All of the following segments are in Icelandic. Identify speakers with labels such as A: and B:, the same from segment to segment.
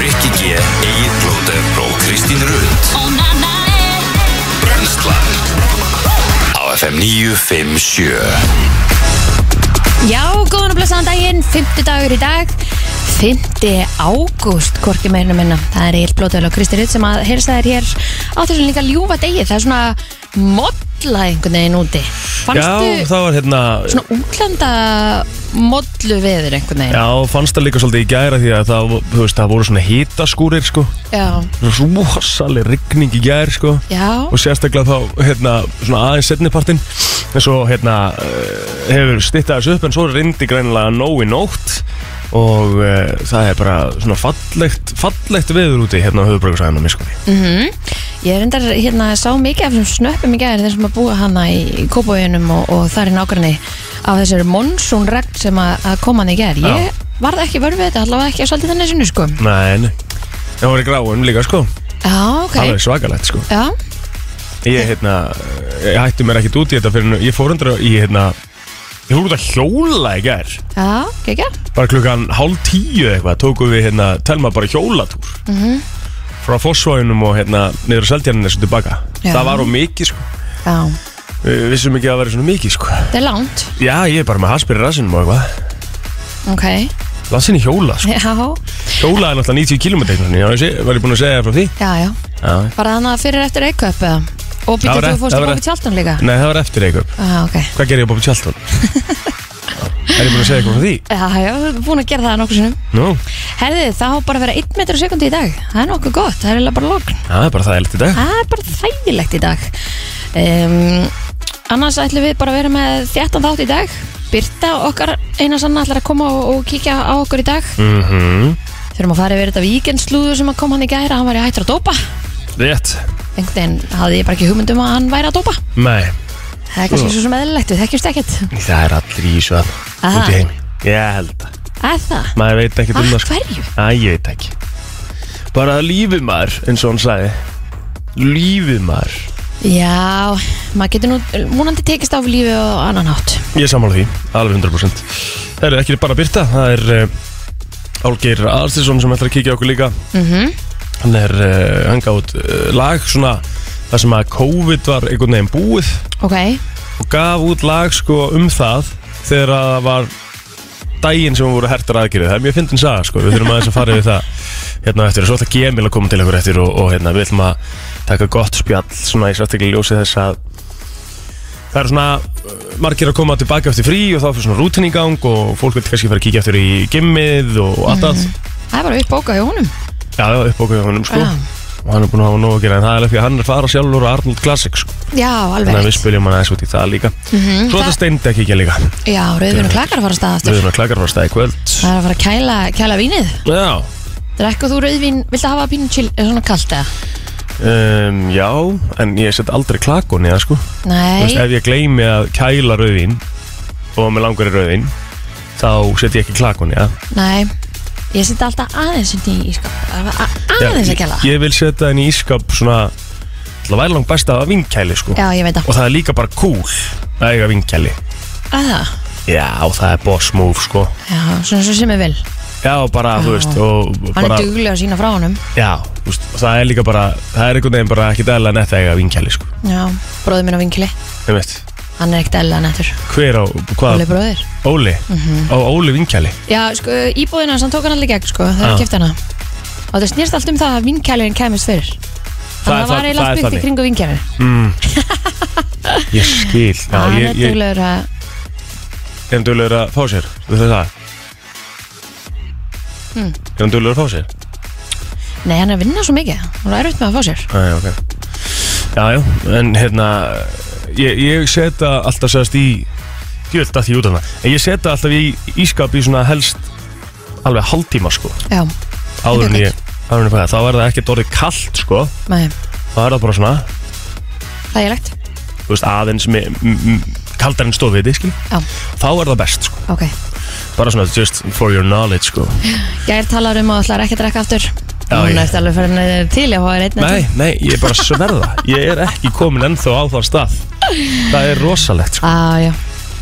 A: Rikki G, Egil Blóter og Kristín Rund Brenslan Á FM 957
B: Já, góðan og blessaðan daginn, 50 dagur í dag 5. ágúst, hvorki meirinu minna Það er Egil Blóðöl og Kristi Rutt sem að heilsa þér hér á þessum líka ljúfa degi Það er svona modla einhvern veginn úti
C: Já,
B: Fannstu
C: það var hérna
B: svona útlanda modlu veður einhvern veginn?
C: Já, fannst það líka svolítið í gæra því að það, þú veist, það voru svona hitaskúrir sko
B: Já,
C: Rósaleg rigning í gæri sko
B: já,
C: Og sérstaklega þá, hérna, svona aðeins setnipartin En svo, hérna, eh, hefur styttað þessu upp En svo rindi greinilega nóg í nótt Og uh, það er bara svona fallegt, fallegt veður úti hérna á höfubrökkusæðinu mér sko
B: ég er endar hérna sá mikið af þessum snöppum í gæðir þeir sem að búa hana í kópauðunum og, og þar í nágrinni af þessari monsunregn sem að, að koma hann í gæðir
C: Já.
B: Ég varð ekki vörfið þetta, allavega ekki á svolítið þannig sinni sko
C: Nei, nei Það var í gráum líka sko
B: Já, ok
C: Það er svakalegt sko
B: Já,
C: Ég, hérna, ég hætti mér ekkert út í þetta fyrir nú- ég fór undir í, hérna, ég fór út að hjóla í gær,
B: já, gekkja
C: bara klukkan hálf tíu eitthvað, tókum við, hérna, telma bara hjólatúr
B: Mhm.
C: -hmm. frá fósvæðunum og, hérna, niður á seldjarninni svo tilbaka.
B: Já.
C: Það var á mikið, sko.
B: Já,
C: Við vissum ekki að það væri svona mikið, sko.
B: það er langt,
C: Já, ég er bara með haspir í rassinum og eitthvað.
B: ok
C: Lassin í hjóla, sko.
B: Já,
C: Hjóla er náttúrulega 90 km, já, þessi, var ég búin að segja þér frá því?
B: já, já
C: Já.
B: Bara þannig að fyrir eftir eitthvað eða? Og
C: Það var
B: býttu þú
C: rétt, það
B: fórst að
C: var
B: bóka
C: rétt.
B: tjáltan líka
C: Nei, það var eftir eitthvað.
B: Já, ok
C: Hvað gerir ég á Bobby Charlton? er ég búin að segja eitthvað frá því?
B: Já, já, við erum búin að gera það nokkuð sinnum
C: Nú,
B: Herði, það á bara að vera 1 metr á sekundi í dag Það er nokkuð gott, það er eiginlega bara logn
C: það er bara það í dag.
B: Það er bara þægilegt í dag um, Annars ætlum við bara að vera með þjættan þátt í dag Birta okkar eina sann ætlar að koma og, og kíkja á okkur í dag
C: Mm
B: Þurfum að fara yfir þetta víkendslúðu sem að kom hann í gæra Hann var í hættur að dópa
C: Rétt
B: einhvern veginn hafði ég bara ekki hugmyndum að hann væri að dópa
C: Nei,
B: það er kannski svo sem eðlilegt, við þekkjumst ekkert
C: það er allir í þessu að
B: Aha. Ah,
C: Úti í heimi Ég held að
B: að það,
C: Maður veit ekki um
B: að
C: það sko
B: hverju
C: Æ, ég veit ekki Bara lífið maður, eins og hann sagði Lífið maður
B: já, maður getur nú múnandi tekist á lífi og annan hátt
C: Ég sammála því, alveg 100% Það er ekki bara Birta, það er uh, Álgeir Aðstinsson sem ætlar að kíkja á okkur líka
B: mm
C: Hann er, uh, hann gaf út uh, lag svona Það sem að COVID var einhvern veginn búið
B: ok,
C: og gaf út lag sko um það þegar að það var daginn sem voru hertar aðgerið, það er mjög fyndin saga sko, við þurfum aðeins að fara yfir það hérna á eftir og svo ætla Gemil að koma til ykkur eftir og, og hérna, við ætlum að taka gott spjall svona í sérstaklega ljósi þess að það eru svona uh, margir að koma tilbaka eftir frí og þá fyrir svona rútin í gang og fólk vil kannski fara að kíkja eftir í gimmið og allt að
B: það er bara upp bóka hjá honum
C: já, það var upp okkur hjá honum sko
B: Já.
C: og hann er búin að hafa nóg að gera en það er ekki að hann er fara sjálfur á Arnold Classic sko,
B: já, alveg
C: þannig að við
B: rétt.
C: spilum hann aðeins út í það líka
B: Mhm,
C: svo þetta
B: það-
C: steindi að kíkja líka
B: já, rauðvinu klakar að fara að staða
C: Við
B: aftur
C: erum að klakar frá stæði kvöld sko.
B: það er að fara að kæla, kæla vínið
C: Já
B: drekka þú rauðvin, viltu hafa pínu chill er svona kalt eða?
C: um, Já, en ég set aldrei klakon í það sko Þú veist,
B: nei,
C: Ef ég gleymi að kæla rauðin Og með langari rauðin Þá set ég ekki klakon í það
B: nei ég seti alltaf aðeins undir í skap aðeins að kæla
C: Ég, ég vil setja henni í ískap svona Það væri langt best að hafa vinkæli sko
B: já, ég veit
C: Og
B: að,
C: það er líka bara cool að eiga vinkæli
B: að það
C: Já, það er boss move sko
B: já, svona svo sem ég vil
C: Já, bara, þú
B: Já.
C: veist og,
B: hann
C: bara,
B: er duglega að sína frá honum
C: Já, þú veist, það er líka bara Það er einhvern veginn bara ekki dæla netta að eiga vinkæli sko
B: já, bróður minn á vinkli
C: Þú veist,
B: hann er ekkert eðla nættur,
C: hver á,
B: Óli
C: hvað
B: bróðir
C: Óli, á Óli vinkjæli
B: já, sko, íbúðina hans, hann tók hann allir gegn, sko þegar
C: Já.
B: hann kæfti hana og það snýrst allt um það að vinkjælurinn kæmist fyrir
C: er
B: þannig að það
C: það-
B: var eiginlega
C: það er
B: allt byggt í
C: þannig.
B: kringu vinkjælur
C: Ég skil Já,
B: hann
C: ég,
B: er
C: ég
B: duglegur að
C: er hann dölur að fá sér Þú veist það Er hann dölur að fá sér?
B: nei, hann er að vinna svo mikið, hann er erfitt með að fá sér
C: Æ, ok Já, já, en hérna Ég, ég seta alltaf sérst í Djöld að því út af það En ég seta alltaf í ískap í svona helst Alveg hálftíma sko
B: já,
C: Áður en
B: Mjög
C: ég Áður en ég fæða Þá er það ekkert orðið kalt sko
B: nei,
C: Þá er það bara svona
B: það er legt
C: Þú veist aðeins með m- m- Kaldar en stofið, skil
B: já,
C: Þá er það best sko
B: ok
C: Bara svona just for your knowledge sko
B: Gær talar um að ætlar ekki að drekka aftur
C: Já,
B: Núna
C: ég-
B: ertu alveg fyrir henni til ég hóðar einn
C: Nei, nei, ég er bara að sverða Ég er ekki komin ennþá á þann stað Það er rosalegt sko.
B: Á, Ah, já,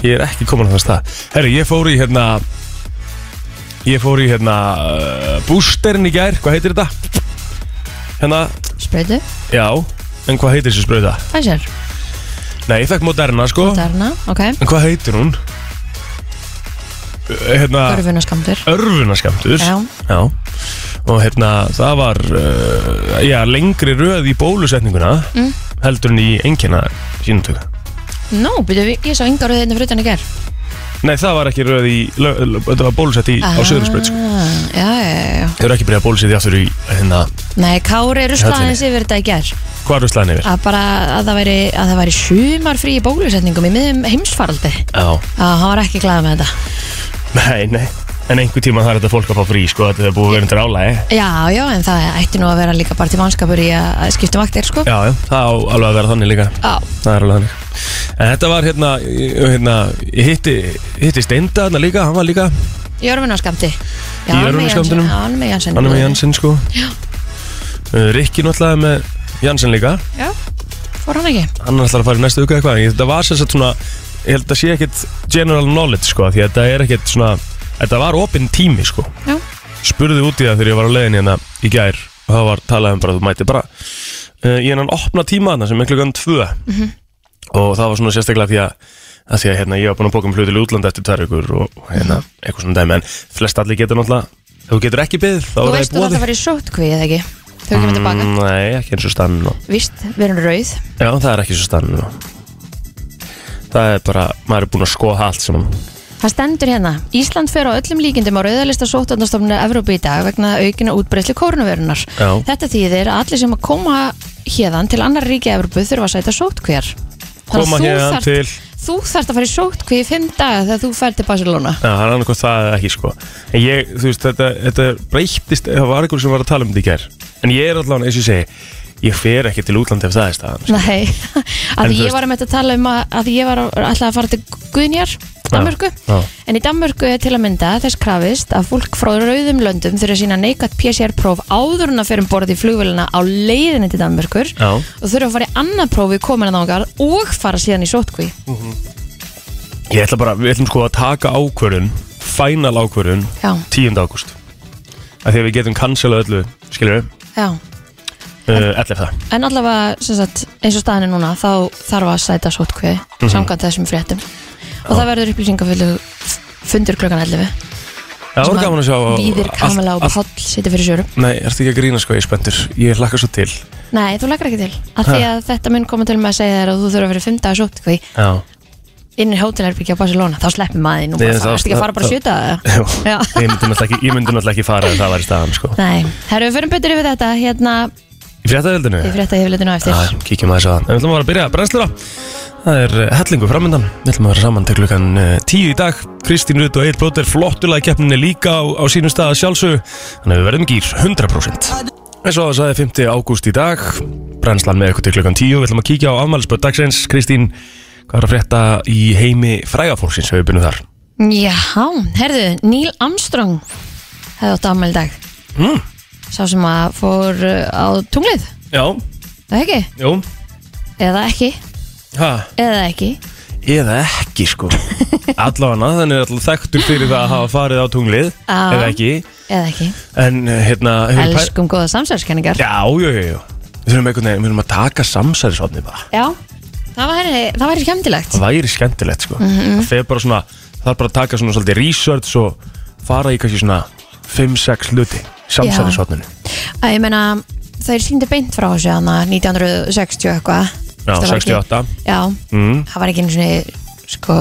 C: Ég er ekki komin á þann stað Herri, ég fór í hérna Ég fór í hérna uh, Boosterin í gær, hvað heitir þetta? Hérna,
B: Spröðu,
C: já En hvað heitir þessi sprauta?
B: Pfizer,
C: Nei, ég fekk Moderna sko
B: Darna, ok
C: En hvað heitir hún? Uh, Hérna
B: Örfunaskamtur
C: Örfunaskamtur
B: Já.
C: Og hérna, það var uh, Já, lengri röð í bólusetninguna Heldur en í engina sínumtöku
B: Nú, byrju, ég sá yngar auðvitað fyrir utan í ger
C: Nei, það var ekki röð í lö- lö- Þetta var bólusett
B: Ah.
C: í, á Suðursbreyt sko.
B: Já, já, já, já
C: Þau eru ekki byrjað að bólusetja aftur í hérna,
B: Nei, Kári
C: Höllinni.
B: ruslaði þessi yfir þetta í ger
C: Hvar við slæðin yfir?
B: Að bara, að það væri, að það væri sumarfrí í bólusetningum í miðum heimsfaraldi
C: Já
B: Já, hann var ekki glæða með þetta
C: Nei, nei En einhver tíma þarf þetta fólk að fá frí sko Þetta er búið að vera undir álægi
B: Já, já, en það ætti nú að vera líka bara til mannskapur í að að skipta um vaktir, sko
C: Já, já, það á alveg að vera þannig líka
B: Já,
C: Það er alveg þannig En þetta var hérna, ég- hérna Ég hitti, hitti Steinda hérna líka Hann var líka,
B: í örfunaskamti
C: Í örvunarskamtinum?
B: Já, hann er með Janssen
C: hann er með Jansson sko
B: Já.
C: Uh, Rikki náttúrulega er með Jansson líka
B: Já, fór hann ekki
C: Hann ætlar að fara í næstu auka eitthvað En ég- Þetta var sem sagt svona Ég held að sé ekkit general knowledge sko Því að þetta er ekkit svona Þetta var opinn tími sko
B: Já,
C: spurði út í það þegar ég var á leiðin hérna í gær og það var talað um bara að þú mæti bara uh, í hennan opna tíma þarna sem er klukkan tvö
B: Mhm.
C: og það var svona sérstaklega því að að því að hérna, ég var búin að bóka um hluti í útlanda eftir tvær ykkur og hérna, eitthvað svona dæmi en flest allir getur náttúrulega ef þú getur ekki byggð þá
B: þú
C: er það í
B: veist þú
C: bóði
B: þetta var í sótkví, eða ekki? Þau kemur tilbaka
C: Mm, Nei, ekki eins og stann og...
B: Víst, við erum rauð
C: Já, það er ekki eins og stann og... Það er bara, maður er búin að skoða allt sem
B: Það stendur hérna Ísland fer á öllum líkindum á rauðalista sóttvarnastofnunar Evrópu í dag vegna aukina útbreyslu kórnverunar
C: Já.
B: Þetta þýðir að allir sem að koma hérðan til annar ríki Evrópu þurfa að sæta sóttkvíjar
C: Koma héðan til-
B: Þú þarft að fara í sóttkví í fimm daga þegar þú fer til Barcelona
C: Já, það er annað hvort það eða ekki sko En ég, þú veist, þetta, þetta breyttist Það var einhver sem var að tala um þetta í gær En ég er allavega, eins og ég segi Ég fer ekki til útlandi ef það er staðan sko.
B: Nei,
C: En
B: að
C: þú
B: ég
C: veist-
B: var um þetta að tala um að, að ég var alltaf að fara til Guðnjar, Danmörku
C: já.
B: en í Danmörku er til að mynda þess krafist að fólk frá rauðum löndum þurfa að sína neikvætt PCR-próf áður en að fyrir um borð í flugvélina á leiðinni til Danmörkur
C: Já.
B: og þurfa að fara í annað próf í komin að þangar og fara síðan í sótkví
C: Ég ætla bara, við ætlum sko að taka ákvörun Final ákvörun
B: Já.
C: 10. ágúst Af því að við getum cancelað öllu, skilur
B: Já,
C: uh, 11.
B: en allavega sem sagt, eins og staðinni núna þá þarf að sæta sótkví
C: Mhm.
B: samkvæmt þessum fréttum og það verður upplýsingafylgu fundur klukkan 11
C: Það voru gaman að sjá
B: Víðir,
C: allt-
B: Kamala og
C: allt-
B: Páll sitja fyrir sjörum
C: Nei, ertu ekki að grína sko, ég er spenntur Ég hlakka svo til
B: Nei, þú leggur ekki til að Því að þetta mun koma til með að segja þér að þú þurfa að vera 5 dagar sótt hvað
C: Já
B: inn í hótelherbyggja á Barcelona, þá sleppir maður þín og
C: Nei,
B: bara
C: þá-
B: það ekki að fara bara
C: þá-
B: 7 dagar
C: Jú,
B: Já.
C: Ég myndi náttúrulega ekki, ég myndi náttúrulega ekki fara ef það væri staðan sko
B: Nei, herru, við förum betur yfir þetta hérna
C: Í fréttaveldinu
B: í frétta yfirleitinu á eftir
C: Já, kíkjum aðeins að það. En við ætlum að fara að byrja að brennslura. Það er eh, hellingu framöndan. Við ætlum að vera saman til klukkan eh, 10 í dag. Kristín Rutt og Eil Blóter flottulega keppninni líka á, á sínum stað að sjálfsög. Þannig að við verðum ekki í 100%. Eins og það sagði 5. ágúst í dag. Brennslan með ykkur til klukkan 10. Við ætlum að kíkja á afmælisböð dagsins. Kristín, hvað er að frétta í heimi frægafólksins ef við byrjum þar?
B: Já, herru, Neil Armstrong hefði átt afmæli í dag
C: Mm.
B: Sá sem að fór uh, á tunglið,
C: Já,
B: eða ekki?
C: jú.
B: Eða ekki,
C: Ha.
B: eða ekki
C: Eða ekki sko Allavega, þannig er alltaf þekktur fyrir það að hafa farið á tunglið
B: Já.
C: Eða ekki
B: Eða ekki,
C: En eh, hérna hefur pæ-
B: elskum góða samsverðskenningar
C: Já, já, já, já Við þurfum einhvern veginn, við þurfum að taka samsæðisofni bara
B: Já, það væri, það væri skemmtilegt
C: Það væri skemmtilegt, sko Það fer bara svona, það er bara að taka svona svolítið research og fara í kannski svona 5-6 hluti samsæðisofninu
B: að ég meina þeir síndi beint frá þessu hann 1960 eitthvað
C: Já,
B: Það var ekki-
C: 68.
B: já,
C: mm.
B: það var ekki einu svona sko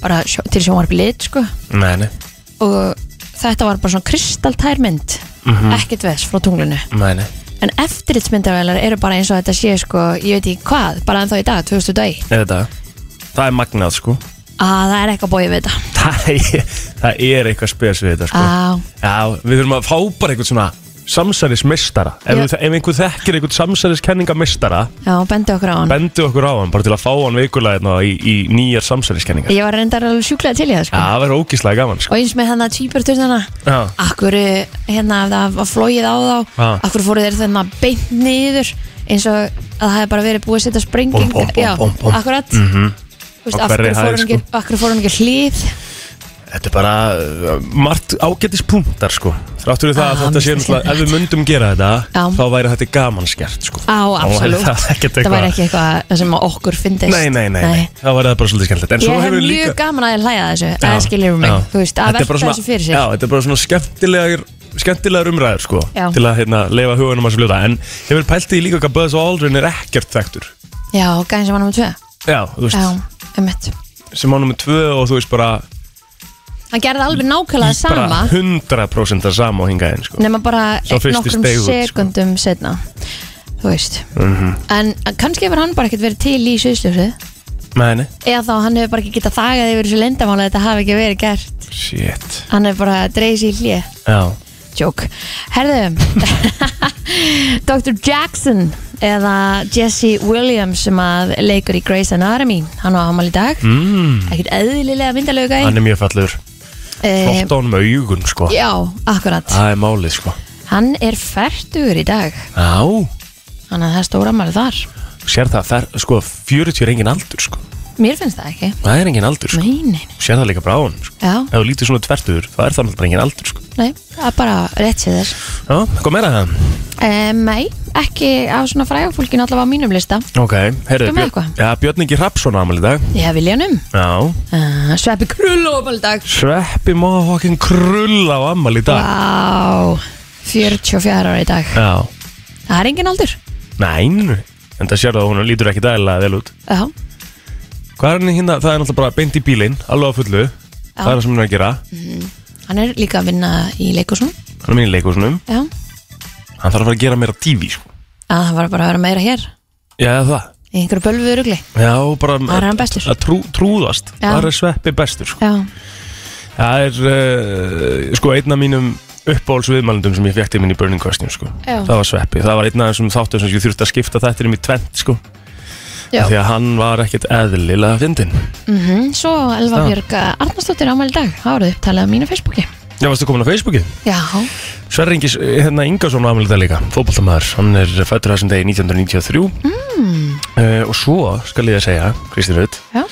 B: bara sjó, til sjónvarpi lit sko
C: Nei, nei,
B: og þetta var bara svona kristaltær mynd
C: Mhm.
B: ekkert veðs frá tunglinu
C: nei, nei
B: en eftirlitsmyndavælar eru bara eins og þetta sé sko, ég veit ekki hvað, bara ennþá í dag 2000 dag,
C: Nei, þetta, það er magnað, sko
B: að Ah, það er eitthvað bóið við þetta
C: Það er, það er eitthvað spes við þetta, sko
B: Já.
C: Já, við þurfum að fá bara eitthvað svona samsæðismestara ef,
B: Já.
C: við- ef einhver þekkir eitthvað samsæðiskenningamestara
B: já, bendi okkur á hann
C: bendu okkur á hann bara til að fá hann vikulega hérna í, í nýjar samsæðiskenningar
B: ég var reyndar alveg sjúklega til í það sko
C: Já, það verður ógíslega gaman sko.
B: og eins með hérna hann að týpur
C: Já.
B: akkur hérna ef það var flóið á þá
C: Já.
B: akkur fóru þeir þennan að beint niður eins og að það hefði bara verið búið að setja sprenging
C: Búm, búm, búm,
B: já,
C: búm, búm.
B: akkurat mm -hmm. Veist,
C: Mhm. Á
B: af hverju
C: hverri
B: fór
C: hæð, sko.
B: hann ekki- af hverju fór hann ekki hlið
C: Þetta er bara uh, margt ágætis punktar sko Þráttur við það
B: Ah,
C: að þetta sé
B: mér finnst
C: náttúrulega Ef við myndum gera þetta,
B: Já.
C: þá væri þetta gaman skert sko
B: Á, absolutt.
C: Þá væri það ekkert
B: Það væri
C: eitthvað
B: ekki eitthvað sem að okkur fyndist
C: Nei, nei, nei, nei. þá væri það bara svolítið skemmtilegt En svo
B: Ég hef
C: hefur
B: mjög
C: við líka
B: gaman að ég hlæja að þessu
C: Já,
B: Það skilir mig,
C: já.
B: þú veist, að
C: Þetta er bara
B: velta
C: svona-
B: þessu fyrir
C: Já,
B: sér
C: þetta er bara svona skemmtilegar skemmtilegar umræður sko
B: Já.
C: til að hérna, leifa hugunum að sem fljóta en hefur pælt í líka hvað Buzz Aldrin er ekkert þekktur
B: Já, gæðin sem var nummer 2
C: Já, þú veist,
B: Já, emmitt
C: sem á nummer tvö og þú veist bara,
B: Hann gerði alveg nákvæmlega sama
C: bara 100% það sama og hingaðin sko.
B: nema bara
C: Sá fyrsti
B: nokkrum
C: steig út, sko. Mhm.
B: sekundum setna Þú veist En kannski hefur hann bara ekkert verið til í sviðsljósið
C: Nei, nei,
B: Eða þá hann hefur bara ekki getað þagað yfir þessu lindamála Þetta hafi ekki verið gert
C: shit
B: Hann hefur bara dreigð sér í hlje
C: Já,
B: Jók Herðu Dr. Jackson eða Jesse Williams sem að leikur í Grey's Anatomy hann á ámali í dag mm. ekkert eðlilega myndalögu gæ
C: hann er mjög fallur
B: Eh,
C: Flott á honum augun sko
B: Já, akkurat
C: Það er málið sko
B: Hann er færtugur í dag
C: Já,
B: Þannig að það er stóra ámali þar
C: sér það, fer, sko 40 er engin aldur sko
B: Mér finnst það ekki
C: Það er engin aldur sko
B: Nei, nei, nei.
C: Sér það líka bara á hann sko
B: já,
C: Ef þú lítið svona tvertur, það er það náttúrulega engin aldur sko
B: nei, það er bara rétt sér þér
C: Já, hvað meira það?
B: um, Nei, ekki á svona frægafólkinu allavega á mínum lista
C: Ok, heyrðu,
B: Ertu með eitthvað?
C: ja, Björn Ingi Hrafnsson ámæli dag
B: Já, Viljanum
C: Já
B: uh, Sveppi Krull á ámali í dag
C: Sveppi móðfokkin krull á ámæli dag
B: Vá, 44 ára í dag
C: Já
B: Það er engin aldur
C: Nein, en það sér það að hún lítur ekki dæla vel út
B: Já,
C: Hvað er hann hérna, það er náttúrulega bara beint í bílinn, alveg á fullu Það er það sem hann er að gera
B: hann er líka að vinna í leikursum
C: Hann er minni í leikúsunum,
B: Já,
C: hann þarf að fara að gera meira TV sko
B: að Ah, hann var bara að vera meira hér
C: Já, það
B: í einhverju bölvu örugli
C: Já, bara
B: Þar er hann bestur.
C: Að trú, trúðast
B: Já.
C: Það er sveppi bestur sko.
B: Já,
C: Það er uh, sko einn af mínum uppáhalds viðmælendum sem ég fekk til minn í Burning Question sko.
B: Já.
C: Það var sveppi Það var einn af þessum þáttum sem ég þurfti að skipta þættir um í tvent sko.
B: já
C: Því að hann var ekkert eðlilega fyndin
B: mm Svo Elva
C: Já.
B: Björg Arnarsdóttir ámæli dag Það voruð upptalið á mínu Facebooki
C: Já, varstu komin á Facebooki?
B: Já,
C: Sverringis, hérna Ingarsson ámælið það líka Fótboltamaður, hann er fættur þessum degi 1993 mm. Og svo skal ég að segja, Kristi Rutt
B: já,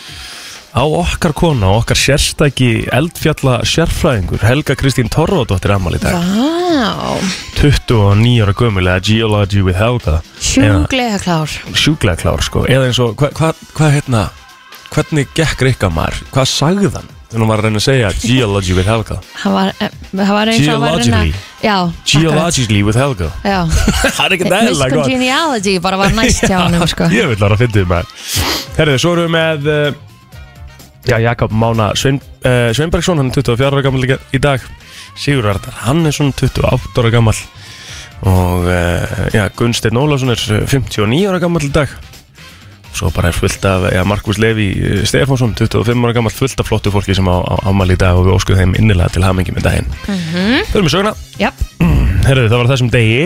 C: Á okkar kona og okkar sérstæki eldfjalla sérfræðingur Helga Kristín Torfadóttir ammali í dag
B: vá
C: 29 ára gömul eða Geology with Helga
B: Sjunglega klár
C: Sjúklega klár sko Eða eins og, hvað, hvað, hva, hérna Hvernig gekk Rikka maður? Hvað sagði hann? Þegar hún var að reyna að segja Geology with Helga
B: Það var, eh, það var eins og hann var að reyna-
C: Geologically.
B: Já, akkurat
C: Geologically with Helga
B: Já,
C: Það er ekki dæla
B: Miss Congeniality bara var næst hjá hann sko.
C: Ég vil vera að fyndið maður Herðu, svo erum við með uh, Já, Jakob Mána Svein, uh, Sveinbergsson, hann er 24 ára gammal líka í dag Sigur Arnar Hannesson, 28 ára gammal Og uh, já, Gunnsteinn Ólafsson er 59 ára gammal í dag Svo bara er fullt af, já, Markus Levi eh, Stefánsson, 25 ára gammal Fullt af flottu fólki sem á, á ámali í dag Og við óskuðum þeim innilega til hamingi með daginn mm
B: Mhm.
C: -hmm. Þau erum við söguna
B: Japp,
C: Herru, það var á þessum degi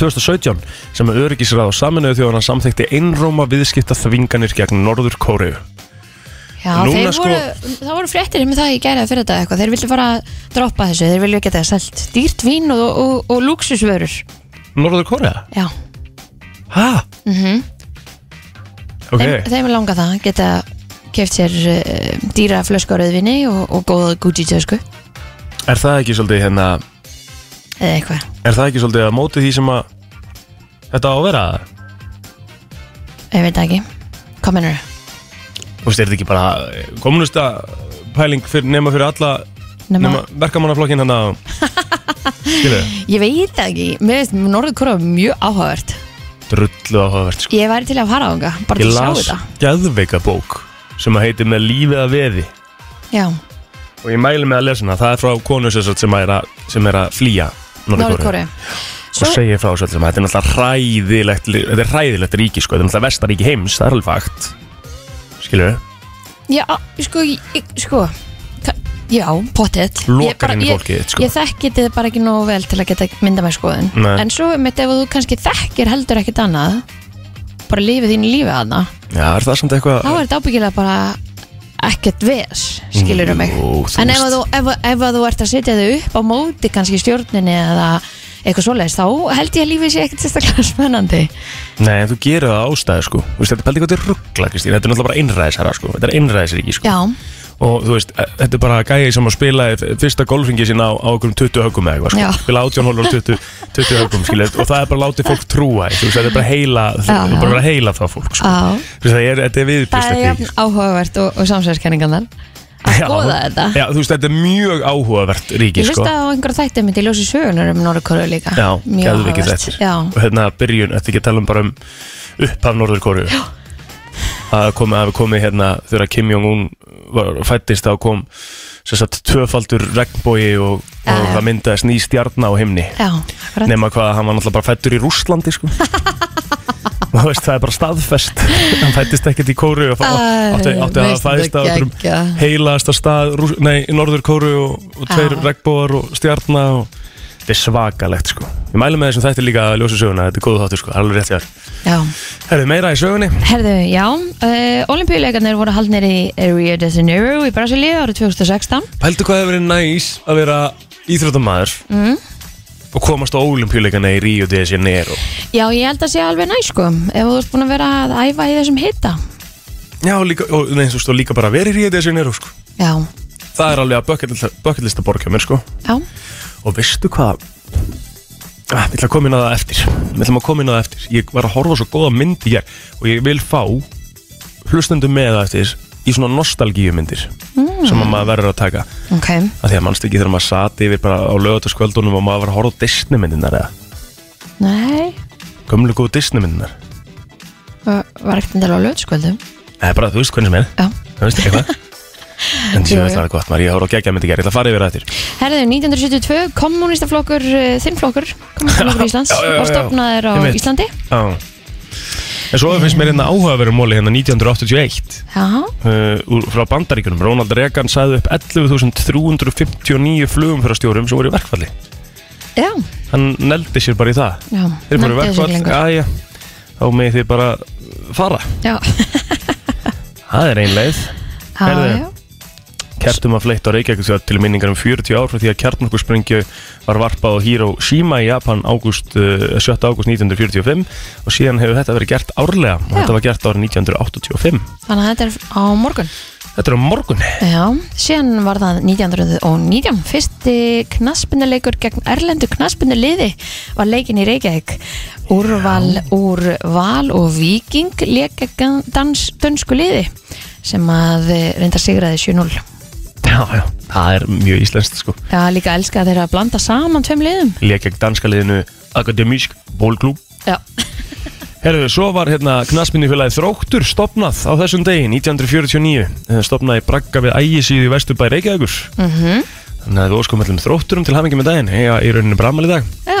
C: 2017 sem að öryggisræð á saminuðu þjóðana samþekti einróma viðskipta þvinganir gegn Norður Kóriðu.
B: já,
C: Núna
B: þeir
C: sko-
B: voru Það voru fréttir með það ég gæri að fyrir þetta eitthvað Þeir vildu fara að droppa þessu, þeir vilju geta selt Dýrt vín og, og, og lúksusvörur
C: Norður Kóriða?
B: Já,
C: Hæ? Mhm. Ok,
B: þeim, þeim er langa það Geta keft sér uh, dýra flösku á rauðvinni og, og góða Gucci tösku
C: er það ekki svolítið hérna,
B: Eða eitthvað
C: er það ekki svolítið að móti því sem að þetta á að vera?
B: Ég veit það ekki, hvað mennur
C: Þú veist, er þetta ekki bara eh, komunista pæling fyr, nema fyrir alla
B: Nefna,
C: nema hérna verkamannaflokkin hann að skilu,
B: Ég veit það ekki, mér veist Norður Kóra mjög áhugavert
C: drullu áhugavert sko.
B: Ég væri til að fara á þunga, bara
C: Ég
B: til að sjá
C: las
B: þetta
C: geðveika bók sem að heitir með lífið að veði
B: Já,
C: og ég mæli með að lesa hana, það er frá konu sem, sagt sem, er, að, sem er að flýja Norður-Kóru
B: Norður-Kóru
C: og
B: Svo,
C: segir frá þessu öllum að þetta er náttúrulega hræðilegt li- þetta er hræðilegt ríki sko, þetta er náttúrulega vestaríki heims það er alveg fakt skilur við,
B: já, sko, ég, sko ka- Já, pottet
C: Lokar inn í fólkið þitt,
B: ég,
C: sko.
B: ég þekki þið bara ekki nógu vel til að geta mynda mér skoðun
C: Nei.
B: En svo mitt ef þú kannski þekkir heldur ekkit annað Bara lífið þínu lífið aðna
C: já er það samt
B: Þá
C: eitthvað
B: er þetta ábyggilega bara ekkert ves Skilur um mig
C: Jú, þú
B: En
C: veist.
B: ef að þú, ef, ef að þú ert að setja þau upp á móti kannski stjórninni eða eitthvað svoleiðis Þá held ég að lífið sé ekkert sérstaklega spennandi
C: nei, en þú gerir það ástæði sko, Þú veist, þetta er pældi hvað þetta er ruggla Kristín, þetta er náttúrulega bara einræðisherra sko þetta er einræðisríki sko
B: Já,
C: og þú veist, eh, þetta er bara gæi sem að spila fyrsta golfringi sín á, á okkur 20 högum eða eitthvað,
B: Já.
C: sko. spila 18 hólur á 20, 20 högum, skilur, og það er bara látið fólk trúa, því, þú veist, þetta er bara heila þú
B: Já,
C: þú
B: já.
C: bara verður að heila það fólk, sko
B: Já.
C: Þú veist, það er, þetta er
B: Það er jafn
C: viðbjörnstekník
B: áhugavert og, og samsverðskenningan að
C: Já.
B: skoða þetta
C: Já, þú veist, þetta er mjög áhugavert ríki,
B: Ég
C: sko
B: hlustaði á einhverja þætti mitt í ljósi sögunar um Norðurkóru líka
C: Já,
B: Mjög
C: geðvikið
B: áhugavert.
C: þettir
B: Já,
C: Og hérna byrjun, þetta ekki að tala um bara um upphaf Norður Kóru að komi, að komi hérna þegar Kim Jong-un var fættist þá kom sem sagt tvöfaldur regnbói og, og
B: Já, já.
C: það myndaðist ný stjarna á himni
B: já, akkurat
C: nema hvað að hann var náttúrulega bara fættur í Rússlandi sko Þú veist, það er bara staðfest hann fættist ekkert í Kóru og
B: Æ,
C: fá- átti, átti að
B: veist
C: fæðist
B: þetta
C: að um
B: geggjað.
C: heilaðasta stað Rúss- nei, Norður Kóru og, og tveir
B: Já.
C: regnbóar og stjarna og þetta er svakalegt sko ég mælu með þessum þætti líka að ljósa söguna þetta er góð þáttur sko, það er alveg rétt hjá þér.
B: Já,
C: Herðu, meira í sögunni
B: herðu, já uh, Olimpíuleikarnir voru haldnir í Rio de Janeiro í Brasilíu árið 2016
C: pældu hvað hefur verið næs að vera íþrótamaður mm. og komast á ólimpíuleikana í Rio de Janeiro
B: Já, ég held að sé alveg næ sko ef þú ert búin að vera að æfa í þessum hita
C: já, líka, og, nei, þú veist, og líka bara verið í Rio de Janeiro sko
B: Já,
C: Það er alveg að bucketlista, bucketlista borga mér sko
B: já,
C: Og veistu hvað ah, Við ætlum að koma inn á það eftir Við ætlum að koma inn á það eftir Ég var að horfa á svo góða mynd í hér Og ég vil fá hlustundum með það eftir Í svona nostalgíumyndir Sem að maður verður að taka
B: ok
C: Af því að mannstu ekki þegar maður sati yfir bara á lögataskvöldunum Og maður var að horfa á Disney myndinar eða
B: Nei,
C: Gömlu góðu Disney myndinar
B: var var ekkert endilega á lögskvöldum
C: Það er bara, þú veist hvernig sem er
B: Já
C: Það veist eitthvað En
B: Jú,
C: ég veit
B: jú.
C: það er gott maður, ég horf á geggja myndi gerð, ég ætla að fara yfir það eftir
B: Herðu, 1972, kommunistaflokkur, uh, þinnflokkur, kommunistaflokkur Íslands,
C: Já, já, já, já.
B: var stopnaður á
C: Einmitt.
B: Íslandi.
C: Já En svo finnst mér hérna áhugaverðum móli hérna 1981
B: Já,
C: uh, úr- frá bandaríkunum Ronald Reagan sagði upp 11.359 flugumfjörastjórum sem voru í verkfalli
B: já,
C: Hann neldi sér bara í það
B: já.
C: Þeir voru
B: nefndi
C: í
B: þessu ekki
C: verkfall,
B: lengur.
C: aðja Þá með þið bara fara
B: Já,
C: Það er ein leið
B: já,
C: Herðu.
B: já.
C: Kertum að fleitt á Reykjavík þjóð til minningar um 40 ár frá því að kjarnorkusprengju var varpað á Hiroshima í Japan ágúst, uh, 7. ágúst 1945 og síðan hefur þetta verið gert árlega og
B: Já.
C: þetta var gert árið 1985
B: Þannig að þetta er á morgun.
C: Þetta er á morgun
B: Já, síðan var það 1919, fyrsti knaspinduleikur gegn erlendu knaspinduliði var leikin í Reykjavík. Úrval úr Val og Víking leik gegn dans, dönsku liði sem að eh, reynda sigraði 7-0.
C: Já, já, það er mjög íslenskt sko
B: Já, líka elska þeir að blanda saman tveim liðum.
C: lék gegn danska liðinu Akademísk Bólklúb
B: Já,
C: Herðu, svo var hérna knaspinnifélagi Þróttur stopnað á þessum degi 1949 Eh, stopnað í bragga við ægisíðu í vesturbæ Reykjavíkur
B: Mhm.
C: þannig að við óskum öllum Þrótturum til hamingi með daginn eiga í rauninu brammal í dag
B: já.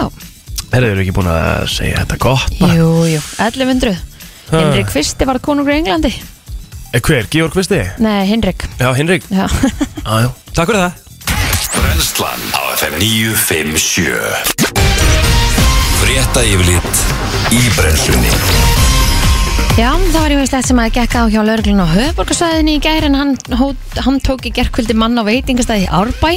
C: Herðu, eru ekki búin að segja þetta gott bara?
B: Jú, jú, 1100
C: Ha.
B: Hinrik Kvisti var konungur í Englandi
C: Eh, Hver, Georg Visti?
B: Nei, Hinrik
C: Já, Hinrik
B: Já,
C: Já, já, takk fyrir það
A: Brennslan á FM 957 Frétta yfirlit í brennslunni
B: Já það var yfirslegt sem að gekka á hjá lauruglun á höfuborgarsvæðinu í gær en hann, hó- hann tók í gerkvöldi mann á veitingastæði í Árbæ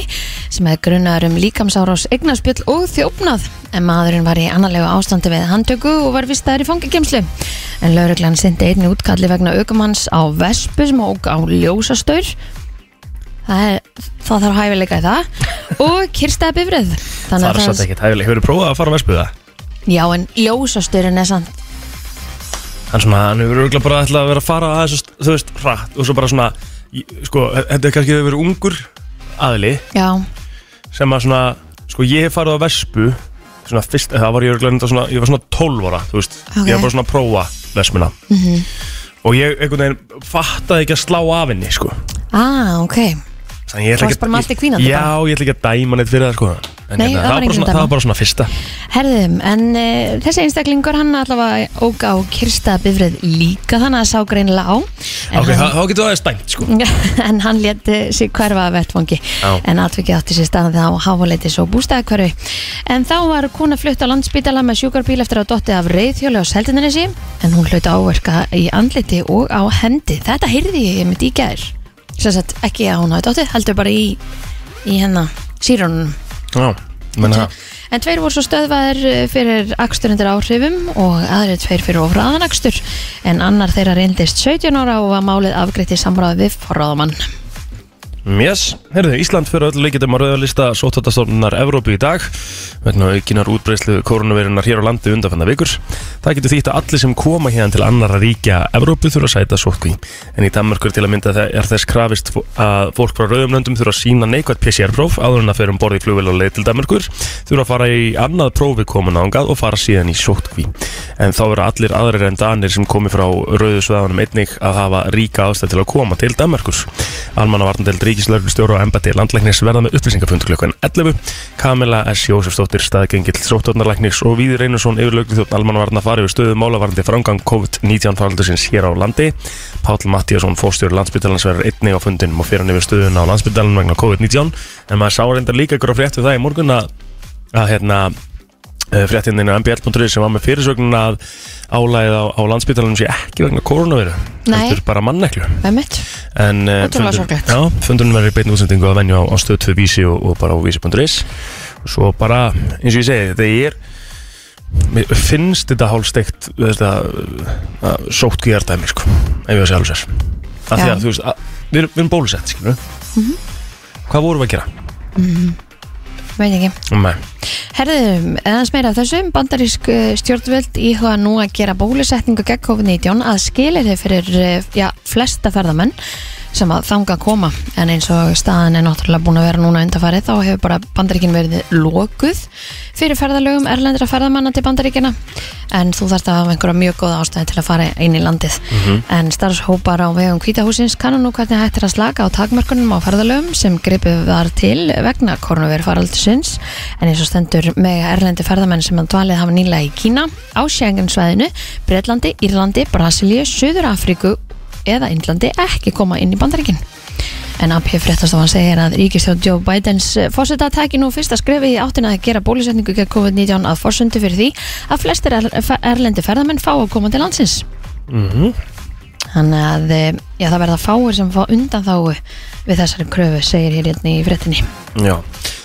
B: sem hefði grunnaður um líkamsárás eignarspjöll og þjófnað en maðurinn var í annarlegu ástandi við handtöku og var vistaður í fangakemslu en lauruglan sindi einni útkalli vegna aukumanns á Vespu sem óg á ljósastaur Það, er, það þarf hæfileika í það og kyrstaði bifrið Þannig
C: Það
B: að
C: er satt ekkert hæfileg, hefur prófað að fara að vespuða?
B: Já, en ljósasturinn er samt
C: hann svona, hann hefur örgulega bara ætlað að vera að fara að þessu, þú veist, hratt og svo bara svona, í- sko, þetta er kannski að vera ungur aðli
B: Já,
C: sem að svona, sko, ég hef farið á Vespu svona fyrst, það var ég örgulega enda svona, ég var svona 12 ára, þú veist
B: Ok. Mhm.
C: ég var bara svona að prófa Vespuna -hmm. og ég einhvern veginn fattaði ekki að slá af henni, sko
B: ah, ok
C: þannig ég ætla
B: Varst
C: ekki
B: bara með allt í kvínandi
C: Já, ég ætla ekki að dæma neitt fyrir það, sko En
B: Nei, það var
C: það,
B: enginn
C: bara
B: að
C: svona,
B: dæma.
C: það var bara svona fyrsta
B: Herðum, en uh, þessi einstaklingur hann allavega óg á kyrstaða bifrið líka þannig að sá greinilega á en
C: Ok,
B: hann,
C: þá- þá getur það stæmt, sko
B: en hann léti sig hverfa að vettfangi
C: Já.
B: en atvikið átti sér staðan þá háfuleiti svo bústæðakverfi en þá var kona flutt á landspítala með sjúkarbíl eftir að dotti af reyðhjóli á Seldinesi en hún hluti áverka í andliti og á hendi þetta heyrði ég mitt í gær sem sagt ekki að hún hafi dottið heldur bara í, í hérna hennar sírunum
C: Já, menna það
B: En tveir voru svo stöðvaðir eh, fyrir aksturindir áhrifum og aðrir tveir fyrir ofraðan akstur en annar þeirra reyndist 17 ára og var málið afgreitt í samráði við forráðamann.
C: Yes, herðu, Ísland fyrir öll leikitum að rauðalista sóttvartastofnunar Evrópu í dag vegna aukinar útbreyslu koronaveirunar hér á landi undanfanna vikur. Það getur þýtt að allir sem koma hérna til annara ríkja Evrópu þurfa að sæta sóttkví. En í Danmarkur til að mynda það er þess krafist fó- að fólk frá rauðumlöndum þurfa að sína neikvægt PCR-próf áður en að fyrir um borði flugvel og leið til Danmarkur þurfa að fara í annað prófi komin ángað og fara síðan í sóttkví. En þá verða allir aðrir en danir sem komi frá rauðu sveðanum einnig að hafa ríka ástæð til að koma til Danmarkus. Almannavarnadeild ríkislauglustjóra og embætti landlæknis verða með upplýsingafund klukkan 11. Kamila S. Jósefsdóttir, staðgengill sóttvarnarlæknis og Víður Einarsson yfirlauglustjótt almannavarna farið við stöðu málavarandi frangang COVID-19 faraldusins hér á landi. Páll Mattíasson, fórstjóri landsbytalans verður einnig á fundinum og fyrir hann yfir stöðuna á landsbytalan vegna COVID-19. En maður sá reyndar líka gróf frétt við það í morgun að, að hérna, fréttinni á mbl.ri sem var með fyrirsögnun að álæðið á, á landsbytalanum sé ekki vegna koronaviru
B: Nei.
C: heldur bara manneklu
B: Einmitt.
C: en eh,
B: Ótrúlega
C: fundur-
B: sorglegt.
C: já, fundurinn verður í beinni útsendingu að venju á, á stöð 2 vísi og, og bara á vísi.is og svo bara, eins og ég segi þetta er mér finnst þetta hálfsteikt þetta uh, sótkvíðardæmi sko, ef ég að segja alveg sér af því
B: Já. Mhm.
C: að þú veist, að, við, erum- við erum bólusett skilur hvað vorum við að gera?
B: Veit ekki.
C: Nei.
B: Herðum, eðans meira af þessu, bandarísk eh, stjórnvöld íhuga nú að gera bólusetningu gegn COVID-19 að skilir þau fyrir eh, já, flesta ferðamenn sem að þanga að koma en eins og staðan er náttúrulega búin að vera núna undarfarið þá hefur bara bandaríkin verið lokuð fyrir ferðalögum erlendra ferðamanna til bandaríkina en þú þarft að hafa einhverja mjög góða ástæði til að fara inn í landið en starfshópar á vegum kvítahúsins kannan nú hvernig hættir að slaka á takmörkunum á ferðalögum sem gripið var til vegna koronaviru faraldusins en eins og stendur með erlendi ferðamenn sem að dvalið hafa nýlega í Kína á Schengen-svæðinu, Breitlandi, Írlandi, Brasilíu, Suður Afríku eða Indlandi ekki koma inn í bandaríkin. En AP fréttastofan segir að ríkistjóð Joe Bidens fórseta tæki nú fyrsta skrefi í áttina að gera bólusetningu gegn COVID-19 að fórsundu fyrir því að flestir er- fe- erlendi ferðamenn fá að koma til landsins. Þannig að eh, já, það verða fáir sem fá undan þá við þessari kröfu, segir hér hérna í fréttinni.
C: Já,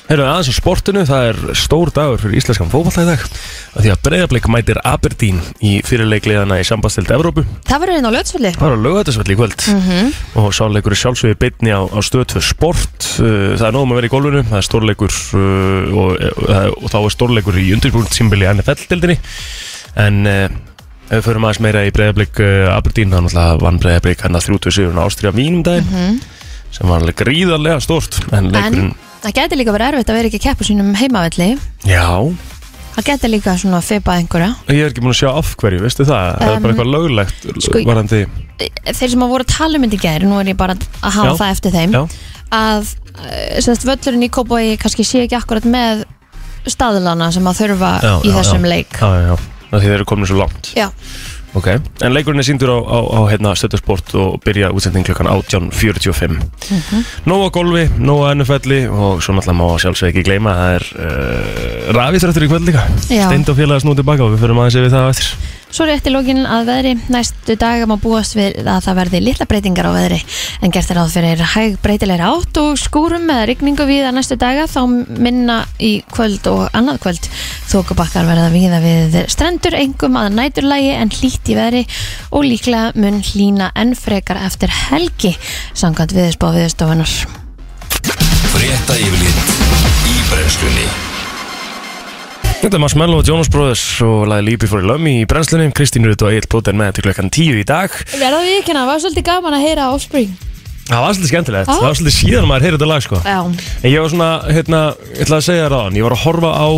C: heyrðu aðeins á sportinu, það er stór dagur fyrir íslenskan fótballtæði dag að því að breyðarbleik mætir Aberdeen í fyrirleikliðana í sambandstildi Evrópu
B: Það verður hérna á löðsvöldi.
C: bara lögatisvall í kvöld
B: Mhm.
C: og sáleikur er sjálfsögði bitni á, á stöðtöð sport Uh, það er nógum að vera í gólfinu það er stórleikur uh, og, og, og þá er stórleikur í undirbúrnt símbili NFL-dildinni en uh, ef við förum aðeins meira í breyðarbleik uh, Aberdeen, þannig að vann breyðarbleik hann að 30 sigurinn á Ástríða Vínum daginn sem var alveg gríðarlega stórt en leikurinn,
B: En það gæti líka verið erfitt að vera ekki að keppu sínum heimavelli.
C: já
B: Það gæti líka svona að feipa einhverja.
C: Ég er ekki búin að sjá af hverju, veistu það? það er bara
B: Um,
C: eitthvað löglegt
B: sko,
C: sko, varandi,
B: Þeir sem að voru að tala um þetta í gæri, nú er ég bara að hafa
C: Já.
B: það eftir þeim,
C: já,
B: að eh, sem sagt, völlurinn í Kópói kannski sé ekki akkurat með staðlana sem að þurfa
C: Já,
B: í
C: já,
B: þessum leik.
C: já, já, já. Af Því þeir eru komin svo langt
B: Já,
C: Ok, en leikurinn er síndur á, á, á hérna, stöðusport og byrja útsending klukkan 18.45 mm
B: Mhm.
C: Nóa golfi, nóa NFL-i og svo náttúrulega má sjálfsög ekki gleyma að það er uh, rafíþrættur í kvöld líka
B: Já.
C: Steind og félagas nú tilbaka og við förum aðeins yfir það á eftir
B: Svo rétt í lokinn að veðri, næstu daga má búast við að það verði litla breytingar á veðri en gert er áð fyrir hæg breytilegri átt og skúrum eða rigningu við að næstu daga þá minna í kvöld og annað kvöld. Þókubakkar verða viða við strendur engum að næturlægi en hlýtt í veðri og líklega mun hlýna enn frekar eftir helgi samkvæmt viðspá viðstofunar.
A: Frétta yfirlit í brennslunni
C: Þetta er Mars Mello og Jonas Brothers og laði Líbi fór í lömmi í brennslunum Kristín Rut og Egil Plóter með til klukkan 10 í dag
B: Verða við ekki hana, var svolítið gaman að heyra Offspring.
C: Það var svolítið skemmtilegt,
B: Já.
C: það var svolítið síðan maður heyrði þetta lag sko
B: Já,
C: En ég var svona, hérna, ég ætlaði að segja þér aðan Ég var að horfa á,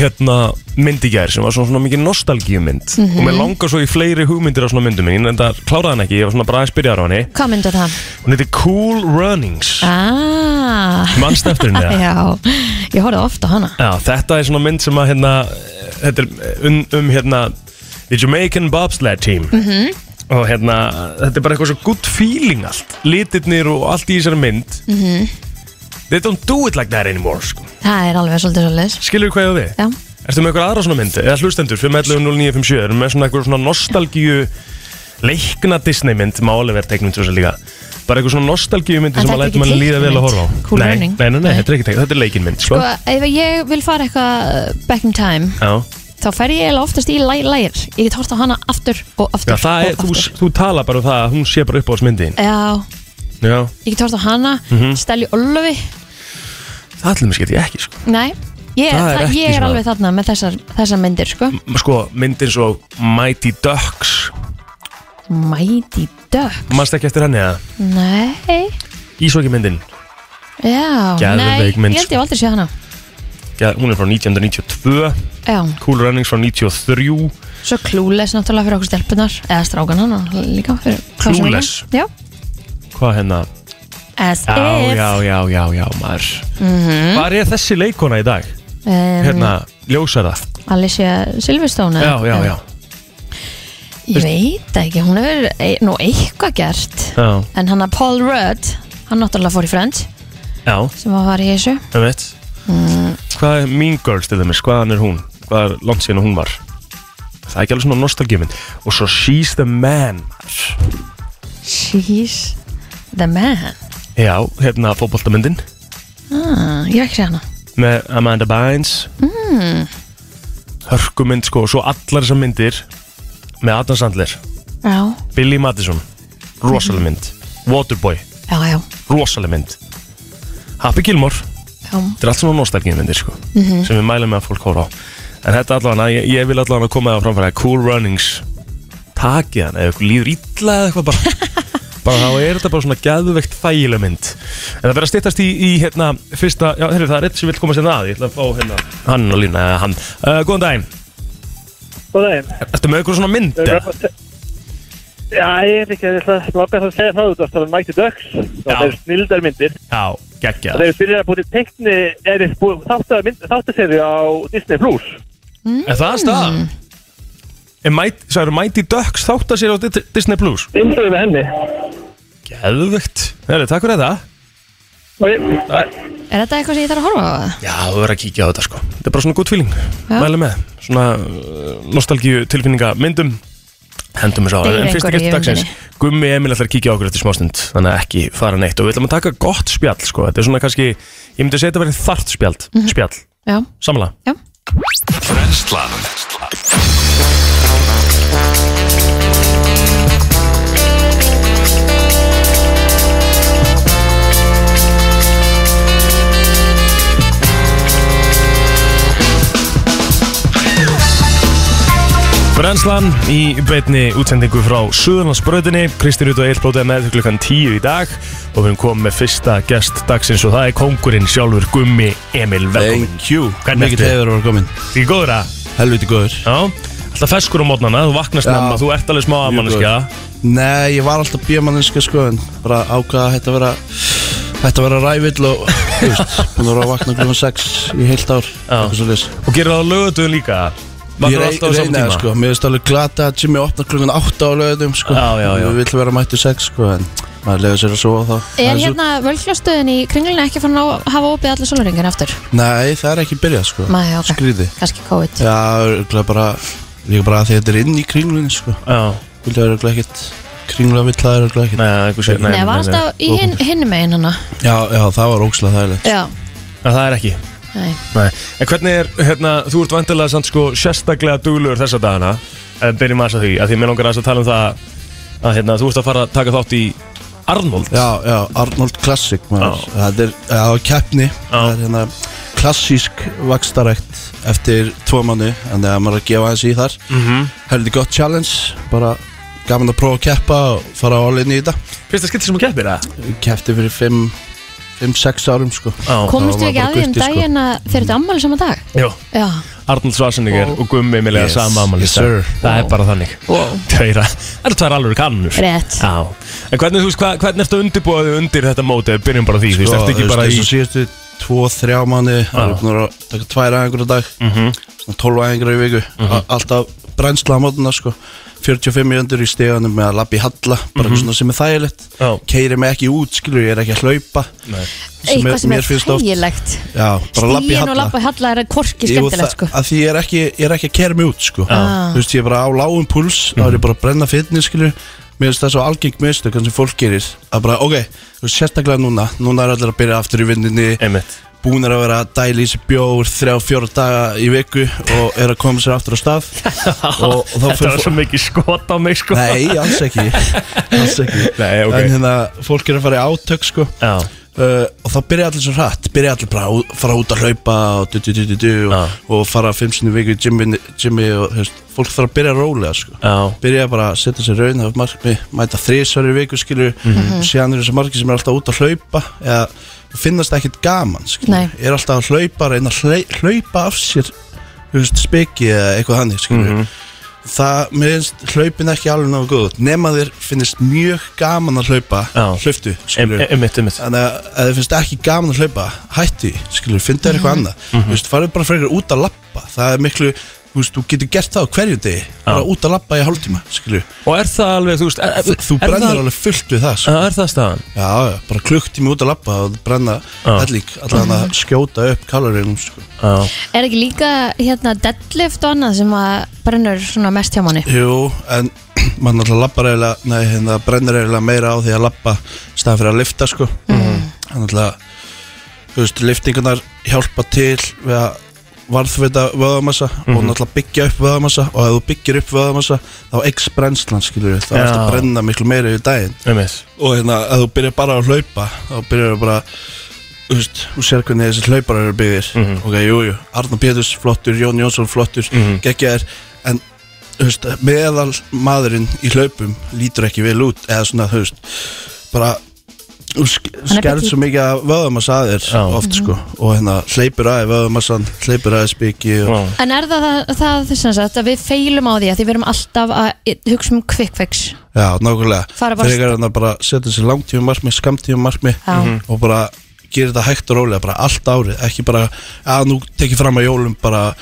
C: hérna, mynd í gær sem var svona, svona mikið nostalgíumynd og mér langar svo í fleiri hugmyndir á svona myndum minn en það kláraði hann ekki, ég var svona bara aðeins byrjaður á henni
B: hvað myndur það?
C: Hún heitir Cool Runnings
B: Ah,
C: Manst eftir henni eða?
B: já, ég horfði ofta á hana.
C: Já, þetta er svona mynd sem að, hérna, þetta er um, um hérna, The Jamaican Bobsled Team Og hérna, þetta er bara eitthvað svo good feeling allt Litirnir og allt í þessari mynd They don't do it like that anymore, sko
B: Það er alveg svolítið svolítið
C: Skilur hvað ég á því?
B: Já,
C: Ertu með eitthvað aðra svona mynd? Eða hlustendur, 5.11.09.57 Erum með svona eitthvað svona nostalgíu Leikna Disney mynd Má alveg vera teiknum til þess að líka Bara eitthvað svona nostalgíu myndi
B: En
C: sem að
B: þetta er
C: læta
B: ekki
C: mann líða vel að horfa á
B: teiknimynd. Cool
C: nei,
B: Running.
C: nei, nei, nei,
B: Nei.
C: þetta er ekki teiknum, þetta er leikin mynd sko.
B: sko, ef ég vil fara eitthvað uh, back in time
C: Já,
B: þá fer ég eiginlega oftast í læ- lægir Ég get hort á hana aftur og aftur
C: Já það er,
B: og
C: þú,
B: aftur.
C: þú tala bara um það að Hún sé bara upp á þess myndin
B: Já,
C: Já,
B: Ég get hort á hana,
C: Mhm.
B: Stelli Ólöfi
C: það allir mér skemmt ég ekki sko.
B: Nei, ég,
C: Það er
B: það
C: ekki
B: ég er
C: svona-
B: alveg þarna með þessar, þessar myndir sko.
C: M- sko, myndir svo Mighty Ducks
B: Mighty Duck
C: Manst ekki eftir henni að
B: Nei,
C: Ísóki myndin
B: já Nei,
C: Geðveik mynd, sko.
B: ég held ég hef aldrei séð hana
C: Já, Hún er frá 1992
B: Já,
C: Cool Runnings frá 93
B: svo Clueless náttúrulega fyrir okkur stelpunar eða strákan hana líka fyrir-
C: Clueless?
B: Já,
C: Hvað hérna?
B: as
C: Já,
B: if
C: já, já, já, já, maður Hvar er þessi leikona í dag?
B: Um,
C: Hérna, ljósara
B: Alicia Silverstone
C: Já, já, já,
B: Ég veit það ekki, hún hefur e nú eitthvað gert
C: já,
B: En hann að Paul Rudd, hann náttúrulega fór í Friends
C: já
B: sem að var í þessu
C: Það veit Hvað er Mean Girls til dæmis? Hvaðan er hún? Hvað er langt síðan hún var? Það er ekki alveg svona nostalgímynd Og svo She's the Man
B: She's the man
C: Já, hérna fótboltamyndin
B: ah, Ég hef ekki sé hana
C: Með Amanda Bynes mm. Hörkumynd sko Og svo allar þessar myndir Með Adam Sandler,
B: Já,
C: Billy Madison Rosaleg mynd Waterboy,
B: já, já,
C: rosaleg mynd Happy Gilmore
B: já.
C: Þetta er allt svona nostalgímyndir sko Sem við mælum með að fólk hóra á En þetta allavega, ég, ég vil allavega koma það framfæra Cool Runnings Takið hann, ef ykkur líður illa eða eitthvað bara Bara þá er þetta bara svona gæðuvegt þægileg mynd En það verður að styttast í, í hérna Fyrsta, já, heyrðu það er eitt sem vil komast hérna að Ég ætla að fá hérna hann og lína eða hann uh, Góðan daginn,
D: Góð daginn.
C: ertu með ykkur svona mynd?
D: Já,
C: eða?
D: ég veit ekki, ég ætla að láta það að segja það út að það er Mighty Ducks.
C: Já.
D: Það eru snildarmyndir.
C: Já, geggja
D: Það eru byrjað að búið til teikni, eða þáttaseri á Disney+. Plus.
C: Er það stað? Er Mighty, sagður, Mighty Ducks þátt að sér á Di- Disney Plus?
D: Innfæðu með henni.
C: Gæðvögt Herri, takk fyrir þetta
D: Og ég-
B: Er þetta eitthvað sem ég þarf að horfa á það?
C: Já, þú verður að kíkja á þetta sko Þetta er bara svona gott feeling
B: Já.
C: Mæla með Svona uh, nostalgíu tilfinninga myndum Hendum þessu á
B: Deyr
C: En fyrsta
B: einhver í
C: gert dagsins
B: umrinni?
C: Gummi Emil ætlar að kíkja á okkur eftir smástund Þannig að ekki fara neitt Og við ætlum að taka gott spjall sko Þetta er svona kannski Ég myndi að segja þetta verið þart spjall
B: Mhm.
C: Spjall
B: Já,
C: Samla
B: já
A: Brenslan
C: Brennslan í beinni útsendingu frá Suðurlandsbröðinni Kristi Rútt og Eilblótið með þau klukkan 10 í dag og við erum komið með fyrsta gest dagsins og það er kongurinn sjálfur Gummi Emil velkomin
E: Thank you
C: Hvernig
E: Mikið
C: ertu?
E: hefur voru komin
C: Því góður að?
E: Helviti góður
C: Já Alltaf feskur á mótnana, þú vaknar snemma, þú ert alveg smá aðmanneskja
E: Nei, ég var alltaf bíamanninska sko En bara ákvaða að þetta vera Þetta vera rævill og Þú veist, hún voru að vakna klukkan 6 í heilt ár eitthvað svoleiðis.
C: og gerir það á lögutum líka
E: Ég
C: Vaknar
E: rey-
C: alltaf á saman
E: reyni það
C: tíma
E: sko Mér veist alveg glata að Jimmy opna klukkan 8 á lögðum sko
C: Já, já, já.
E: Við vill vera mættu 6 sko En maður lega sér að sofa þá Það
B: Er
E: svo-
B: hérna völklastöðin í kringlunni ekki fann að hafa opið allir solaringin aftur?
E: Nei, það er ekki byrjað sko
B: Nei, ok.
E: Skrýði
B: Kanski COVID
E: Já, örugglega bara Líka bara að því að þetta er inn í kringlunni sko
C: Já,
E: Vilja vera ekkert Kringla vill það er ekkert
C: nei, einhver sér
B: Nei, var alltaf í hin, hinni megin hana
E: Já, já, það var ókslega þægilegt
B: Já,
C: Nei, það er ekki
B: nei
C: Nei. En hvernig er, hérna, þú ert vantilega samt sko sérstaklega duglugur þessa dagana en byrjum aðeins að því, að því mér langar aðeins að tala um það að hérna, þú ert að fara að taka þátt í Arnold
E: Já, já, Arnold Classic maður. Það er, já, keppni Það er hérna klassísk vakstarækt eftir tvo manni Þannig að maður er að gefa hans í þar mm -hmm. Heldi gott challenge Bara gaman að prófa að keppa og fara á allinni í þetta
C: Fyrst að skipta sem þú keppir það?
E: Keppti fyrir 5-6 árum sko
C: Já,
B: Komist
E: það
B: við
E: var
B: ekki
E: bara
B: að því um
E: gutti, sko.
B: daginn að þeir eru ammali sama dag?
C: Jú.
B: Já,
C: Arnold Schwarzenegger og Gummi Emilia
E: Yes.
C: sama ammali
E: Yes, sir.
C: Það er bara þannig
B: Wow.
C: Tveira, það eru tvær alveg kannur
B: rétt
C: Já, en hvernig, þú veist, hvað, hvernig ertu undirbúið undir þetta móti, Ef við byrjum bara á því, Sko, þú veist,
E: Sko,
C: ertu ekki bara í
E: Þessu síðustu 2-3 manni Það er búin að taka tvær aðeingur á dag mm
C: Mhm.
E: -hmm. 12 aðeingur í viku mm Alltaf brennsla á mótuna sko 45 mjöndur í stegunum með að labba í halla
C: Mhm.
E: bara eitthvað svona sem er þægilegt
C: Já.
E: keiri mig ekki út, skilur, ég er ekki að hlaupa
C: Nei.
B: Eitthvað sem er
E: finnst oft-
B: þægilegt
E: Já, bara labba í
B: Stíin og
E: halla
B: labba í halla er korki
E: Jú,
B: skemmtilegt sko
E: það- að því ég er ekki, ég er ekki að kæra mig út sko.
B: Ah.
E: þú veist ég er bara á lágum púls þá er ég bara að brenna fitness skilur mér finnst það svo algeng mistök sem fólk gerir að bara ok, þú veist sérstaklega núna núna er allir að byrja aftur í vinninni
C: Einmitt
E: búnir að vera að dæla í sig bjór þrjá, fjóra daga í viku og er að koma sér aftur á stað og, og þá
C: Þetta
E: fer
C: var svo mikið skot á mig sko
E: Nei, alls ekki, alls ekki.
C: Nei, ok.
E: En hérna, fólk er að fara í átök sko
C: Já,
E: uh, og þá byrja allir svo hratt byrja allir bara að fara út að hlaupa og, du, du, du, du, du,
C: Já.
E: og, og fara fimm sinni viku í gymmi, gymmi og þú veist, fólk þarf að byrja að rólega sko.
C: já,
E: byrja bara að setja sér raun af markmi, mæta þrísværi viku skilur og síðan eru þessi marki sem er alltaf út að hlaupa eða finnast ekkit gaman
B: Nei.
E: skilur, er alltaf að hlaupa reyna að hlei- hlaupa af sér þú veist, speki eða eitthvað hannig skilur
C: Mhm.
E: það, mér finnst hlaupin ekki alveg náðu góð nema þér finnist mjög gaman að hlaupa
C: Já.
E: hlauptu
C: Em- em- einmitt, einmitt
E: Þannig að ef þið finnst ekki gaman að hlaupa Hætti, því, skilur, finnst
C: Mhm.
E: þér eitthvað annað Þú veist, farið bara frekar út að lappa Það er miklu, þú veist, þú getur gert það á hverju degi Bara út að lappa í hálftíma, skilur
C: Og er það alveg, þú veist, er, er,
E: Þú
C: er
E: brennir
C: það,
E: alveg fullt við það, sko
C: Er það staðan?
E: Já, já, bara klukktími út að lappa og brenna
C: Já. Mhm.
E: helling Allan að skjóta upp kalorinum, sko
C: Já,
B: Er ekki líka hérna deadlift og annað sem að brennur svona mest hjá manni?
E: Jú, en mann alltaf lappar eiginlega Nei, hérna, brennir eiginlega meira á því að lappa staðan fyrir að lifta, sko Þannig að, þú veist, liftingunar hjálpa til við að varðvita vöðamassa og náttúrulega byggja upp vöðamassa og ef þú byggir upp vöðamassa þá ex brennslan, skilur við, þá
C: Já.
E: ertu að brenna miklu meira yfir daginn
C: einmitt
E: og hérna, ef þú byrjar bara að hlaupa þá byrjar þú bara þú veist, þú sér hvernig þessi hlaupar eru byggðir
C: Mhm.
E: ok, jú, jú, Arna Péturs flottur Jón Jónsson flottur, mm
C: Mhm.
E: geggjaðir en, þú veist, meðal maðurinn í hlaupum lítur ekki vel út eða svona, þú veist, bara þú sk-
B: Hann er Mhm.
E: skerð
B: petit.
E: svo mikið af vöðumassa að þér
C: Já.
E: oft, sko, og hérna hleypur aðeins vöðumassan, hleypur aðeins byggi og,
C: Já,
B: En er það það, það sem sagt að við feilum á því að því við erum alltaf að hugsa um quick fix?
E: Já, nákvæmlega
B: Fara bara-
E: Þegar hann að bara setja sér langtíma markmi, skamtíma markmi
B: Já. Mhm.
E: og bara gera þetta hægt og rólega bara allt árið, ekki bara að nú tekið fram að jólum bara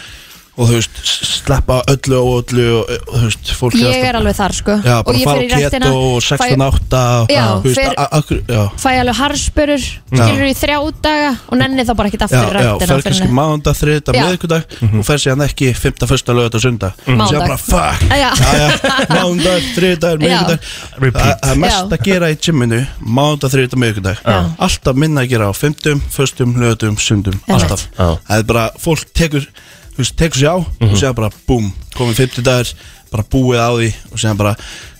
E: og þú veist, sleppa öllu og öllu og, og þú veist, fólk
B: Ég er alveg þar sko
E: Já, bara
B: Og ég fer
E: fara á
B: í restina,
E: keto og 16
B: fæ,
E: 8 og,
B: Já,
E: þú veist,
B: fer-
E: a- akkur, já,
B: fæ alveg harspurur Skilur í þrjá daga og nenni þá bara ekkert
E: já,
B: aftur í
E: já,
B: rættina
E: fer kannski mánda, þriðda,
B: Já.
E: miðvikudag og fer síðan ekki 5. fyrsta lögat og sunda mm.
B: Mánudag.
E: síðan bara fuck,
B: Já.
E: mándag, þriðdagar, miðvikudag
C: Repeat.
E: Það er mest
B: Já.
E: að gera í gyminu mándag, þriðdagar, miðvikudag
B: Já.
E: Alltaf minna að gera á fymtum, föstum, lögatum, sundum
B: Einmitt.
E: Alltaf
C: Já. Mhm.
E: Það er bara, fólk tekur, þú veist, tekur sér á og séðan bara, búm, komið fymtudagar bara búið á því og séðan bara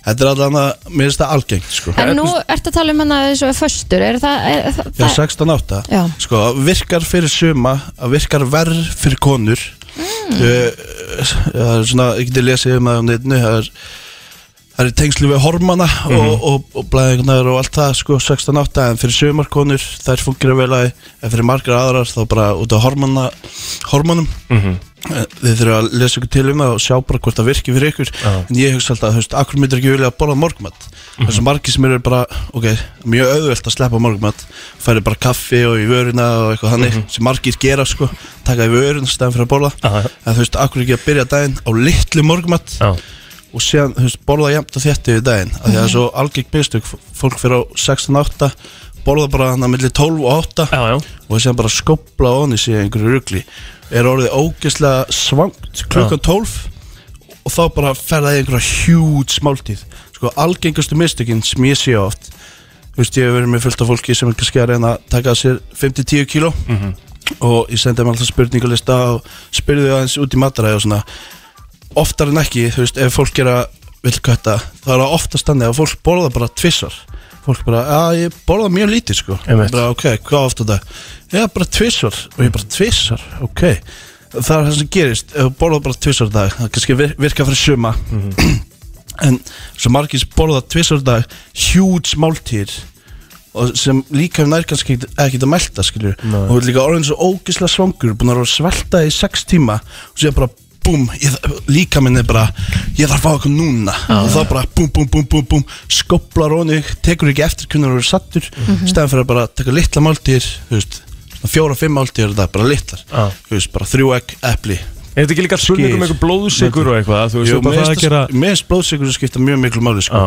E: Þetta er allan að, mér finnst það algengt sko.
B: En nú ertu að tala um hann að þessu föstur Er það, er, það,
E: Já,
B: það
E: 16 átta
B: Já.
E: Sko, virkar fyrir suma að Virkar verð fyrir konur mm. Það er svona Ég geti lesið um það á netinu Það er, það er í tengslu við hormana og, og, og blæðingunar og allt það sko, 16 átta En fyrir sumar konur þær fungerar vel að En fyrir margar aðrar þá bara út af hormana, hormonum Eh, Þið þurfum að lesa ykkur til um það og sjá bara hvort það virki fyrir ykkur En ég hugsa alltaf, þú veist, akkur myndir ekki vilja að borða morgumat Það er svo margir sem eru bara, ok, mjög auðvelt að sleppa morgumat Færi bara kaffi og í vöruna og eitthvað þannig Sem margir gera, sko, taka í vöruna stæðan fyrir að borða
C: Já, já.
E: En þú veist, akkur ekki að byrja daginn á litlu morgumat
C: já,
E: og síðan, þú veist, borða jæmt og þétti við daginn af því að það er svo algeng mistök fólk fyrir á 16-8 borða bara hann að milli 12 og 8
C: já, já.
E: og síðan bara skopla onni sig í einhverju rugli er orðið ógeðslega svangt klukkan 12 og þá bara fer það í einhverja hjúd smáltíð sko algengastu mistökin sem ég sé oft þú veist ég hef verið með fullt af fólki sem er kannski að reyna að taka að sér 5-10 kíló og ég sendi þeim alltaf spurningalista og spurði þau aðeins út í mataræði og svona oftar en ekki, þú veist, ef fólk er að vil kötta, þá er það oftast þannig að fólk borða bara tvissar fólk bara, já, ég borða mjög lítið, sko
C: Einmitt.
E: bara, ok, hvað ofta þetta? já, bara tvissar, og ég bara tvissar, ok það er það sem gerist, ef þú borða bara tvissar dag, það kannski vir- virkar fyrir suma en svo margir sem borða tvissar dag, huge máltíðir og sem líka nær kannski ekkert- ekkert að melta skilur
C: Nei.
E: og þú ert líka orðin svo ógislega svangur búin að vera að svelta í sex tíma og sér bara búm ég, líka minn er bara ég þarf að fá eitthvað núna og þá bara búm búm búm búm búm skoplar honi tekur ekki eftir hvernig þú eru sattur mm
C: Mhm.
E: stæðan fyrir að bara taka litla máltíðir þú veist svona fjóra fimm máltíðir þetta bara litlar
C: Já.
E: þú veist bara þrjú egg epli
C: Er þetta ekki líka spurning um
E: Skyr.
C: eitthvað blóðsikur og eitthvað Þú veist,
E: Jú,
C: þetta
E: mér
C: það að
E: finnst
C: gera
E: það- mér finnst blóðsikur skipta mjög miklu máli sko
C: Já,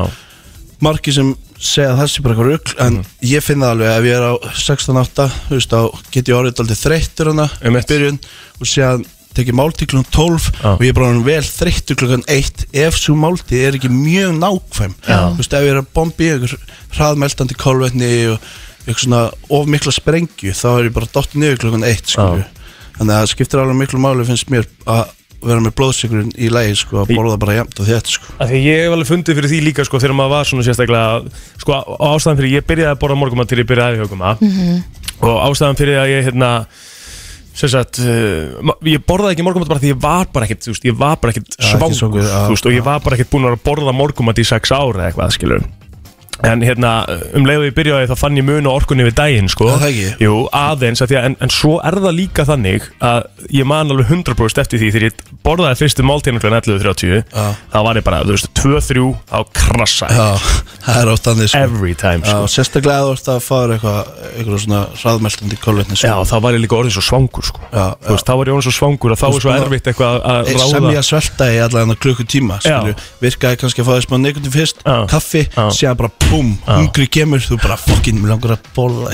E: margir sem segja að það sé bara eitthvað rugl en ég finn það alveg að ef ég er á 16-8 þú veist þá get ég orðið aldrei þreyttur hana
C: Einmitt.
E: byrjun og séðan tekið máltíð klukkan 12
C: Já.
E: og ég er bara orðinn vel þreyttur klukkan 1 ef svo máltíð er ekki mjög nákvæm
C: Já.
E: þú veist ef ég er að bombi einhver hraðmeltandi kolvetni og eitthvað svona of mikla sprengju þá er ég bara dott niður klukkan eitt sko. þannig að það skiptir alveg miklu máli finnst mér að vera með blóðsikurinn í lægi sko, að borða bara jæmt og þetta sko.
C: Af því að ég hef alveg fundið fyrir því líka sko þegar maður var svona sérstaklega sko á- ástæðan fyrir ég byrjaði að borða morgumat til ég byrjaði að hugum að og ástæðan fyrir að ég hérna sem sagt, uh, ma- ég borðaði ekki morgumat bara því ég var bara ekkert, þú veist, ég var bara ekkert
E: ekki
C: svangur,
E: svangur, já,
C: þú veist, og ég var bara ekkert búin að vera að borða morgumat í sex ára eða eitthvað, skilur en hérna, um leiðu ég byrjaði þá fann ég mun og orkunni við daginn, sko
E: Já, það ekki.
C: Jú, aðeins, af því að, en, en svo er það líka þannig að ég man alveg 100% eftir því þegar ég borðaði fyrstu máltíðinu kl. 11.30
E: Já.
C: þá var ég bara, þú veist, 2-3 á krassa
E: já, það er oft þannig sko.
C: every time,
E: já,
C: sko.
E: sérstaklega að þú ert að fara eitthvað eitthvað svona hraðmeltandi kólvetni
C: Já,
E: sko.
C: þá var ég líka orðin svo svangur, sko
E: Já,
C: Þú veist, þá var ég orðin svo svangur að þá er svo
E: sko,
C: erfitt eitthvað að- að
E: Eh,
C: ráða
E: sem ég að svelta í allan að klukkutíma skilju. virkaði kannski að fá þess maður neikundi fyrst
C: Já.
E: kaffi,
C: Já.
E: síðan bara búm hungri kemur, þú bara fokkin mig langar að bóla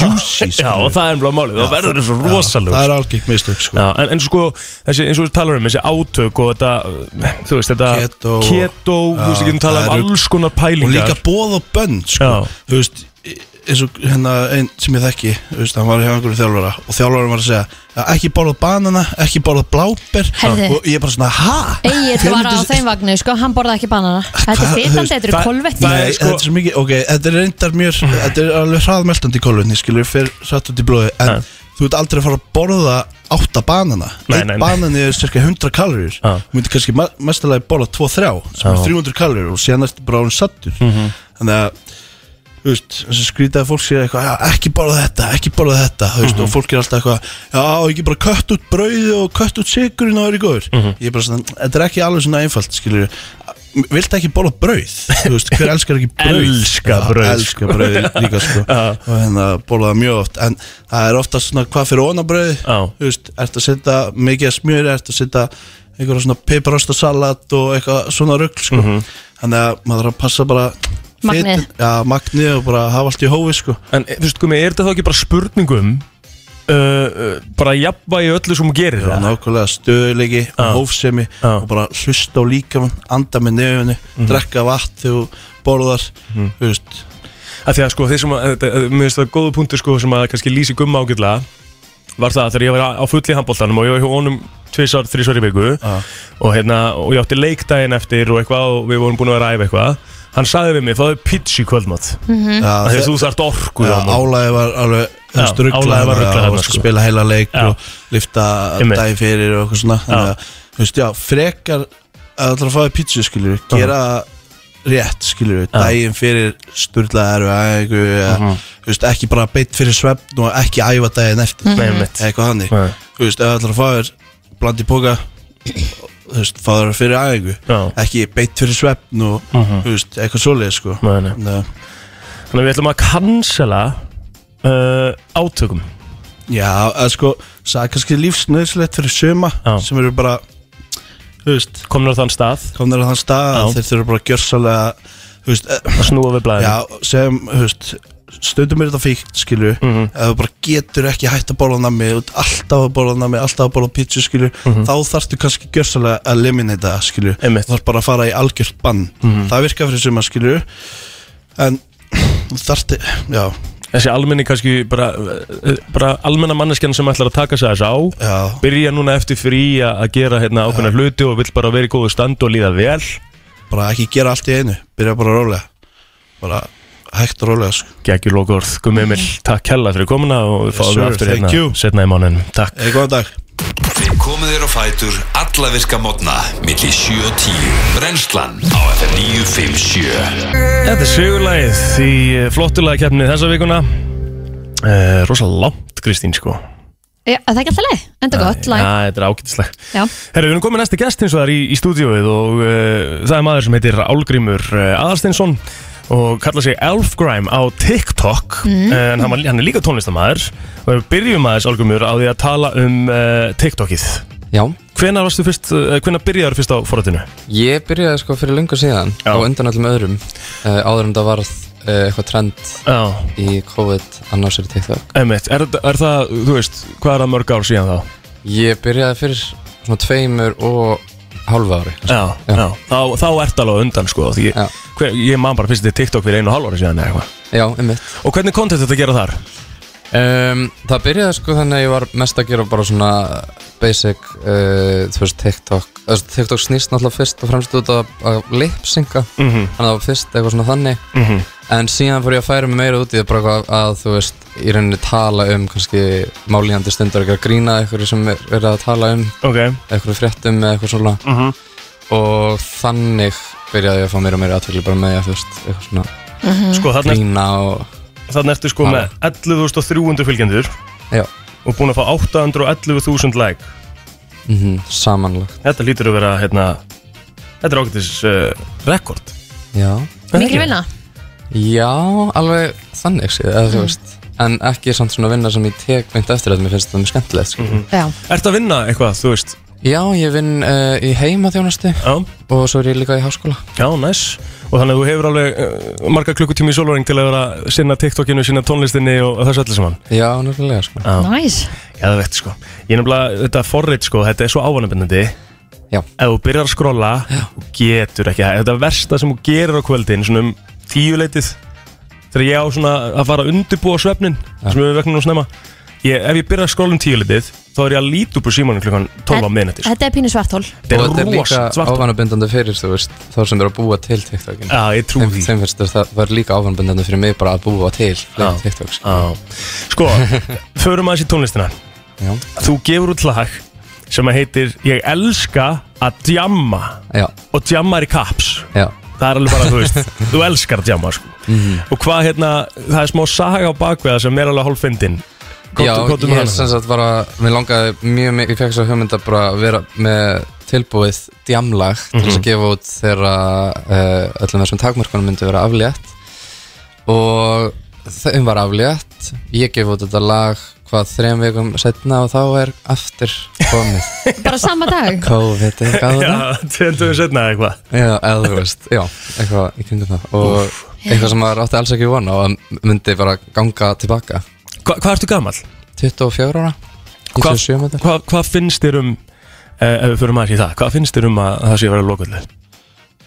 E: juicy skilju.
C: Já, og það er bara málið, þá verður það svo rosalug
E: það er algjörg mistök sko.
C: Já, en, en sko, þessi, eins og við talar um þessi átök og þetta, uh, þú veist, þetta
E: Keto og-
C: keto þú veist,
E: Já,
C: við getum talað
E: það
C: um
E: eru-
C: alls konar
E: og
C: pælingar
E: líka bóð og bönn sko.
C: Já.
E: þú veist e- eins og hérna einn sem ég þekki þú veist, hann var hjá einhverju þjálfara og þjálfara var að segja "Já, ekki borða banana, ekki borða bláber
B: Herðu.
E: og ég bara svona ha
B: Egil
E: Hver
B: var á
E: myndi-
B: þeim vagnu, sko, hann borðaði ekki banana Þetta er
E: Hvað- þú
B: fitandi,
E: veist,
B: þetta eru
C: það-
B: kolvetti
C: það
E: Nei,
C: er sko- Mm.
E: þetta er svo mikið, ok, þetta er reyndar mjög þetta er alveg hraðmeltandi í kólunni, skilur fyrir satt út í blóði, en
C: Ja.
E: þú ert aldrei að fara að borða átta banana
C: Nei,
E: einn
C: nei, nei.
E: banani er cirka 100 kalorir
C: Ja.
E: þú myndir kannski ma- mestalega borða 2-3 sem er
C: Já. Mhm.
E: 300 kalorir og síðan ertu bara án sattur þannig að þú veist, þessi skrítið að fólk sér eitthvað já, ekki borða þetta, ekki borða þetta þú veist, og fólk er alltaf eitthvað, já, ekki bara kött út brauði og kött út sigurinn og er í góður ég er bara svona, þetta er ekki alveg svona einfalt skilur, viltu ekki borða brauð þú veist, hver elskar ekki brauð
C: Elska brauð,
E: já, elska brauð líka sko og hérna borða það mjög oft en það er ofta svona, hvað fyrir onabrauð
C: Já.
E: þú veist, ert að setja mikið af smjöri ert að setja einhverja svona peiparostasalat og eitthvað svona rugl sko.
C: Mhm.
E: þannig að maður þarf að passa bara
B: Magnið.
E: fitu- já, magnið og bara hafa allt í hófi sko.
C: En þú veist, Gumi, er þetta þá ekki bara spurningum uh, uh, bara jafnvægi öllu sem hún gerir
E: já,
C: það?
E: nákvæmlega stöðuleiki,
C: Já.
E: hófsemi
C: Já. Mhm.
E: og bara hlusta á líkamann anda með nefni, drekka vatn þegar þú borðar, þú veist
C: Af því að sko, þeir sem að, þetta- að- mér finnst það góðu punktu sko sem að kannski lýsi gumma ágætlega var það að þegar ég var á- á fulli handbóltanum og ég var hjá honum tvisar, þrísvar í viku
E: Já.
C: og hérna, og ég átti leikdægin eftir og eitthvað og við vorum búin að vera að æfa eitthvað hann sagði við mig, fáðu pizza í kvöldmátt
E: já,
C: þegar þú þarft orku
E: Já,
C: á morgun.
E: álæði var alveg
C: Já,
E: hefst, ruglað
C: álagið var
E: hana,
C: ruglað
E: það
C: hana,
E: varst að
C: sko.
E: spila heila leik
C: Já.
E: og lifta
C: Einmitt.
E: dagi fyrir og eitthvað svona
C: Já.
E: þannig að, þú veist, já, frekar að það að fáið pítsu, skiljur við, gera það rétt, skiljur við, daginn fyrir sturlaða eru æfingu eða,
C: Mhm.
E: þú veist, ekki bara beitt fyrir svefn og ekki æfa daginn eftir
C: Nei, einmitt.
E: eitthvað hannig,
C: Nei.
E: þú veist, ef það ætlar að fáið bland í póka þú veist, fáið það fyrir æfingu
C: Já.
E: ekki beitt fyrir svefn og þú veist, eitthvað svoleið, sko
C: Mhm. Nei, nei.
E: Þannig að-
C: Þannig að við ætlum að cancela uh, átökum
E: Já, að sko, það er kannski lífsnöðslegt fyrir suma
C: Já.
E: sem eru bara, þú veist,
C: komnur á þann stað,
E: komnir á þann stað
C: Já.
E: að þeir þurfa bara að gjörsalega, þú veist, eh,
C: að snúa við blæðin
E: já, sem, þú veist, stundum er þetta fíkt, skilju, mm
C: Mhm.
E: ef þú bara getur ekki hætt að borða nammi, þú ert alltaf að borða nammi, alltaf að borða pítsu, skilju, þá þarftu kannski gjörsalega að eliminate það, skilju,
C: Mhm. Einmitt. Mhm.
E: þarf bara að fara í algjört bann, það virkar fyrir suma, skilju, en þarftu, já,
C: þessi almenni kannski bara, eh, bara almenna manneskjan sem ætlar að taka sig þess á
E: já,
C: byrja núna eftir frí a- að gera hérna ákveðna hluti og vill bara vera í góðu stand og líða vel
E: bara ekki gera allt í einu byrja bara rólega bara hægt og rólega sko.
C: Gekki Lókorð, Gumi Emil, takk hella fyrir komuna og við fáum
E: sir,
C: við aftur
E: thank
C: hérna
E: you.
C: setna í mánin, takk
E: eða góðan dag
A: Þið komið þér á fætur alla virka modna milli 7 og 10 Brennslan á FM 957
C: Þetta er sigurlægið í flottulega keppni þessa vikuna eh, Rosa langt Kristín sko
B: Já, það er ekki alltaf leið, enda gott
C: Já,
B: lag
C: þetta er ágætislega
B: Já,
C: Herru, við erum komið næsti gest hins vegar í, í stúdíóið og uh, það er maður sem heitir Álgrímur uh, Aðarstinsson og kallar sig Elfgrime á TikTok Eh, en hann, var- hann er líka tónlistamæður og við byrjum aðeins Álgrímur á því að tala um uh, TikTokið
F: Já,
C: Hvenær varstu fyrst, uh, hvenær byrjaður fyrst á forrættinu?
F: ég byrjaði sko fyrir lungu síðan
C: Já.
F: á undan öllum öðrum uh, áður en það varð uh, eitthvað trend
C: Já,
F: í COVID annars er í TikTok
C: emitt, er, þetta- er það, þú veist, hvað er það mörg ár síðan þá?
F: Ég byrjaði fyrir svona tveimur og hálfa ári
C: Já,
F: Já.
C: já, Þá, þá ert alveg á undan sko, því ég,
F: Já.
C: hver, ég man bara fyrst til TikTok fyrir einu og hálf ári síðan eða eitthvað
F: Já, einmitt
C: Og hvernig kontent þetta að gera þar?
F: um, Það byrjaði sko þannig að ég var mest að gera bara svona basic, uh, þú veist, TikTok Þú veist, TikTok snýst náttúrulega fyrst og fremst út að, að lipsynka
C: Mhm.
F: Þannig að það var fyrst eitthvað svona þannig
C: Mhm.
F: En síðan fór ég að færa mig meira út í það bara eitthvað að, þú veist, í rauninni tala um kannski málíðandi stundur ekki að grína eitthvað sem er, er að tala um
C: Ok
F: eitthvað fréttum eða eitthvað svona
C: Mhm.
F: og þannig byrjaði ég að fá meira og meira aðtölu bara með því að þú veist, eitthvað svona
C: Sko þarna, ert-
F: grína og
C: þarna ertu sko með 11.300 fylgjendur
F: já,
C: og búin að fá 811.000 like
F: mm samanlagt
C: Þetta lítur að vera, hérna, þetta er ágætis uh, rekord
F: já,
B: Mikil vinna
F: já, alveg þannig séð, eða
C: Mm.
F: þú veist en ekki samt svona vinna sem ég tek beint eftir að mér finnst það mjög skemmtilegt sko.
C: Mhm.
B: Já,
C: Ertu að vinna eitthvað, þú veist?
F: já, ég vinn uh, í heimaþjónastu
C: Já,
F: og svo er ég líka í háskóla
C: já, næs Og þannig að þú hefur alveg uh, marga klukkutími í sólóring til að vera að sinna TikTokinu, sinna tónlistinni og þessu öllu saman
F: já, nefnilega, sko
C: Já.
B: næs
C: Já, það veit, sko Ég er nefnilega, þetta forrið, sko, þetta er svo ávanabindandi
F: Já.
C: Ef þú byrjar að skrolla, þú getur ekki Þetta er versta sem þú gerir á kvöldin, svona um tíuleitið Þegar ég á svona að fara að undirbúa svefnin sem við veknum nú snemma ég, Ef ég byrja að skrolla um tíuleitið, þá er ég að lítu upp úr símanum klukkan 12 á sko. minnati
B: Þetta er pínu svartól
C: Þetta
F: og þetta er
C: er
F: líka
C: rosa svart
F: ávanabindandi fyrir þú veist, þá sem eru að búa til TikTokin
C: Já, ég trú
F: þeim,
C: því
F: þeim finnst þér það var líka ávanabindandi fyrir mig bara að búa til
C: Já.
F: TikTok sko.
C: Já. Sko, förum aðeins í tónlistina
F: já,
C: Þú gefur út lag sem að heitir Ég elska að djamma
F: já,
C: og djamma er í kaps
F: já
C: Það er alveg bara, þú veist, þú elskar að djamma sko.
F: Mhm.
C: Og hvað hérna, það er smá saga á bakveða sem er alveg hálffindin
F: Já, ég er sem sagt bara, mér langaði mjög mikið, ég fekk svo hugmynd að bara vera með tilbúið djamlag til þess að gefa út þegar uh, öllum þessum takmörkunum myndi vera aflétt og þeim var aflétt, ég gef út þetta lag hvað þrejum vikum setna og þá er aftur komið
B: Bara sama dag
F: COVID er gáða
C: Já, tveitum við setna eða eitthvað
F: Já, eða þú veist, já, eitthvað í kringum það og eitthvað sem maður átti alls ekki von á að myndi bara ganga tilbaka
C: Hva, Hvað ertu gamall?
F: 24 ára,
C: Hvað
F: 27 metra
C: hva, hva finnst þér um, eh, ef við förum aðeins í það Hvað finnst þér um að það sé að vera lokallu?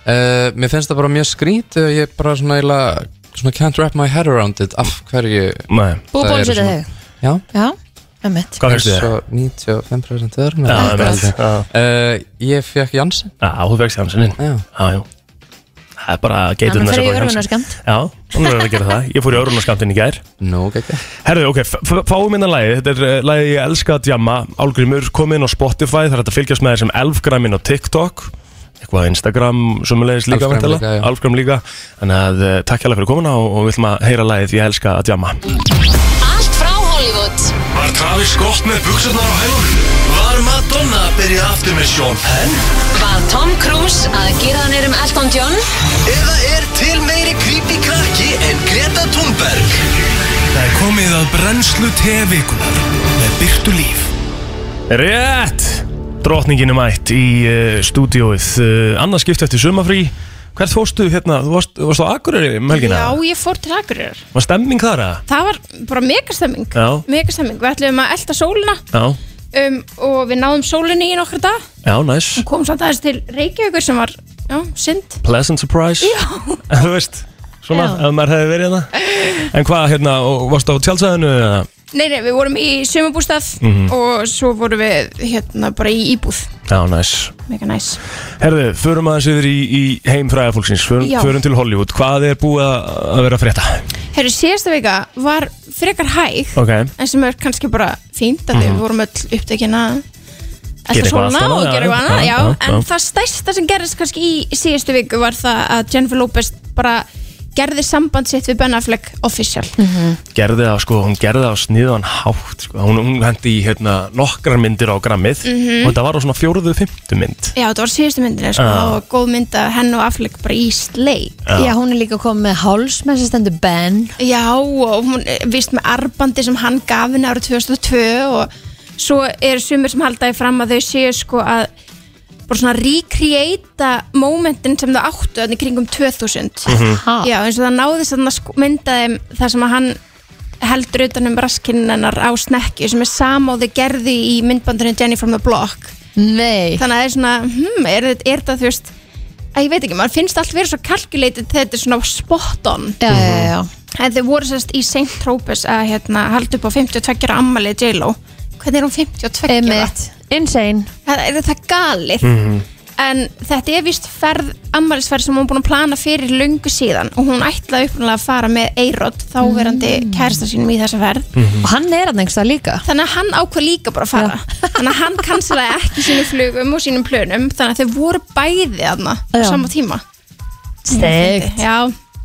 F: Uh, mér finnst það bara mjög skrítið og ég bara svona, eila, svona can't wrap my head around it af hverju
C: Nei,
B: Búið
F: Það
B: búið
F: eru
B: sér
F: svona-
B: þig
F: Já.
B: Já, ömmit
C: hvað finnst þér?
F: svo 95% öðrum
C: Já,
F: eða
C: það er með
F: eitthvað held
C: Já.
F: ég. uh, Ég fekk Janssen
C: Já, þú fegst hann sinni
F: Já.
C: Já, já Það er bara geitur
B: Þannig fyrir í örfunarskamt
C: Já, hún er að gera það Ég fór í örfunarskamptinn í gær
F: Nú, ekki
C: Herðu, ok, f- f- fáum minna lagið Þetta er uh, lagið ég elska að djamma Álgrimur kom inn á Spotify Það er hægt að fylgjast með þessum Elfgraminn á TikTok Eitthvað á Instagram, sumulegis líka
F: Alfgram
C: væntanlega.
F: líka, já.
C: Alfgram líka Þannig að uh, takk hérlega fyrir komuna og, og við ætlum að heyra lagið ég elska að djamma
G: Allt frá Hollywood
A: Var Travis Scott með buksunar á hælunum? Var Madonna að byrja aftur með Sean Penn?
G: Var Tom Cruise að gera hann erum Elton John
A: Eða er til meiri creepy krakki en Greta Thunberg? Það er komið að brennslu tevikunar með byrtu líf
C: Rétt! Drotningin er mætt í uh, stúdíóið uh, Annars skipt eftir sumafrí Hvert fórstu hérna? Þú varst, þú varst á Akureyri um helgina?
H: Já, ég fór til Akureyrar
C: Var stemming þar að?
H: Það var bara megastemming
C: Já.
H: Megastemming, við ætlum að elda sólina
C: Já,
H: um, og við náðum sólinni í nokkra dag
C: já, næs
H: komum samt aðeins til Reykjavíkur sem var, já, synd
C: Pleasant surprise Já Þú veist, svona,
B: Já.
C: ef maður hefði verið hérna En hvað, hérna, og varst á tjálsæðinu?
H: Nei, nei, við vorum í sumabústað
C: Mhm.
H: og svo vorum við hérna bara í íbúð
C: Já, næs
H: Mega næs
C: Herðu, förum aðeins yfir í, í heim fræðafólksins förum,
H: Já.
C: förum til Hollywood, hvað er búið að að vera að frétta?
H: Herru, síðasta vika var frekar hæg
C: Ok,
H: en sem er kannski bara fínt að við vorum öll upptekin að
C: Mhm. Gera
H: elda
C: eitthvað
H: sólina
C: allt annað,
H: og
C: já,
H: gera eitthvað
C: já,
H: annað, já,
C: já, já.
H: en það stærsta sem gerðist kannski í síðustu viku var það að Jennifer Lopez bara gerði samband sitt við Ben Affleck official
C: gerði það, sko, hún gerði það á sniðan hátt sko. hún, hún hendi í, hérna, nokkrar myndir á grammið Og þetta var á svona fjóruðu, fimmtu mynd
H: já, þetta var síðustu myndin sko,
C: Já.
H: og góð mynd að henn og Affleck bara í sleik
B: Já, hún er líka komið með háls með sem stendur Ben
H: já, og hún vist með arbandi sem hann gaf henni ára 2002 og svo eru sumir sem haldaði fram að þau séu sko að bara svona recreata momentin sem það áttu þannig kringum 2000
C: Mhm.
B: Ha,
H: Já, eins og það náðist þarna sk- mynda þeim það sem að hann heldur utanum raskinnennar á snekju sem er samáði gerði í myndbandinu Jenny from the Block
B: Nei,
H: þannig að það er svona, hmm, er, þetta- er það þú veist að ég veit ekki, maður finnst allt verið svo calculated þegar þetta er svona spot on
B: já, já, já, já
H: en þau voru sérst í St. Tropez að hérna, halda upp á 52 ára ammalið J-Lo hvernig er hún 52 ára?
B: Einmitt, insane
H: Það er það galið en þetta er vist ferð ammælisferð sem hún er búin að plana fyrir lungu síðan og hún ætlaði uppnáðlega að fara með Eirod þáverandi kærasta sínum í þessa ferð
B: Og hann er hann einhverstað líka
H: þannig að hann ákvað líka bara að fara þannig að hann kanslaði ekki sínum flugum og sínum plönum þannig að þau voru bæði þarna á
B: Já.
H: sama tíma
B: Stegt
H: já,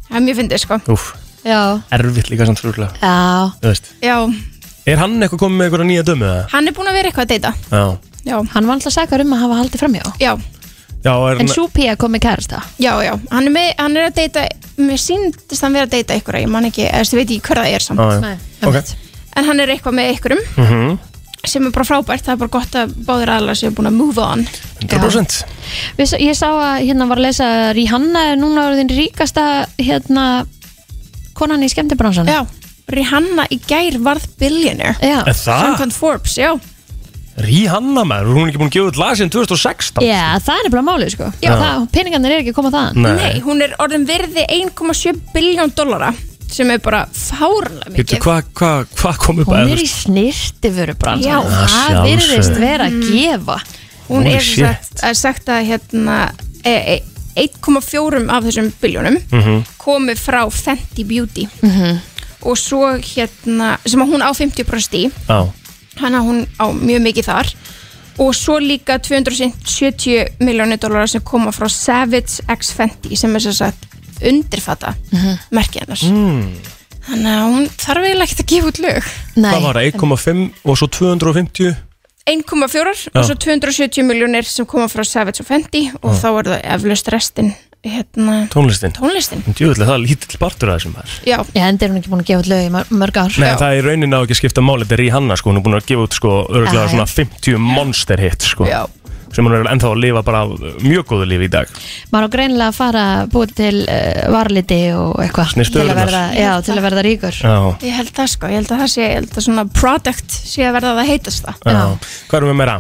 H: það er mjög fyndið sko
C: Úf,
B: Já,
C: erfitt líka samt frúlega
B: já,
C: Þú veist
H: já,
C: Er hann eitthvað komið með einhverja nýja dömu eða?
H: hann er búin að vera eitthvað að deyta
C: Já
H: já,
B: hann var alltaf sakar um að hafa haldið framhjá
H: já,
C: Já, er
B: En
C: hann
B: svo Pía kom með kærasta
H: já, já hann er, með, hann er að deyta, mér síndist hann vera að deyta ykkur, ég man ekki, eða þú veit ekki hver það er samt
C: Já, Mhm. já. Ok.
H: en hann er eitthvað með ykkurum sem er bara frábært, það er bara gott að báðir aðlar séu búin að move on
C: 100%
B: Við, s- ég sá að hérna var að lesa að Rihanna er núna orðin ríkasta hérna konan í skemmtibransan
H: já, Rihanna í gær varð billionaire
B: já.
C: Er það?
H: samkvæmt Forbes, já
C: Rihanna maður, hún er ekki búin að gefa út lag síðan 2016
B: Já, það er bara málið sko já. Það, Peningarnir er ekki að koma þaðan
H: Nei, hún er orðin verði 1,7 biljón dollara sem er bara fárlega
C: Hittu,
H: mikið
C: hvað hva, hva kom upp
B: Hún
C: að
B: er í snirtifurubransan
H: Já,
B: það
C: að
B: virðist
C: sjálfsögðu.
B: vera að gefa
H: Hún
C: Holy
H: er sem sagt, er sagt að hérna, e- e- 1,4 af þessum biljónum
C: Mhm.
H: komi frá Fenty Beauty Mhm. og svo hérna sem að hún á 50% í
C: Já,
H: hann að hún á mjög mikið þar og svo líka 270 miljónu dólarar sem koma frá Savage X Fenty sem er sem sagt undirfata mm merkið hennar þannig að hún þarf eiginlega ekkert að gefa út lög
B: Nei,
C: hvað var það? 1,5 og svo 250
H: 1,4 og svo 270 miljónir sem koma frá Savage og Fenty og þá er það eflaust restin hérna
C: tónlistin
H: tónlistin
C: Djúvilega, það er lítill partur að þessum þar
H: já,
B: ég endi er hún ekki búin að gefa út lög í mör- mörg ár
C: Nei, það er raunin á ekki að skipta máli, þetta er Rihanna sko, hún er búin að gefa út sko,
B: Já,
C: örgulega
B: já.
C: svona 50 monster hit sko,
H: Ah, já,
C: sem hún er ennþá að lifa bara af, uh, mjög góðu lífi í dag
B: maður á greinilega að fara búið til uh, varliti og eitthvað
C: Snyrta
B: til, að
C: örurnar.
B: verða- já, til að verða ríkur
C: Já,
H: ég held það sko ég held að það sé, ég held að svona product sé að verða það heitast það
C: já Hvað erum við meira?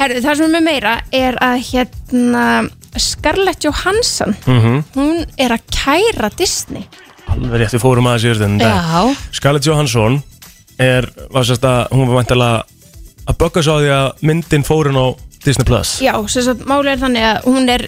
H: Herðu, það sem er með meira er að hérna Scarlett Johansson hún er að kæra Disney
C: Mhm. Alveg rétt, við fórum aðeins í örðin
B: Já,
C: Scarlett Johansson er, var sérst að, hún var væntalega að bögga svo á því að myndin fórun á Disney Plus
H: Já, sem sagt, máli er þannig að hún er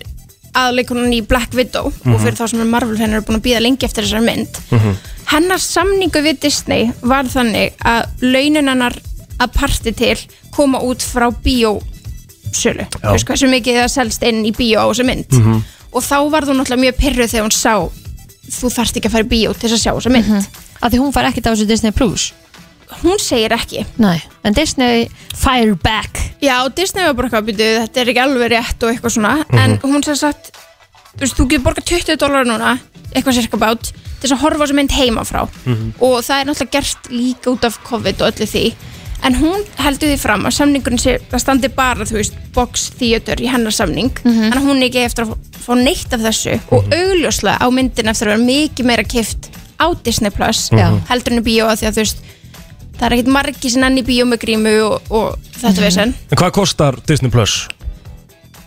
H: aðleikunin í Black Widow og fyrir þá sem er Marvel hennar er búin að býða lengi eftir þessar mynd hennar samningu við Disney var þannig að launin hennar að parti til koma út frá bíósölu
C: Já.
H: veist hversu mikið það selst inn í bíó á þessa mynd og þá var þú náttúrulega mjög pyrruð þegar hún sá þú þarft ekki að fara í bíó til þess að sjá þessa mynd
B: af því hún fær ekkert á þessu Disney Plus
H: hún segir ekki
B: Nei, en Disney fire back
H: já, Disney var bara eitthvað að byrja þetta er ekki alveg rétt og eitthvað svona en hún sem sagt, þú veist, þú getur borgað 20 dólar núna, eitthvað sérka bát til þess að horfa á þessu mynd heima frá og það er náttúrulega gert líka út af COVID og öllu því, en hún heldur því fram að samningurinn sé, það standi bara þú veist, box theater í hennar samning en hún er ekki eftir að fá- fá neitt af þessu og augljóslega á myndin eftir að vera mikið meira kift á Disney Plus
B: Já.
H: heldur henni bíó að því að þú veist það er ekkit margi sem enn í bíó með grímu og, og þetta mm
C: En hvað kostar Disney Plus?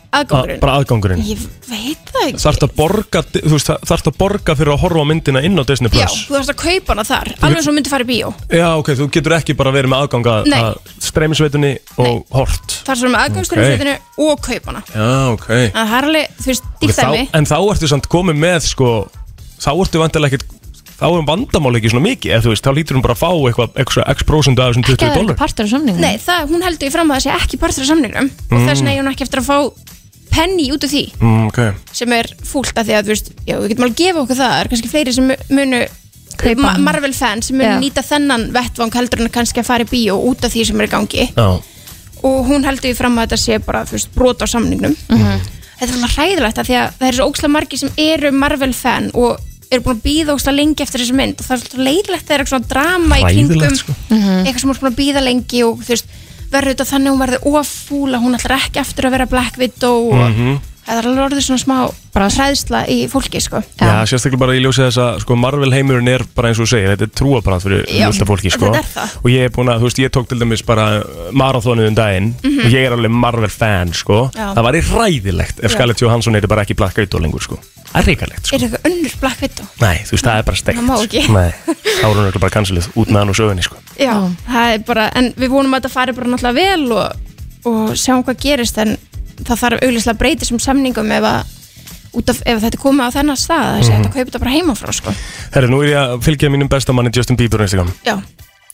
C: Að,
H: aðgangurinn
C: bara aðgangurinn
H: ég veit það ekki
C: Þarft að borga, þú veist, þarft að borga fyrir að horfa á myndina inn á Disney
H: já,
C: Plus
H: þú þarfst að kaupa hana þar alveg svo myndi fara í bíó
C: Já, ok, þú getur ekki bara verið með aðgang að,
H: Nei.
C: að streymisveitunni og hort
H: þar sem aðgangskurinn
C: Ok.
H: okay. setinu og kaupa hana
C: Já, ok
H: en það er alveg, þú veist,
C: Ok,
H: dýrt
C: þá,
H: dæmi
C: En þá ertu samt komið með sko, þá ertu vandilega ekkert þá er vandamál ekki svona mikið ef þú veist, þá lítur hún bara að fá eitthvað eitthvað x prósundu af þessum
B: Ekki
C: 20
B: að það er ekki
C: dólar
B: partur af samningu
H: nei, það, hún heldur í fram að það sé ekki partur af samningnum og þess vegna er hún ekki eftir að fá penni út af því
C: mm, ok,
H: sem er fúlt af því að, þú veist, já, við getum alveg að gefa okkur það það er kannski fleiri sem munu
B: Kaupa
H: Ma
B: hana.
H: Marvel fans sem munu
B: Já.
H: nýta þennan vettvang heldur en kannski að fara í bíó út af því sem er í gangi
C: já,
H: og hún heldur í fram að þetta sé bara þú veist, brot á samningnum þetta er alveg hræðilegt að því að það er svo ókslega margi sem eru Marvel fan og eru búin að býða ókslega lengi eftir þessu mynd og það er svolítið leiðilegt að það er eitthvað svona drama í
C: Hræðilegt,
H: kringum
C: sko.
H: eitthvað sem er búin að býða lengi og þú veist verður þetta
C: Mhm.
H: þannig að hún verður ofúla hún ætlar ekki aftur að vera Black Widow og það er alveg orðið svona smá bara hræðsla í fólki sko.
C: Já, sérstaklega bara ég ljósi þess að sko, Marvel heimurinn er bara eins og þú segir, þetta er trúabrand fyrir
H: Já,
C: mjölda fólki sko.
H: þetta er það.
C: og ég er búin að, þú veist, ég tók til dæmis bara marathonið um daginn
H: Mhm.
C: og ég er alveg Marvel fan, sko
H: Já.
C: það væri ræðilegt ef
H: Já.
C: Scarlett Johansson er bara ekki blakka út á lengur, sko það er ríkalegt, sko,
H: Er það eitthvað önnur Black Widow?
C: nei, þú veist, það er bara steikt
H: Það má ekki.
C: sko. nei, þá er hún örugglega bara kanslið út með hann og sögunni, sko
H: Já, það er bara, en við vonum að þetta fari bara náttúrulega vel og, og sjáum hvað gerist en það þarf auglýslega að breyta sem samningum ef, að, út af, ef þetta er komið á þennan stað þessi mm
C: Mhm.
H: -hmm. að kaupa þetta bara heimafrá sko.
C: Herri, nú er ég að fylgja mínum bestamanni Justin Bieber á Instagram.
H: Já.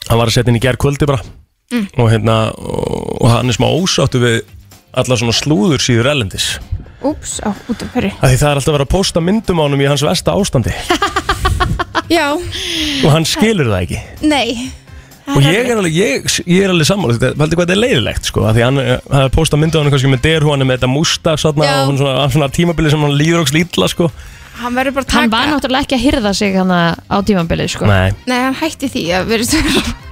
C: Hann var að setja inn í gerkvöldi bara
H: Mm.
C: og, hérna, og, og hann er smá ósáttu við alla svona slúður síður ellendis
H: Úps, á, út af hverju
C: að því það er alltaf verið að posta myndum á honum í hans versta ástandi
H: Já,
C: og hann skilur það ekki
H: nei
C: og ég er alveg, ég, ég er alveg sammála þetta, heldur hvað þetta er leiðilegt sko að því hann, eh, hann er postað myndum á honum kannski með deru hann er með þetta músta satna,
H: Já.
C: og hann svona, hann svona tímabili sem hann líður okks lítla sko
H: Hann verður bara að taka
B: Hann var náttúrulega ekki að hyrða sig hann á tímabilið sko.
C: Nei,
H: Nei, hann hætti því að verðist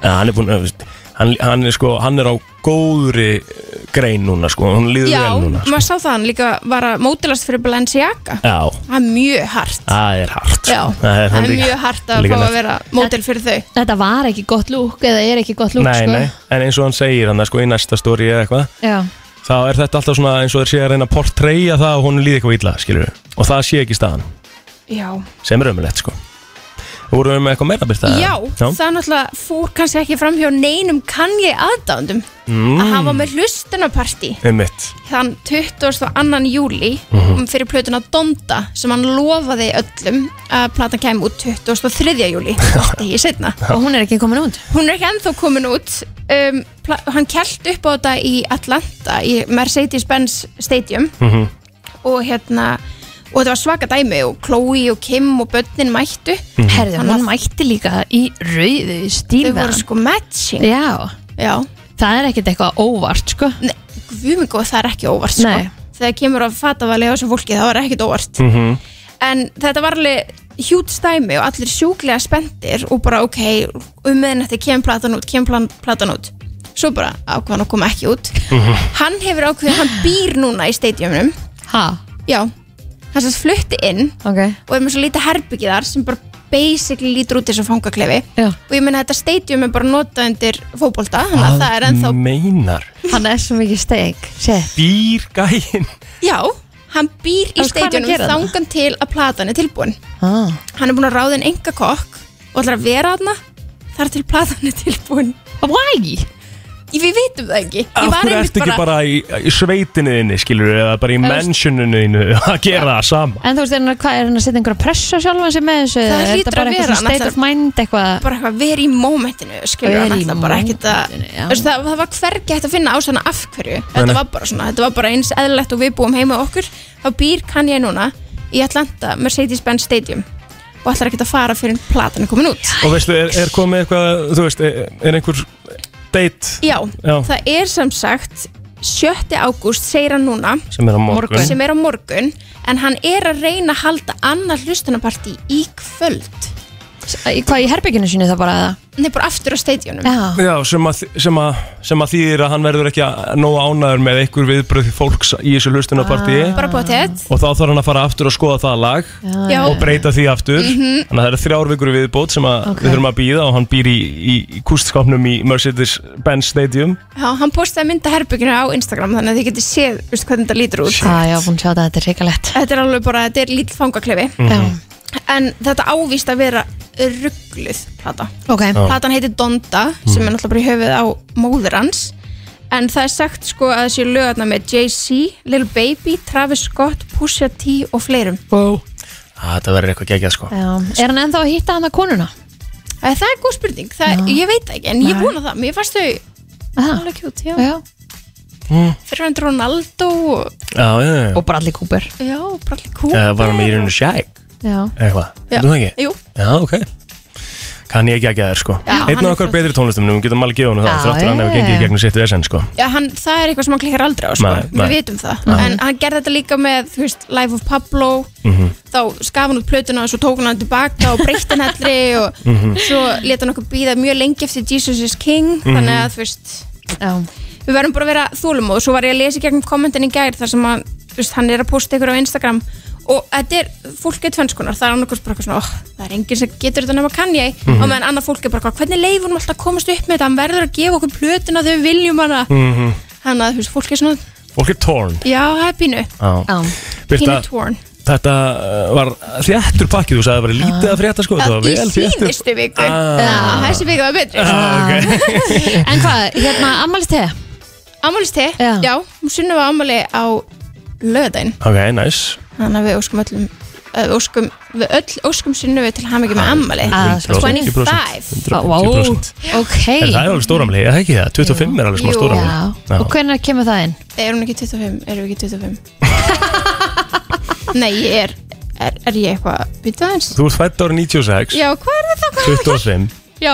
C: ja, hann er búin að, veist, hann, hann er sko, hann er á góðri eh, grein núna sko, hann líður
H: Já,
C: vel núna sko.
H: maður sá það hann líka var að mótilast fyrir Balenciaga
C: Já,
H: Það er mjög hart
C: það er hart sko.
H: Já,
C: Ah. Það er
H: það er
C: líka-
H: mjög hart að
C: líka
H: fá að
C: nett.
H: vera mótil fyrir þau
B: Þetta var ekki gott lúk eða er ekki gott lúk
C: Nei,
B: sko.
C: nei, en eins og hann segir hann sko í næsta stóri eða eitthvað
B: Já.
C: þá er þetta alltaf svona eins og þeir sé að reyna að portreyja það og hún líði eitthvað illa, skilur við og það sé ekki staðan,
H: Já,
C: sem er ömulegt, sko voru við með eitthvað meira byrta?
H: Já, það náttúrulega fór kannski ekki fram hjá neinum Kanye aðdándum
C: mm,
H: að hafa með hlustunapartí
C: um mitt,
H: þann 22. júli
C: Mhm.
H: um, fyrir plötuna Donda sem hann lofaði öllum að platan kæmi út 23. júli degi setna
B: Og hún er ekki komin út
H: Hún er ekki ennþá komin út um, pla- hann kælt upp á þetta í Atlanta í Mercedes-Benz Stadium
C: mhm,
H: og hérna og þetta var svaka dæmi og Chloe og Kim og börnin mættu
C: Mhm.
B: Herðu,
H: Þannig
B: hún
H: að-
B: mætti líka í rauðu
H: þau
B: stíl
H: voru sko matching
B: Já,
H: Já.
B: það er ekkert eitthvað óvart sko.
H: Guðmingo það er ekki óvart sko.
B: Nei.
H: þegar kemur að fatavali á þessu fólki það var ekkert óvart
C: mhm
H: en þetta var alveg hjút stæmi og allir sjúklega spendir og bara ok, um meðinætti kemur platan út kemur plan- platan út svo bara ákvaðan að koma ekki út hann hefur ákveðið, hann býr núna í stadiumunum
B: Ha,
H: já, hann sérst flutti inn
B: ok
H: og er með svo lítið herbyggi þar sem bara basically lítur út eins og fangaklefi
B: Já.
H: og ég meina þetta stadium er bara notað undir fótbolta, þannig að það er ennþá
C: meinar
B: Hann er svo mikið steik Shit.
C: býr gæinn
H: Já, hann býr í
B: Þú veist hvað hann er að
H: stadiónum
B: gera þarna?
H: þangan til að platan er tilbúin
B: Ah.
H: Hann er búin að ráða en enga kokk og ætlar að vera þarna þar til platan er tilbúin
B: Why?
H: Ég- Við veitum það ekki Ég
C: af
H: var
C: hverju
H: einmitt
C: ertu ekki bara í, í sveitinu þinni, skilur við eða bara í
B: Eða-
C: mansioninu þinnu að gera það sama
B: En þú veist, er hann, að- hvað, er hann að setja einhverja pressa sjálfan sig með þessu?
H: Það
B: eða er
H: hlýtur
B: þetta bara
H: að
B: eitthvað
H: vera,
B: svona state
H: hann
B: of mind eitthvað
H: bara eitthvað verið í mómentinu skilur
B: Vera
H: hann
B: í
H: alltaf bara ekkert að
B: mómentinu, já.
H: Þessu, það, það var hvergi hægt að finna ástæðna af hverju
C: nei.
H: þetta var bara svona, þetta var bara eins eðlilegt og við búum heima hjá okkur þá býr kann ég núna í Atlanta Mercedes-Benz Stadium og ætlar ekkert að fara fyrir platan er komin út
C: og veistu, er, er komið eitthvað, þú veist er, er einhver date
H: Já,
C: Já.
H: það er sem sagt 7. ágúst segir hann núna
C: sem er á morgun,
B: Morgun.
H: sem er á morgun en hann er að reyna að halda annar hlustunapartí í kvöld
B: Í- Hvað í herbygginu sínu það bara eða?
H: Nei, bara aftur á stadionum
B: Já,
C: Já, sem að, sem, að, sem að þýðir að hann verður ekki að nóga ánæður með einhver viðbröð fólks í þessu hlustunapartíi
H: bara búið til þetta
C: og þá þarf hann að fara aftur og skoða það lag
B: já, Mhm.
H: Já.
C: og breyta því aftur þannig að það eru þrjár vikur í viðbót sem að
B: Ok.
C: við þurfum að býða og hann býr í, í, í kústskapnum í Mercedes-Benz Stadium
H: Já, hann postaði mynda herbygginu á Instagram þannig að þið getið séð veist, hvernig þetta lítur út
B: Ah, Já, já, búin að sjá þetta, þetta er reykalett
H: Þetta er alveg bara, þetta er lítill fangaklefi
B: Mm.
C: Mhm.
H: en þetta ávíst að vera ruggluð plata
B: Ok,
H: Platan heitir Donda sem er náttúrulega bara í höfuð á móður hans en það er sagt sko að þessi lögarna með Jay-Z, Lil Baby, Travis Scott, Pusha T og fleirum
C: wow. Ah, Þetta verður eitthvað geggjað sko
B: já Er hann ennþá að hitta hann að konuna?
H: Æ, Það er góð spurning, það, ég veit það ekki en ég
B: Nei.
H: vona það, mér fannst þau
B: Aha.
H: alveg kjút, já,
B: Já.
H: fyrir hann Ronaldo og,
C: Já, já, já
B: Og Bradley Cooper
H: já, bara allir kú
C: Eh, Var hann með í rauninu Shag
B: Já,
C: eitthvað,
H: Já.
C: þú ekki?
H: Jú,
C: Já, ok Kann ég geggjað þér sko
H: Já,
C: Einn af
H: hann er
C: okkar
H: flott.
C: betri tónlistum, við getum alveg gefið hann það
B: Já,
C: þráttur hann hefur
B: já.
C: gengið í gegnum sitt vesen sko
H: já, hann, það er eitthvað sem hann klikkar aldrei á sko.
C: Nei, nei.
H: við vitum það, en hann gerði þetta líka með þú veist, Life of Pablo
C: Mhm.
H: þá skaf hann út plötuna og svo tók hann hann tilbaka og breytti hann allri og
C: Mhm.
H: svo leta hann okkur býða mjög lengi eftir Jesus is King þannig að þú veist
B: já,
H: við verðum bara að vera þólum og svo var ég að lesa í gegnum kommentin í gær þar sem að þú veist, hann er að posta ykkur á Instagram og þetta er, fólk er tvennskonar það er annarkurs bara eitthvað svona, oh, það er enginn sem getur þetta nema kann ég,
C: Mhm.
H: og meðan annað fólk er bara eitthvað, hvernig leifur hún alltaf að komast upp með þetta hann verður að gefa okkur plötuna þegar við viljum hana
C: Mhm.
H: þannig að þú veist, fólk er svona
C: Fólk er torn
H: já, það er pínu
C: Já. Já.
H: pínu
C: Birta-
H: torn
C: Þetta uh, var þjættur pakki Þú sagði að það var lítið að frétta sko Það var
H: í
C: vel þjættur
H: síðustu viku
C: Ah.
H: ah. þessi viku var betri
B: Ah. En hvað, hérna, ammælst þið?
H: Ammálist þið?
B: Já.
H: Já, sunnum var ammali á löðin
C: Ok, nice
H: þannig að við óskum öllum eh, við óskum, við öll óskum sunnu við til hamingi með ammali
B: Ah,
C: 100%.
H: 25
B: Ó, Vá,
C: 100%.
B: ok
C: En það er alveg stóramli, eða ekki það? 25 er alveg smá
H: Jú.
C: stóramli
B: Já. Og hvernig kemur það inn?
H: er hún ekki 25? erum við ekki 25? nei, ég er er, er ég eitthvað býttu aðeins?
C: Þú ert fætt árið 96
H: Já, hvað er það þá?
C: 25
H: Já,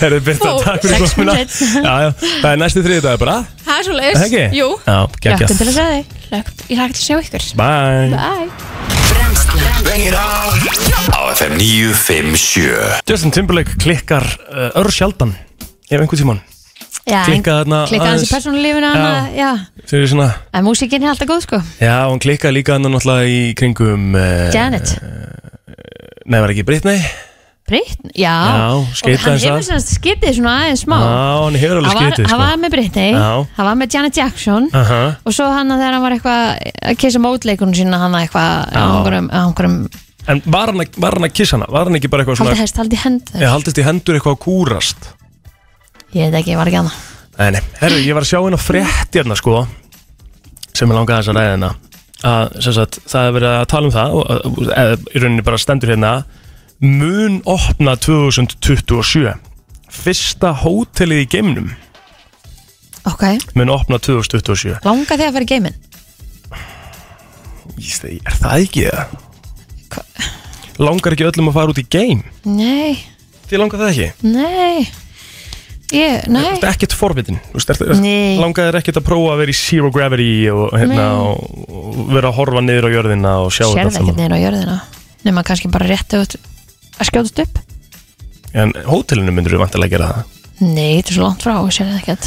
C: Herðu byrta,
H: Ó,
C: takk fyrir
H: sex
C: komuna
H: mínútur seinna.
C: Já, já, það er næsti þriði dag bara
H: það er svo
C: Er
H: leiðis
C: það ekki?
H: Jú,
C: Já, geggjað.
H: Hlökkum til að segja þig Hlökkum- Ég hlakka til að sjá ykkur
C: Bye
H: Bye
A: Á FM 957
C: Justin Timberlake klikkar uh, ör sjaldan Ef einhvern tímann
B: Já,
C: Klikkað þarna
B: Klikkað hans í
C: aðeins.
B: persónulífinu annað, Já,
C: Þegar svona
B: en músíkin er alltaf góð sko
C: Já, hún klikkaði líka hann náttúrulega í kringum uh,
B: Janet,
C: Nei, var ekki Britney
B: Britney, já
C: Já, skeyti
B: Og Hann
C: aðeins
B: hefur
C: að.
B: sem skitið svona aðeins smá
C: Já, hann hefur alveg
B: Hann var-
C: skitið,
B: Hann
C: sko.
B: var með Britney,
C: Já.
B: hann var með Janet Jackson
C: Aha
B: Og svo hann að þegar hann var eitthvað að kissa mótleikunum sína hann að eitthvað
C: Já.
B: á einhverjum- á einhverjum
C: En var hann, að- var hann að kissa hana? Var hann ekki bara eitthvað svona
B: Haldið hest, haldið hend
C: Ég haldist í hendur eitthvað að kúrast
B: Ég veit ekki, ég var ekki annað
C: Nei, nei, herru, ég var að sjá hérna frétt hérna sko sem ég langaði þess að ræða hérna að sem sagt, það er verið að tala um það og- og- eða í rauninni bara stendur hérna mun opna 2027 fyrsta hótelið í geimnum
B: Ok,
C: mun opna 2027
B: langa þig að fara í geiminn
C: Ég segi, er það ekki það? Langar ekki öllum að fara út í geim?
B: Nei,
C: Þið langar það ekki?
B: nei Ég, nei
C: Þetta er ekkert forvitin Þú veist, er-
B: Nei.
C: Langaði þér ekkert að prófa að vera í zero gravity og, hérna,
B: Nei.
C: og og vera að horfa niður á jörðina og sjá
B: Sérðu
C: þetta allt
B: ekkert
C: saman.
B: niður á jörðina Nefna kannski bara rétt að, að skjóðast upp
C: En hótelinu myndur við vantilega að gera það
B: Nei, þetta er svo langt frá og sérðu ekkert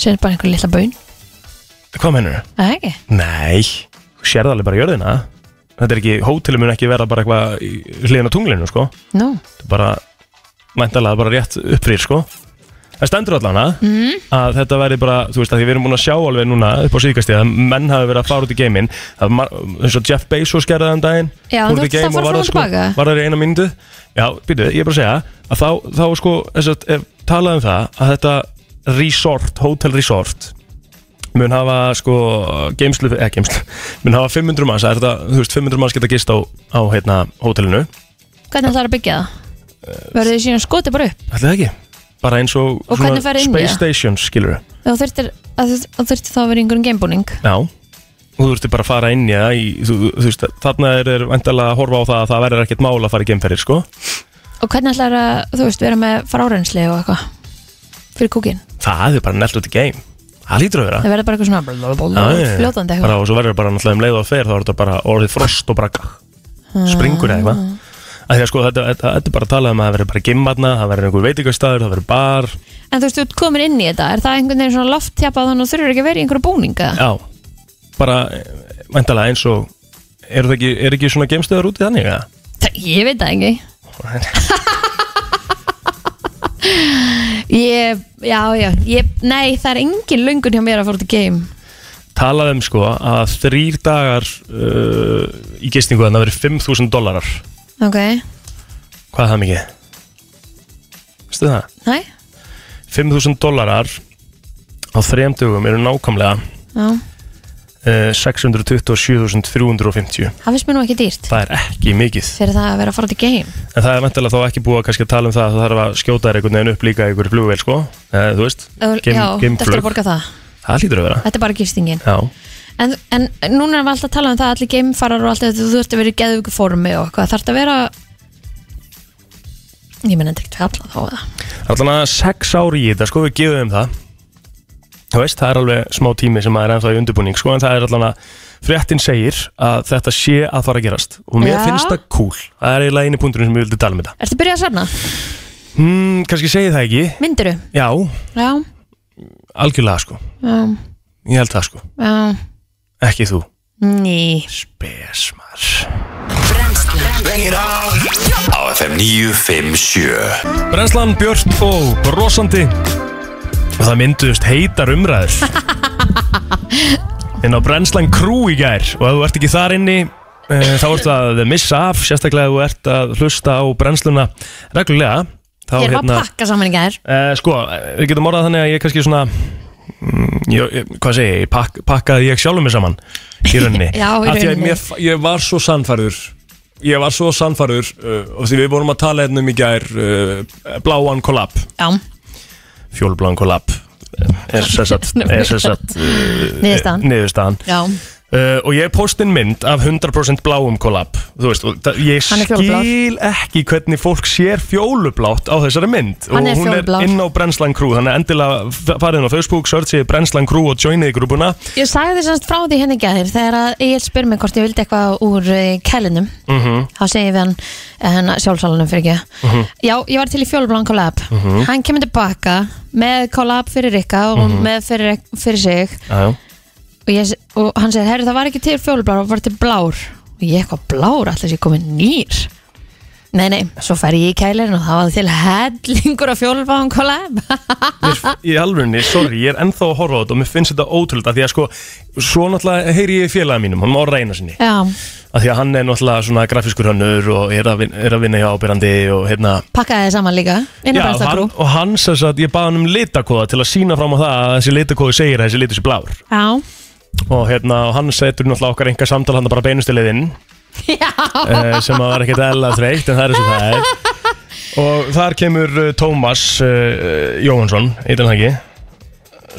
B: Sérðu bara einhver litla baun
C: Hvað mennur þau?
B: Það ekki
C: Nei, þú sérðu alveg bara jörðina Þetta er ekki, hótelinu mun ekki vera bara eitthvað í hliðina á tunglinu sko
B: Nú,
C: Þetta er bara, mæntalega bara rétt uppfrýr sko Það stendur allan að,
B: Mhm.
C: að þetta verði bara, þú veist að því við erum búin að sjá alveg núna upp á síðkastið að menn hafi verið að fara út í geiminn að mar- eins og Jeff Bezos gerði þann daginn
B: Já,
C: fór
B: þú
C: út í
B: ert að
C: geim
B: fara
C: var
B: fram og
C: sko,
B: tilbaka.
C: var það í eina myndu Já, býtu, ég er bara að segja að þá, þá sko, þess að ef talað um það að þetta resort, hotel resort mun hafa sko geimslu, eða geimslu mun hafa 500 manns, það er þetta, þú veist 500 manns geta gist á, á hérna, hótelinu
B: hvernig ætlar að byggja það?
C: Eh,
B: Verður þið síðan skotið bara upp
C: Ætli það ekki? Bara eins og,
B: Og hvernig færðu inn í
C: space
B: það?
C: stations, skilur við
B: Þá þurftir, að, að þurftir þá að vera í einhverjum geimbúning
C: Já Og þú þurfti bara að fara inn í það í, þú, þú veist, Þarna er, er vandalega að horfa á það að það verður ekkert mál að fara í geimferðir sko
B: Og hvernig ætlar að, þú veist, vera með frárennsli og eitthvað Fyrir kúkin
C: Það er bara nelt út í geim Það lítur að vera
B: Það verður bara eitthvað svona
C: Já,
B: blablabla,
C: já, já. Bara
B: Fljótandi eitthvað
C: og svo verður bara náttúrulega um leið og fer þá er þetta bara orðið frost og braga springur eða eitthvað
B: Ah.
C: Af því að sko þetta, þetta, þetta er bara að tala um að það verður bara gimmarna það verður einhver veitingastæður, það verður bar
B: En þú veist, þú ert komin inn í þetta Er það einhvern veginn svona lofttjapað Þannig að þú þurfir ekki að vera í einhverju búninga
C: Já, bara vandalega eins og eru það ekki, er ekki svona geimstöður úti þannig eða?
B: Það, ég veit það ekki Ég, já, já ég, Nei, það er engin löngun hjá mér að fara út í game
C: talað um sko að þrýr dagar uh, í gistingu þannig að það verið 5.000 dólarar
B: Ok,
C: hvað er það mikið? veistu það?
B: nei,
C: 5.000 dólarar á þrem dögum eru nákvæmlega
B: já
C: uh, 627.350
B: Það finnst mér nú ekki dýrt
C: það er ekki mikið
B: Fyrir það að vera að fara út í game
C: en það er mentilega þá ekki búið að kannski að tala um það að það þarf að skjóta þér einhvern veginn upp líka í einhverju flugvél sko eða þú veist,
B: Öl-
C: geim-
B: Já, þetta er
C: geimflug.
B: að borga það
C: það hlýtur að vera
B: Þetta er bara gistingin
C: já,
B: En, en núna erum við alltaf að tala um það Allir gamefarar og allt þetta Þú þurft að vera í geðvöku formi og eitthvað Þarft að vera Ég menn þetta ekki alla þá eða?
C: allan að 6 ári í þetta sko við gefum þeim það þú veist, það er alveg smá tími sem maður er ennþá í undirbúning sko, en það er allan að fréttin segir að þetta sé að fara að gerast og mér
B: Já.
C: finnst það cool, það er eiginlega eini punkturinn sem ég vildi tala um þetta
B: Ertu að byrja að safna?
C: hmm, kannski segi það ekki,
B: Myndiru?
C: já,
B: Já,
C: algjörlega sko
B: já
C: Ég held það sko,
B: Já,
C: ekki þú
B: ný
C: Besmar
A: Á FM 957
C: Brenslan Björn og brosandi og það mynduðust heitar umræður inn á Brenslan Crew í gær og ef þú ert ekki þar inni eh, þá ert að missa af sérstaklega ef þú ert að hlusta á Brensluna reglulega þá hérna
B: Ég er bara að pakka saman í gær
C: Eh, sko, við getum orðað þannig að ég kannski svona mm, ég, ég- hvað segi ég, pak, pakkaði ég sjálfum mig saman í rauninni
B: Já,
C: Af
B: í
C: því að
B: rauninni.
C: mér, ég var svo sannfærður ég var svo sannfærður uh, og því við vorum að tala hérna um í gær uh, bláan kollab
B: Já,
C: fjólbláan kollab er sessat, er sessat Eh,
B: Niðurstaðan.
C: niðurstaðan
B: já,
C: Uh, og ég postin mynd af 100% bláum kollab Þú veist, og það- ég
B: Hann er fjólublár.
C: skil ekki hvernig fólk sér fjólublátt á þessari mynd Og
B: Hann er
C: hún
B: fjólublár.
C: er inn á Brensland Crew Þannig að endilega f- farið inn á Facebook, searchið Brensland Crew og joinið í grúpuna
B: ég sagði semst frá því henni gæðir þegar að ég spyr mig hvort ég vildi eitthvað úr eh, kælinum
C: Mhm.
B: þá segir við hann, eh, hann sjálfsalunum fyrir ekki já, ég var til í fjólblán kollab
C: Mhm.
B: hann kemur tilbaka með kollab fyrir Rikka og með fyrir, fyrir sig
C: Jájá
B: og, ég, og hann segir, herru það var ekki til fjólublár það var til blár og ég eitthvað blár, alltaf sé komið nýr nei, nei, svo fær ég í kælirinn og það var til hellingur af fjólublár kollab
C: Í alvörunni, sorry, ég er ennþá að horfa á þetta og mér finnst þetta ótrúlega Því að sko, svo náttúrulega heyri ég í félaga mínum, hann má reyna sinni
B: já,
C: Af Því að hann er náttúrulega svona grafískur hönnur og er að, vin, er að vinna hjá ábyrrandi og hérna
B: pakkaði þið saman líka inn á
C: Já, hann,
B: brennstakru
C: og hann sess að ég baði hann um litakóða til að sína fram á það að þessi litakóði segir að þessi litur sé blár
B: já,
C: og hérna, og hann setur náttúrulega okkar enga samtal hann bara beinustilegð inn uh, sem að var ekkert eðla þreytt en það er eins og það er og þar kemur uh, Tómas uh, Jóhansson, eitthvað ekki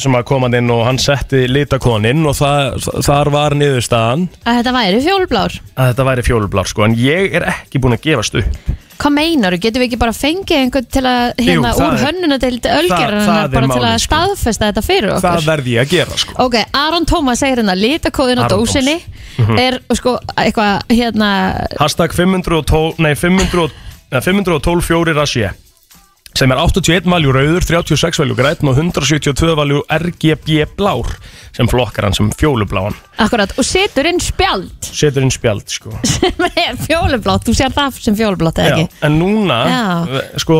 C: sem að kom hann inn og hann setti litakóðan inn og það, þar var niðurstaðan
B: að þetta væri fjólublár
C: að þetta væri fjólublár sko en ég er ekki búin að gefast upp
B: hvað meinaru, getum við ekki bara fengið einhvern til að hérna
C: Jú, það
B: úr
C: er-
B: hönnuna til
C: það
B: ölgerðarna
C: er
B: bara til að
C: málið, sko.
B: staðfesta þetta fyrir okkur
C: það verði ég að gera sko
B: Ok, Aron Tómas segir hérna litakóðin á
C: Aron Mhm. Tómas.
B: dósinni er sko eitthvað hérna
C: Hashtag 512, nei 500, eh, 512 fjórir að sé sem er 81 valjú rauður, 36 valjú grætn og 172 valjú RGB blár sem flokkar hann sem fjólubláan
B: Akkurat, og setur inn spjald
C: setur inn spjald sko
B: sem er fjólublátt, þú sér það sem fjólublátt eða
C: Já,
B: ekki
C: en núna,
B: Já.
C: eh, sko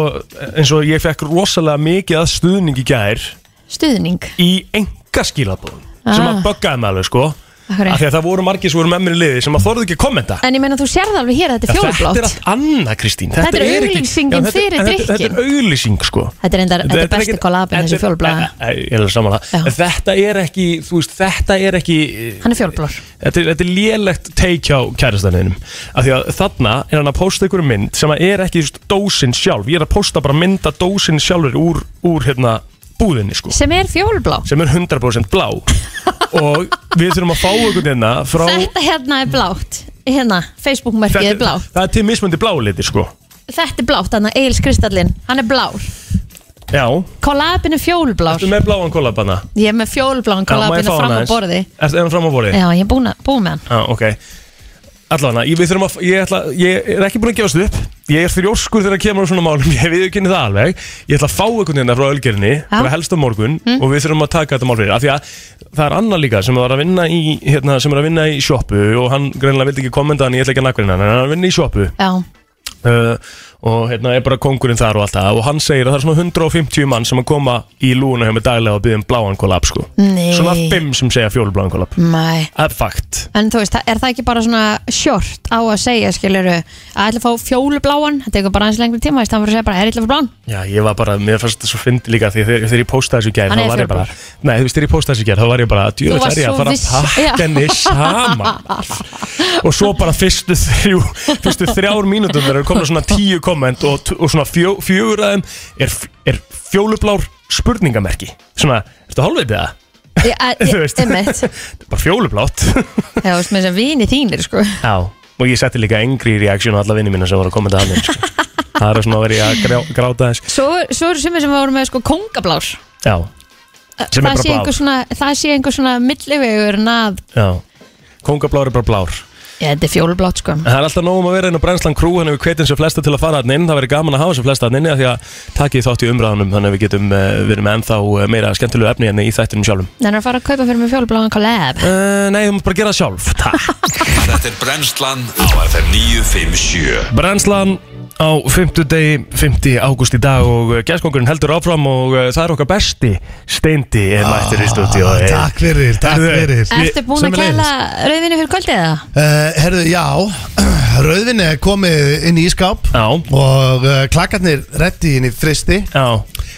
C: eins og ég fekk rosalega mikið að stuðning í gær
B: Stuðning,
C: í enga skilabóðum sem
B: Ah.
C: að böggaði með alveg sko
B: akkurat
C: af því að það voru margir sem voru með mér í liði sem að þorðu ekki að kommenta
B: En ég meina þú sér það alveg hér að þetta er
C: Þetta er
B: fjólublátt
C: allt annað Kristín
B: Þetta er
C: ekki-
B: auglýsingin
C: Já, þetta er-
B: fyrir
C: en þetta-
B: drykkinn.
C: Þetta er auglýsing sko
B: Þetta er endar, þetta er besti
C: ekkit-
B: kollabin þessi
C: þetta er-
B: fjólubláða
C: Æ, æ, Ég er samanlega
B: Já.
C: Þetta er ekki, þú veist, þetta er ekki
B: Hann er fjólblár
C: Þetta er, þetta er lélegt take hjá kærastaninum Af því að þarna er hann að posta einhverju mynd sem að er ekki þú veist, dósin sjálf Ég er að posta bara mynda dósin sjálfur úr, úr hérna búðinni sko
B: sem er fjólblá
C: sem er 100% blá og við þurfum að fá einhvern hérna frá
B: Þetta hérna er blátt hérna, Facebook merkið er
C: Þetta-
B: blátt
C: það er til mismöndi bláliti sko
B: Þetta er blátt, þannig að Egil Kristallin hann er blár,
C: Já,
B: kollabin er fjólblár
C: ertu með bláan kollabana
B: Ég er með fjólbláðan
C: Já, má ég fá
B: kollabin fram
C: hana
B: á
C: aðeins?
B: borði
C: Er er hann fram á borði?
B: Já, ég er búin, að, búin með hann
C: Já, Ah, ok Allavega, ég, við þurfum að, ég, ætla, ég er ekki búin að gefast upp Ég er þrjóskur þegar að kemur á svona málum Ég við ekki það alveg Ég ætla að fá einhvern veginn frá ölgerinni Bara helst á morgun Og við þurfum að taka þetta mál fyrir Af því að það er annar líka sem var að vinna í hérna, Sem er að vinna í sjoppu Og hann greinlega vildi ekki kommenta hann Ég ætla ekki að nakkurinn hann En hann er að vinna í sjoppu
B: Já,
C: uh, og hérna er bara kongurinn þar og allt það og hann segir að það er svona 150 mann sem að koma í lúna hjá mig daglega og byggja um bláan kollab sko.
B: Nei.
C: svona 5 sem segja fjólubláan kollab
B: mæ
C: það er fakt
B: En þú veist, er það ekki bara svona short á að segja, skiljuru, að ætla að fá fjólubláan, þetta tekur bara aðeins lengri tíma, þannig að segja bara, er ætla að fá blán?
C: Já, ég var bara, mér fannst þetta svo fyndi líka því að þegar, þegar ég postaði þessu í gær,
B: Hann
C: þá
B: er
C: var ég bara
B: fjólblár.
C: Nei, þú veist, þegar ég postaði þessu í gær, þá var ég bara Djöfell
B: varst
C: er ég
B: svo
C: að fara
B: viss-
C: að
B: Já.
C: pakka henni saman Og svo bara fyrstu þrjú Fyrstu þrjár mínútum þegar komna svona tíu komment og, t- og svona fjó, fjögur aðeim er, f- er fjólublár spurningamerki Svona, ertu hálfvitið það?
B: Ég, ég,
C: Þú
B: ég,
C: veist.
B: einmitt,
C: Þetta er bara fjólublátt
B: já, þú veist, með þess að vini þínir, sko.
C: Já Og ég setti líka engri reaksjón á alla vinni mína sem voru að koma til hann sko. Það er svona að vera ég að grá, gráta þess
B: Svo, svo eru sumir sem voru með, sko, kongablár.
C: Já, Sem er bara
B: það sé
C: blár.
B: einhver svona, það sé einhver svona millivegur nað,
C: já Kongablár er bara blár
B: Ég, þetta er fjólublátt sko
C: En Það er alltaf nóg um að vera inn á brennslan krú Þannig við hvetjum sem flesta til að fara hann inn Það verður gaman að hafa sem flesta hann inn Því að takið þátt í umræðanum Þannig að við getum uh, verið með ennþá eh, meira skemmtilegu efni En í þættinum sjálfum
B: Þannig að fara að kaupa fyrir mig fjólubláðan collab
C: uh, Nei, þú mátt bara gera það sjálf Takk
A: Þetta er brennslan á FM 957
C: Brennslan á 50 degi, 50 ágúst í dag og eh, gæskongurinn heldur áfram og eh, það er okkar besti steindi er mættur í stúdíu
I: Takk fyrir, takk fyrir
B: Ertu búin að kæla rauðvinni fyrir kvöldið eða?
I: Uh, herðu, já, rauðvinni er komið inn í ískáp
C: Já.
I: og uh, klakkarnir reddi inn í fristi
C: Já,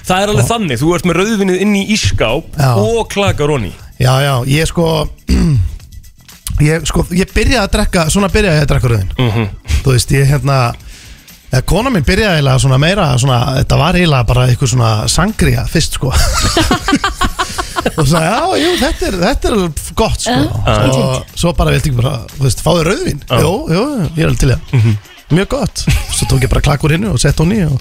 C: það er alveg þannig, þú ert með rauðvinnið inn í ískáp
I: Já.
C: og klakar honni
I: Já, já, ég sko ég sko, ég byrjaði að drekka svona byrjaði ég að drekka rauðin þú veist, ég hérna eða, kona mín byrjaði eiginlega svona meira svona, þetta var eiginlega bara eitthvað svona sangria fyrst sko og sagði, já, jú, þetta er, þetta er alveg gott sko
C: Já.
I: og svo bara vildi ég bara, þú veist, fáðu rauðin
C: Já.
I: jú, jú, ég er alveg til það mjög gott, svo tók ég bara klakkur hinnu og sett hún í og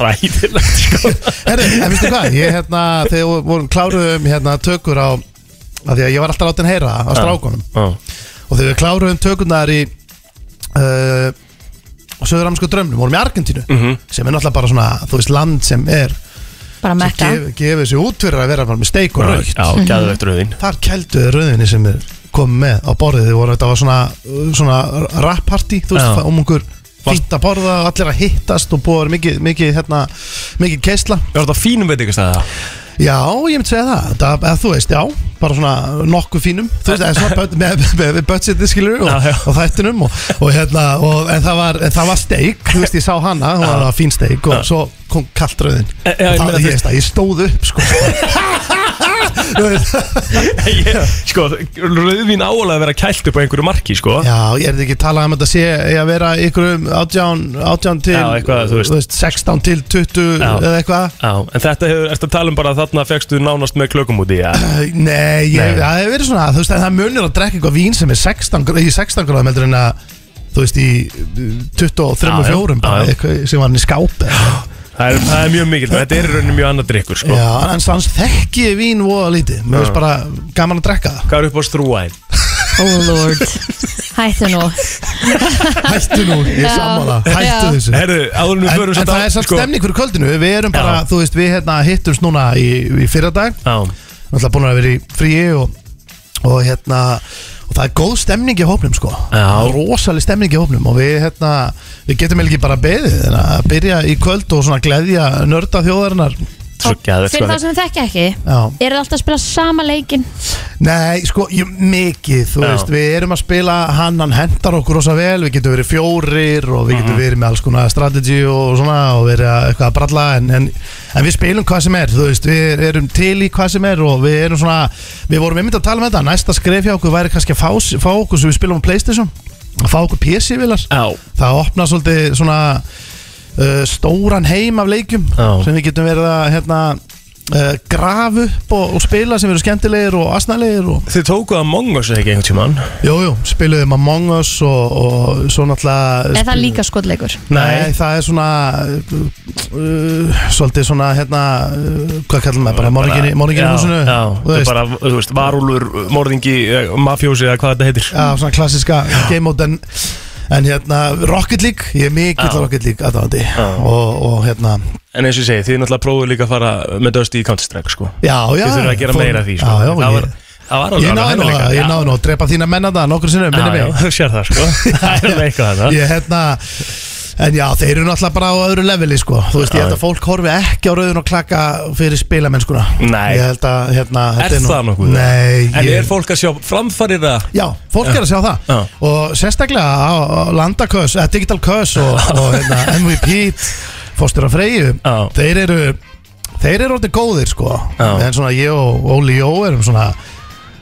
C: Ræðilegt sko
I: Herri, en veistu hvað, ég hérna þegar við vorum kláruðum hérna tökur á að því að ég var alltaf látin heyra á strákunum
C: Já,
I: og þegar við kláruðum tökurnar í uh, söðuramsku drömmnum, vorum í Argentínu
C: Mhm.
I: sem er náttúrulega bara svona, þú veist, land sem er
B: Bara
I: sem
B: mekka
I: gef, gefið sér út fyrir að vera bara með steik og raukt
C: já gæðvegt rauðin
I: þar kælduðu rauðinni sem er komið með á borðið, þið voru þetta var svona svona rap party, þú veist,
C: Já.
I: það- um einhver fínt að borða og allir að hittast og búið að vera mikið, mikið, hérna, mikið keisla
C: Er þetta fínum veitingastæða?
I: Já, ég myndi segja það, það eða, Þú veist, já, bara svona nokkuð fínum Þú veist, eða svona bud, með, með, með budgetið skilur og,
C: Já, já.
I: og þættinum og, og, hérna, og, en, það var, en það var steik Þú veist, ég sá hana, hún var alveg fín steik og svo kom kallt rauðin
C: Já, já, ég E,
I: Það
C: meina,
I: var
C: þú
I: ég,
C: veist-
I: veist það, ég stóð upp sko. Þú veist,
C: Ég- Sko, rauðvin áalega að vera kælt upp á einhverju marki sko
I: Já, ég er ekki talað um að þetta sé eigi að vera ykkur um 18, 18 til
C: Já, eitthvað, þú veist.
I: 16 til 20
C: Já.
I: eða eitthvað
C: Já, en þetta hefur, ertu að tala um bara að þarna fegstu nánast með klökum út í ja.
I: Nei, ég,
C: Nei.
I: það hefur verið svona þú veist, en það munir að drekka eitthvað vín sem er 16, gr- í 16 gráðum heldur en að þú veist, í
C: Já, já,
I: 23-4 bara
C: já, já.
I: eitthvað sem var hann í skáp eða eitthvað.
C: það, er- það er mjög mikil, þetta er í rauninni mjög annað drikkur sko
I: Já, en hans þekki ég vín voða lítið mér finnst bara gaman að drekka
C: Hvað er upp á strúæn?
B: Oh lord Hættu nú
I: það Hættu nú, ég
B: Já.
I: sammála, hættu
B: Já.
I: þessu
C: Herðu, áðurum við
I: En,
C: förum
I: en
C: samt
I: það
C: á-
I: er samt
C: sko-
I: stemning fyrir kvöldinu Við erum bara, þú veist, við hérna hittumst núna í, í fyrradag
C: Já,
I: Náttúrulega búin að vera í fríi og, og hérna og það er góð stemning í hópnum sko
C: Já.
I: rosaleg stemning í hópnum og við hérna við getum eiginlega ekki bara beðið þannig að byrja í kvöld og svona gleðja nörda þjóðarinnar
C: Svo
B: Og
C: geðvegt, sko.
B: Fyrir það sem þekki ekki
I: Já.
B: Er það alltaf að spila sama leikin
I: Nei, sko, ég, mikið, þú
C: Já.
I: veist, við erum að spila hann, hann hendar okkur rosa vel, við getum verið fjórir og við
C: Mhm.
I: getum verið með alls konar strategy og svona og verið að, eitthvað að bralla en, en, en við spilum hvað sem er, þú veist, við erum til í hvað sem er og við erum svona, við vorum einmitt að tala um þetta, næsta skref hjá okkur væri kannski að fá, fá okkur sem við spilum á Playstation, að fá okkur PC-vilar,
C: Já.
I: það opna svolítið svona uh, stóran heim af leikjum
C: Já.
I: sem við getum verið að hérna, uh, grafa upp og, og spila sem eru skemmtilegir og asnalegir og
C: Þið tókuð Among Us ekki einhvern tímann
I: jújú, jú, spiluðum Among Us og, og svo náttúrulega
B: Er það líka skotleikur
I: Nei, það er svona uh, svolítið svona hérna, uh, hvað kallum maður, bara morginni morginni húsinu
C: Já,
I: þú
C: það er
I: veist.
C: bara, þú veist, varúlur, morðingi, eh, mafjósi eða hvað þetta heitir
I: Já, svona klassiska game mode en, en hérna, Rocket League Ég er mikill
C: Já.
I: Rocket League aðdáðandi og, og hérna,
C: En eins og ég segi, þið náttúrulega prófuðu líka að fara með dösti í Counter-Strike, sko
I: já, já
C: Þið þurfum að gera
I: fór-
C: meira af því, sko
I: Já, já,
C: það
I: ég,
C: var, það var alveg
I: ég náði
C: alveg
I: nú
C: hæfileika.
I: að, ég náði nú að drepa þína menna það nokkur sinnum, minni
C: Já, já,
I: mig
C: þú sér það, sko Það er alveg eitthvað þarna
I: Ég hérna En já, þeir eru náttúrulega bara á öðru leveli sko Þú veist, ég held að fólk horfi ekki á rauðun og klaka fyrir spilamennskuna
C: Nei.
I: Ég held að, hérna þetta
C: Er
I: nú-
C: það nokkuð?
I: Nei
C: En
I: ég-
C: er fólk að sjá framfarið það?
I: Já, fólk er að sjá það
C: Já.
I: Og sérstaklega á, á landakös, eða Digital Kös og, og hérna, MVP Fóstur að Freyju
C: Já.
I: Þeir eru, þeir eru orðið góðir sko
C: Já.
I: En svona ég og Óli Jó erum svona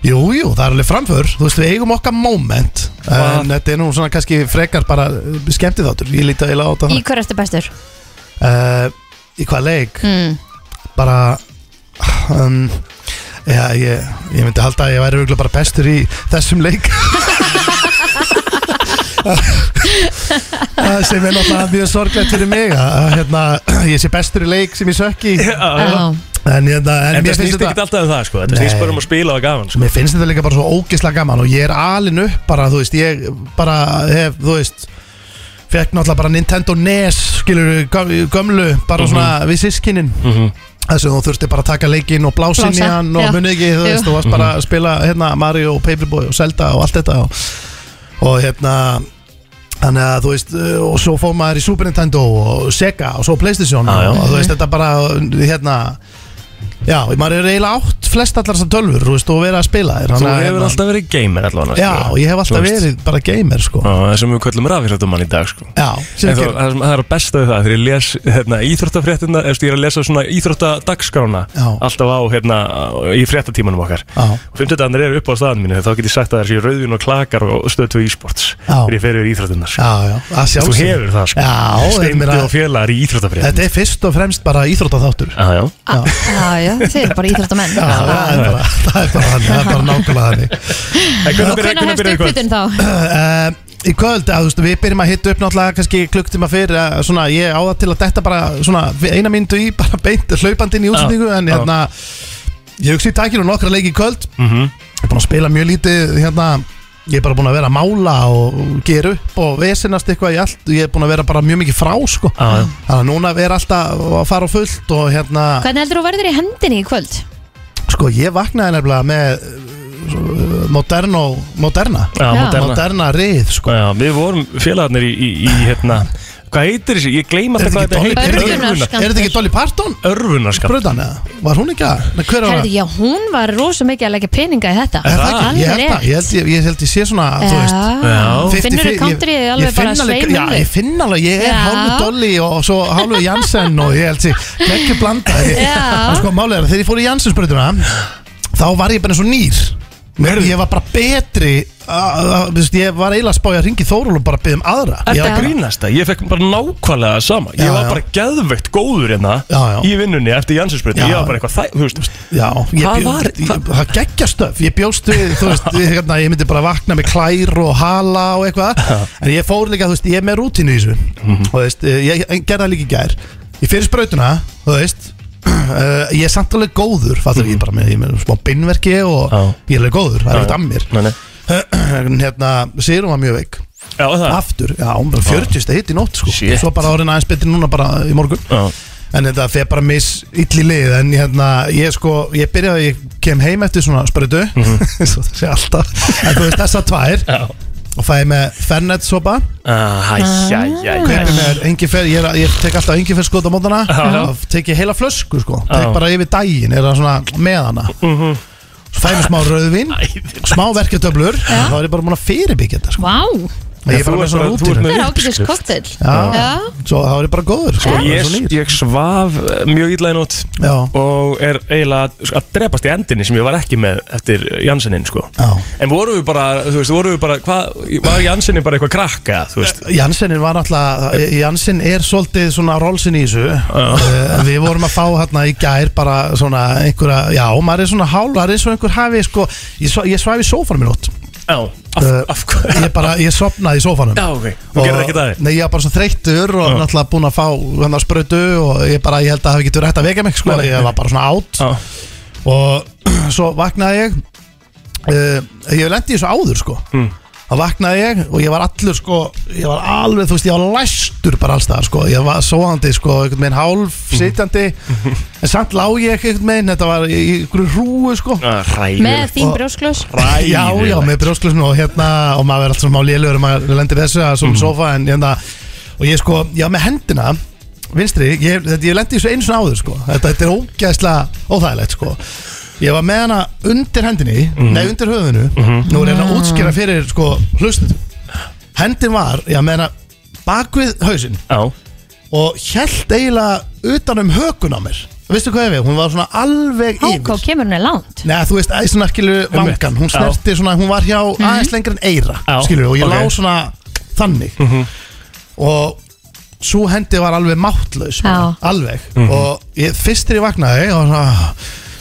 I: Jú, jú, það er alveg framför Þú veist, við eigum okkar moment En þetta er nú svona kannski frekar bara skemmtið þáttur Ég líti að ég láta
B: Í
I: það
B: hver ertu bestur
I: uh, Í hvað leik?
B: mm.
I: Bara um, Já, ég, ég myndi halda að ég væri örugglega bara bestur í þessum leik Það sem er náttúrulega mjög sorglegt fyrir mig að að, hérna, ég sé bestur í leik sem ég sökki
C: Já,
B: Já.
I: En, en, en
C: En
I: mér
C: það
I: finnst
C: snýst
I: þetta
C: ekkert alltaf um það sko Þetta snýst
I: Nei.
C: bara um að spila og hafa gaman sko.
I: Mér finnst þetta líka bara svo ógeðslega gaman og ég er alin upp bara, þú veist, ég bara hef, þú veist fekk náttúrulega bara Nintendo E NES skilur gömlu, bara
C: Mhm.
I: svona við sískinin þess að þú þurfti bara að taka leikinn og blásin í
B: Blása,
I: hann og
B: já.
I: munið ekki, þú veist,
B: Jú.
I: þú varst bara að spila hérna Mario og Paperboy og Zelda og allt þetta og, og hérna Þannig að þú veist, uh, og svo fór maður í Super Nintendo og Sega og svo Playstation
C: Já, já.
I: og þú veist,
B: Mhm.
I: þetta bara, hérna Já, maður er eiginlega átt flest allar þessar tölfur, þú veist, og verið að spila þér
C: Þú
I: þannig að,
C: hefur
I: hérna,
C: alltaf verið gamer allavega
I: Já,
C: sko.
I: ég hef alltaf
C: Þú veist.
I: verið bara gamer, sko
C: Já, Það sem við köllum rafíþróttamann í dag sko
I: Já,
C: En
I: sem
C: þó,
I: ger-
C: það, sem- það er að besta við það, þegar ég les hérna, íþróttafréttina, eða þú veist, ég er að lesa svona íþróttadagskrána
I: Já.
C: alltaf á hérna í fréttatímanum okkar
I: Já.
C: og 50 er upp á staðan mínu, þá get ég sagt að það er sér rauðvin og klakar og stöðtu e-sports
I: Já.
C: þegar ég fer yfir sko. íþróttinnar
I: Já, já, að sjálfsög
C: Þú hefur það sko
I: Já, þetta er
C: Steindi
I: meira-
C: og félagar í íþróttafréttin
I: Þetta er fyrst og fremst bara íþróttaþáttur
C: Já, já
B: Ah, Já, já, þeir eru bara íþróttamenn Ah.
I: Já, það er bara, það er bara þannig, það er bara nákvæmlega þannig
C: En
B: Og hvernig hefst uppbytun þá?
I: uh, í kvöld, að, þú veist, við byrjum að hitta upp náttúrulega kannski klukktíma fyrir að, svona, ég á það til að detta bara svona, við- eina myndu í bara beint hlaupandi inn í útsendingu en
C: já.
I: hérna, ég hugsi í tækinu nokkra leiki í kvöld ég er búin að spila mjög lítið hérna, ég er bara búin að vera að mála og gera upp og vesinast eitthvað í allt ég er búin að vera bara mjög mikið frá sko.
C: Já, já.
I: þannig að núna er alltaf að fara á fullt og hérna,
B: Hvernig heldur þú verður í hendinni í kvöld?
I: sko ég vaknaði nefnilega með uh, moderno, moderna
C: Já,
B: Já.
C: moderna
I: moderna rið sko
C: Já, við vorum félagarnir í, í, í hérna Hvað heitir þessi? Ég gleym
I: Er
C: alltaf
I: þetta
C: hvað
I: ekki
C: þetta
I: Dolly-
C: heitir
B: Örvunarskammt.
I: Er þetta ekki Dolly Parton?
C: Örvunarskap
I: Bröðan eða? Var hún ekki að? Nei, hver var
B: Herði,
I: það?
B: já, hún var rosa mikið að leggja peninga í þetta
I: Er það ekki? Ég
B: Alveg
I: held það, ég held ég, ég, held ég sé svona, þú veist
B: Já,
I: 50
B: finnur þú
I: ég-
B: countryið
I: ég
B: alveg
I: finn
B: bara
I: alveg-
B: sveimur
I: Já, ég finn alveg, ég er
B: Já.
I: hálfu Dolly og svo hálfu Jansen og ég held sér, ekki blanda
B: Já.
I: En sko, málið er að þegar ég fór í Jansen spurtuna þá var ég bara eins og nýr Ég var bara betri að- að- þú veist, Ég var eiginlega að spája að ringi Þórul og bara byggja um aðra
C: Er það
I: Ég var bara-
C: grínast það? Ég fekk bara nákvæmlega það sama Ég
I: Já,
C: var
I: já.
C: bara geðveikt góður hérna
I: Já, já.
C: Í vinnunni eftir Jansinsbreytin
I: Já.
C: Ég var bara eitthvað það, þú veist
I: Já, ég
C: Hvað
I: bjó-
C: var-
I: ég- það geggja stöf Ég bjóst við, þú veist, við, hérna, ég myndi bara vakna með klær og hala og eitthvað En ég fór líka, þú veist, ég er með rútínu í þessu
C: Mhm.
I: Og þú veist, eh, ég ég gerði það líka í gær Ég fyrir sprautuna, þú veist Uh, ég er samt alveg góður fattur, ég, er bara, með, ég er með smá binnverki og
C: Mhm. Já.
I: ég er alveg góður, það
C: Já,
I: er ekkert
C: já.
I: að mér
C: Nei, nei.
I: En hérna, Sigrun var mjög veik
C: Já, það
I: aftur, já, hún bara 40 hitt í nótt sko.
C: Shit.
I: svo bara orðin aðeins betri núna bara í morgun
C: Já.
I: en þetta fer bara miss illi lið en hérna, ég sko, ég byrjaði ég kem heim eftir svona sprödu svo það sé alltaf, en þú veist þessa tvær
C: Mhm. Já.
I: og fæði með fernet sopa
C: Ah, já, já, já
I: kaupi með engifer, ég, er- ég tek alltaf engifer skot á mótana
C: Já.
I: og teki heila flösku sko tek
C: Já. Mhm.
I: bara yfir daginn, er það svona með hana svo fæði með smá rauðvin smá verketöflur þá er ég bara búin að fyrirbyggja þetta sko.
B: Vá,
I: ég er bara
C: Þú
I: með
C: ert
I: svona
C: bara- þú ert
I: rútínu
C: með
B: það er
C: uppskrift.
B: ágætis koktel
I: Já.
B: Já.
I: Svo þá er ég bara góður sko.
C: Sko,
I: Bara svo
C: ég,
I: nýr.
C: ég svaf eh, mjög illa í nótt
I: Já.
C: og er eiginlega að drepast í endinni sem ég var ekki með eftir Jansenin sko.
I: Já.
C: en voru við bara, þú veist, voru við bara hvað, var Jansenin bara eitthvað krakka þú veist,
I: Jansenin var náttúrulega
C: Eh.
I: Jansen er svolítið svona rólsin í þessu uh, Við vorum að fá hérna í gær bara svona einhverja Já, maður er svona hálfari svo einhver hafi sko Ég, svo- ég svæfi í sófanum í nótt
C: já, af,
I: Eh,
C: af hvað
I: Ég bara, ég sopnaði í sófanum
C: já, ok, þú gerði ekki það
I: Nei, ég var bara svo þreyttur og náttúrulega búinn að fá hann að sprautu og ég bara, ég held að það hafi getur rétt að vekja mig sko,
C: Nei, nei,
I: ég
C: nei.
I: var bara svona átt
C: Já.
I: og svo vaknaði ég uh, ég lendi í þessu áður sko
C: Hmm.
I: þá vaknaði ég og ég var allur sko ég var alveg, þú veist, ég var læstur bara allstaðar sko, ég var svoandi sko einhvern veginn hálf, sitjandi en samt lá ég einhvern veginn, þetta var í í einhverju hrúu sko
C: Ah,
B: Með
C: ræður,
B: þín brjóskljós
I: Já, já, með brjósklusinu og hérna og maður er alltaf smá lélur og maður lendir í þessu að svona sofa en hérna og ég sko, já með hendina vinstri, ég, þetta, ég lendi í þessu einu svona áður sko þetta, þetta er ógæðslega óþægilegt sko ég var með hana undir hendinni nei undir höfðinu, nú er hérna að útskýra fyrir sko hlustinu hendin var, já með hana bakvið hausinn
C: já,
I: og hjælt eiginlega utan um hökun á mér veistu hvað ég við, hún var svona alveg
B: Hákó kemur henni langt
I: Nei, þú veist, æ, svona skilur vangan Hún
C: Já.
I: snerti svona, hún var hjá
B: Mhm.
I: aðeins lengur en eira
C: Já,
I: Skilur, og ég
C: ok. Mhm.
I: lá svona þannig Og svo hendi var alveg máttlaus bara,
B: Já.
C: Mhm.
I: Alveg Og ég, fyrst þegar ég vaknaði Og svona,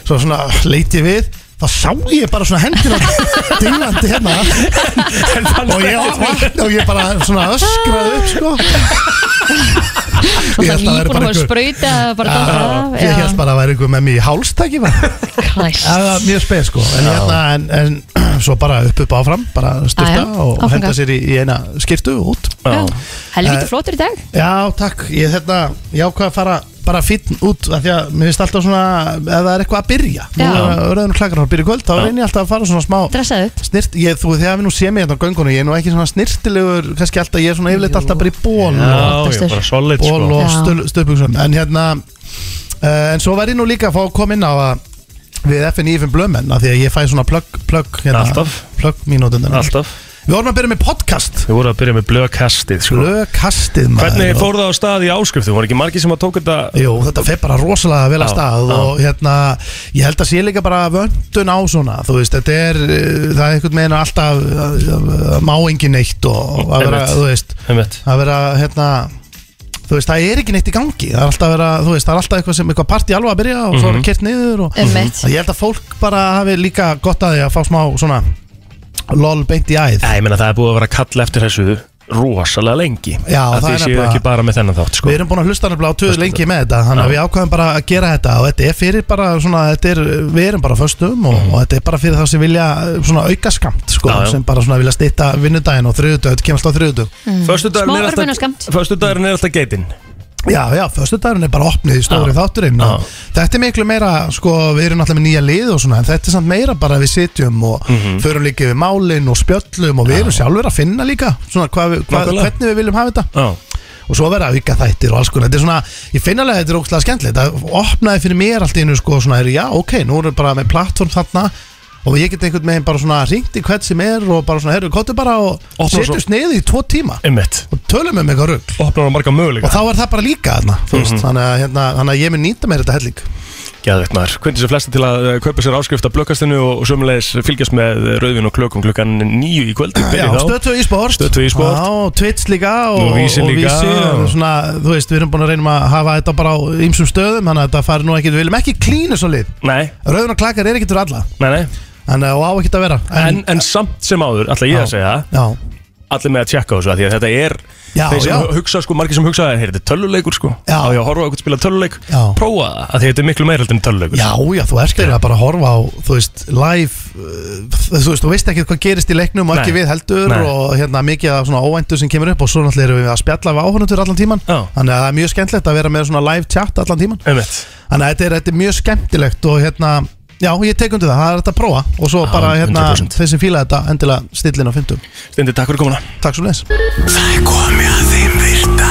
I: svo svona leiti við þá sá ég bara svona hendina dinglandi hérna og ég vakna og ég bara svona öskraði upp sko Ég held að það væri
B: Íbúin
I: bara
B: að
I: einhver-
B: sprauta eða bara
I: Já,
B: dotta af,
I: Ég
B: já.
I: held bara að það væri einhver með mér í hálstæki bara.
B: Christ.
I: Það var mjög speð sko en, hérna, en, en svo bara upp upp áfram bara
B: Já,
I: styrta
B: já,
I: og
B: áfanga.
I: henda sér í, í eina skirtu og út
B: Já. Helviti
I: Eh,
B: sko. flottur í dag
I: Já, takk, ég þetta ég ákvað að fara bara fítn út af því að mér finnst alltaf svona ef það er eitthvað að byrja nú
B: Já.
I: er öðrun klakar að byrja í kvöld þá reyni ég alltaf að fara svona smá
B: Dressaðu upp
I: snirt, ég, þú þegar við nú sé mig hérna á göngunum ég er nú ekki svona snirtilegur, kannski alltaf ég er svona yfirleitt alltaf bara í ból
C: Já, ég
B: Oftast
C: er
B: er-
C: bara solid
I: ból
C: sko
I: og
B: Já.
I: stöl- stöðbuxum en hérna uh, en svo var ég nú líka að fá að koma inn á að við FNI FM Blömmen af því að ég fæ svona plögg plögg hérna,
C: Alltaf.
I: plögg mínútundar
C: Alltaf
I: við vorum að byrja með podcast
C: Við vorum að byrja með blöðkastið sko
I: Blökastið maður
C: Hvernig fór það á stað í áskriftum? Var ekki margir sem að tók þetta
I: Jú, þetta fer bara rosalega vel að
C: Já,
I: stað
C: já.
I: og hérna, ég held að sé líka bara vöndun á svona, þú veist, þetta er eh, það er einhvern veginn alltaf að- að- að má engin neitt og að vera,
C: Einmitt.
I: þú veist,
C: Einmitt.
I: að vera, hérna þú veist, það er ekki neitt í gangi það er alltaf að vera, þú veist, það er alltaf eitthvað sem eitthvað partí alveg að byrja og svo er það kert niður og
B: Einmitt.
I: Þannig ég held að fólk bara hafi líka gott að því að fá smá svona lol beint í æð
C: Nei, ég meina það er búið að vera að kalla eftir þessu rosalega lengi
I: Já,
C: Að
I: það
C: Þið
I: er
C: séu
I: nefnilega-
C: ekki bara með þennan þátt sko
I: Við erum búin að hlusta nefnilega á töðu lengi með þetta Þannig að við ákvæðum bara að gera þetta Og þetta er fyrir bara svona þetta er, Við erum bara föstum og, og þetta er bara fyrir það sem vilja eh, Svona aukaskamt sko,
C: Já, já.
I: Sem bara svona vilja stýta vinnudaginn og þriðudöð Þetta kemst á þriðudög
C: Föstudagurinn
B: Smá
C: er
B: örmuna
C: alltaf-
B: skammt.
C: Föstudagurinn er alltaf geitin
I: Já, já, föstudagurinn er bara opnið í stóri
C: Já.
I: þátturinn og
C: Já.
I: Þetta er miklu meira, sko, við erum náttúrulega með nýja lið og svona En þetta er samt meira bara að við sitjum og
C: Mhm.
I: Förum líka við málin og spjöllum Og við erum sjálfur að finna líka Svona hva, hva,
C: Nákvæmlega.
I: hvernig við viljum hafa þetta
C: Já,
I: og svo verða auka þættir og alls konar þetta er svona, ég finn alveg að þetta er ógstlega skemmtilegt það opnaði fyrir mér allt í einu sko svona, er, já ok, nú erum við bara með plattform þarna og ég get einhvern veginn bara svona ringt í hvert sem er og bara svona, herru, kóttu bara og
C: Opna
I: setjumst niður í tvo tíma
C: einmitt
I: og tölum um eitthvað rugg
C: Opnar á marga
I: og
C: möguleika
I: þá er það bara líka þarna þú
C: Mhm.
I: veist, þannig, að, hérna, þannig að ég mun nýta mér þetta helling
C: Gæðveitt maður Hvernig sem flesta til að eh, kaupa sér áskrift af blöðkastinu og og sömulegis fylgjast með eh, rauðvin og klökum klukkan nýju í kvöld
I: Já, stötu í sport
C: Stöð tvö í sport.
I: Já, og Twitch líka og,
C: Nú, Vísir
I: og
C: líka.
I: og svona, Þú veist, við erum búin að reynum að hafa þetta bara á ýmsum stöðum Þannig að þetta fari nú ekki, við viljum ekki klínu svo lið
C: Nei,
I: Rauðun og klakar er ekki til alla
C: nei, nei
I: en, og á ekki að vera
C: En, en samt sem áður, alltaf ég að
I: Já.
C: segja
I: já,
C: Allir með að tjekka á þessu af Því að þetta er
I: Já,
C: Þeir sem
I: já.
C: hugsa, sko, margir sem hugsa "Heyrðu, Þetta er töluleikur, sko
I: Já.
C: Á ég að horfa á eitthvað spila töluleik
I: Já.
C: Prófa það, af því að þetta er miklu meira heldur en töluleikur
I: já, já, þú ert þeirra bara að horfa á þú veist, live uh, þú veist, þú veist ekki hvað gerist í leiknum og ekki
C: Nei.
I: við heldur
C: Nei.
I: og hérna mikið af svona óvæntu sem kemur upp og svo náttúrulega erum við að spjalla við áhörnundur allan tíman
C: Já.
I: þannig að það er mjög skemmtilegt að vera með svona live chat allan tíman
C: Einmitt.
I: þannig að þetta er, þetta er mjög skemmtilegt og hérna, já, ég tek undir það, það er þetta að prófa og svo
C: Já,
I: bara hérna,
C: 100%.
I: þeir sem fíla þetta endilega stillin á 50,
C: Steindi, takk fyrir komuna
I: takk svo leins
A: Það er komið að þeim virta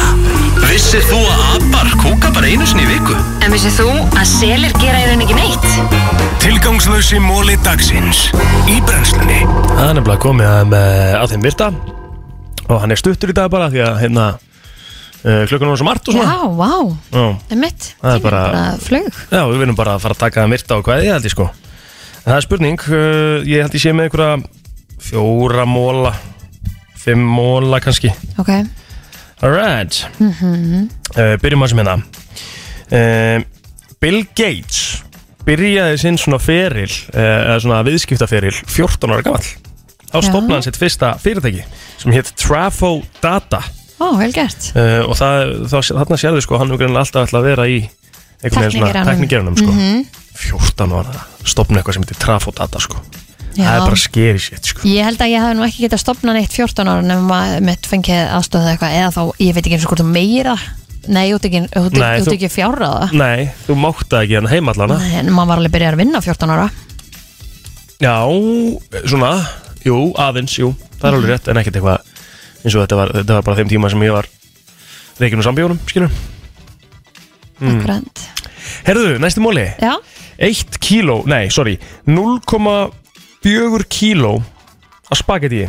A: Vissir þú að abar kúka bara einu sinni í viku?
G: En vissið þú að selir gera í raun ekki neitt?
A: Tilgangslösi móli dagsins Í brennslunni
C: Það er nefnilega komið að, með, að þeim virta og hann er stuttur í dag bara því að hérna uh, klukkan var svo margt og svona
B: Já, vá,
C: Já,
B: emitt
C: Það er bara-
B: flög
C: já við viljum bara að fara að taka þeim virta og hvað ég held ég sko en það er spurning, uh, ég held ég sé með einhverja fjóra móla fimm móla kannski
B: Ok,
C: Alright mm -hmm. uh, Byrjum að sem hérna uh, Bill Gates byrjaði sinn svona feril uh, eða svona viðskiptaferil 14 ára gamall þá
B: Já.
C: stopnaði hann sitt fyrsta fyrirtæki sem hétt Trafo Data
B: ó, vel gert
C: uh, og það, þá, þarna sérðu sko hann hefur greinilega alltaf ætlað að vera í einhvern veginn svona
B: Tæknigeranum. Mhm.
C: teknigerunum sko 14 ára stopna eitthvað sem heitir Trafo Data sko það er
B: Já.
C: bara skeri sétt sko
B: Ég held að ég hafði nú ekki getað stopnað neitt 14 ára nefnum að mitt fengið aðstöð eða eitthvað eða þá, ég veit ekki eins og hvort þú meira Nei, út ekki, út,
C: Nei,
B: út
C: þú-
B: ekki fjárra það
C: Nei, þú máttaði ekki hérna hann heimallana
B: Nei, En maður var alveg byrjað að vinna 14 ára
C: Já, svona, jú, aðeins, jú Það er
B: Mhm.
C: alveg rétt, en ekkert eitthvað eins og þetta var, þetta var bara þeim tíma sem ég var reikinu sambjónum, skilur
B: Akkurat
C: Herðu, næsti móli
B: Já,
C: 1 kíló, nei, sorry 0,4 kíló af spagetti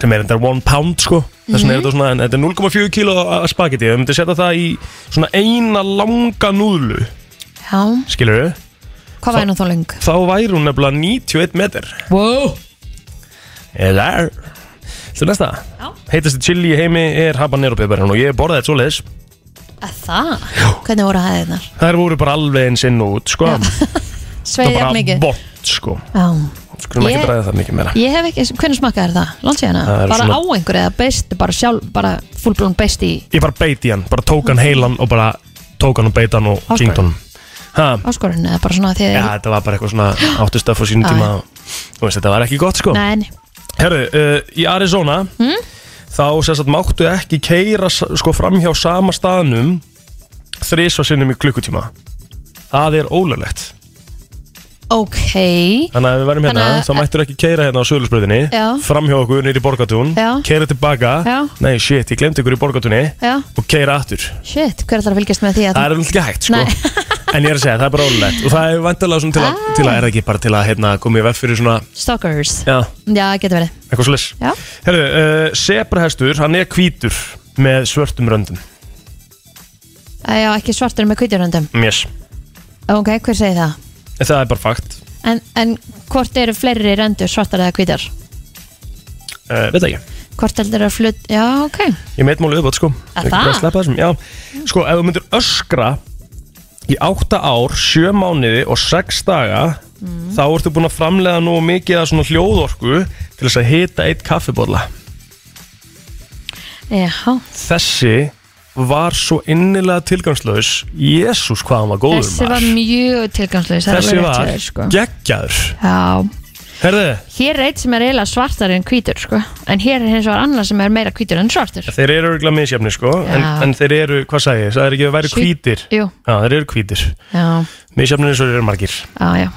C: sem er þetta 1 pound, sko þess vegna er
B: Mhm.
C: þetta svona, en þetta er 0,4 kíló af spagetti við myndum setja það í svona eina langa núðlu,
B: já,
C: skilur
B: hvað væri nú þá lung?
C: þá væri hún nefnilega 91 metr
B: Wow
C: Eða er Þú næsta
B: Já.
C: Heitasti chili í heimi er habanero pepperinn og ég borðaði þetta svoleiðis
B: Það, hvernig voru hæðirnar?
C: Það voru bara alveg eins inn og út sko
B: Sveiði
C: Það
B: jafn
C: bara vont
B: mikið
C: langt sko Skulum ekki
B: Ég-
C: ræða það mikið meira
B: Ég hef ekki, hvernig smakkaði þér það? Langt síðan
C: Það
B: að?
C: er
B: Bara
C: svona-
B: á einhverju eða beist, bara sjálf, bara fullblón beist í
C: Ég bara beit í hann, bara tók hann heilan og bara tók hann og beit hann og
B: Áskorun.
C: kynkt hann Ha,
B: áskorun eða bara svona því að
C: ja, þetta var bara eitthvað svona áttustöf á sínum
B: Já,
C: tíma og, og veist, þetta var ekki gott sko
B: Nei, Hmm? nei.
C: Herru, uh, í Arizona þá sem sagt máttu ekki keira sko framhjá sama staðnum þrísvar sinnum í klukkutíma Það er ólulegt
B: ok
C: Þannig að ef við verðum hérna,
B: Þannig að-
C: þá mættur ekki keira hérna á Söðlusbröðinni
B: Já.
C: Framhjá okkur niður í Borgatún
B: Já.
C: Keira tilbaka
B: Já.
C: Nei, shit, ég glemdi ykkur í Borgatúni
B: Já,
C: Og keira aftur
B: shit, hver ætlar að fylgjast með því að
C: Það er náttúrulega ekki hægt, sko
B: Nei. Ah.
C: En ég er að segja, það er bara ólulegt Og það er vantilega svona til að, til að er það ekki bara til að hérna, koma í vef fyrir svona
B: Stalkers
C: Já,
B: Já, getur verið
C: eitthvað slis
B: Já.
C: Herru, uh, sebrahestur, hann er hvítur með svörtum röndum
B: Æ, Já, ekki svartur með kvítjuröndum
C: yes.
B: Ok, hver segir það?
C: Það er bara fakt
B: En, en hvort eru fleiri röndur svartar eða hvítar?
C: uh, Veit það ekki
B: Hvort heldur að flutt Já, ok
C: Ég meit málið upp átt, sko
B: Er
C: Ekki
B: það?
C: bara að sleppa þessum, Já, sko, ef þú myndir öskra í átta ár, sjö mánuði og sex daga
B: Mm.
C: þá ertu búin að framlega nú mikið að svona hljóðorku til þess að hita eitt kaffibólla
B: Já,
C: þessi var svo innilega tilgangslaus Jésús hvað hann var góður
B: þessi var
C: maður
B: mjög tilgangslega
C: þessi var
B: sko.
C: geggjaður
B: Já,
C: herðu,
B: hér er eitt sem er eiginlega svartar en hvítur sko. En hér er hins vegar annar sem er meira hvítur en svartur
C: þeir eru örgulega misjafni sko en,
B: Já.
C: en þeir eru, hvað sagði ég, það er ekki að vera
B: Sjú-
C: hvítir já,
B: Jú,
C: þeir eru hvítir
B: já,
C: misjafnir eins og þeir eru margir
B: já, já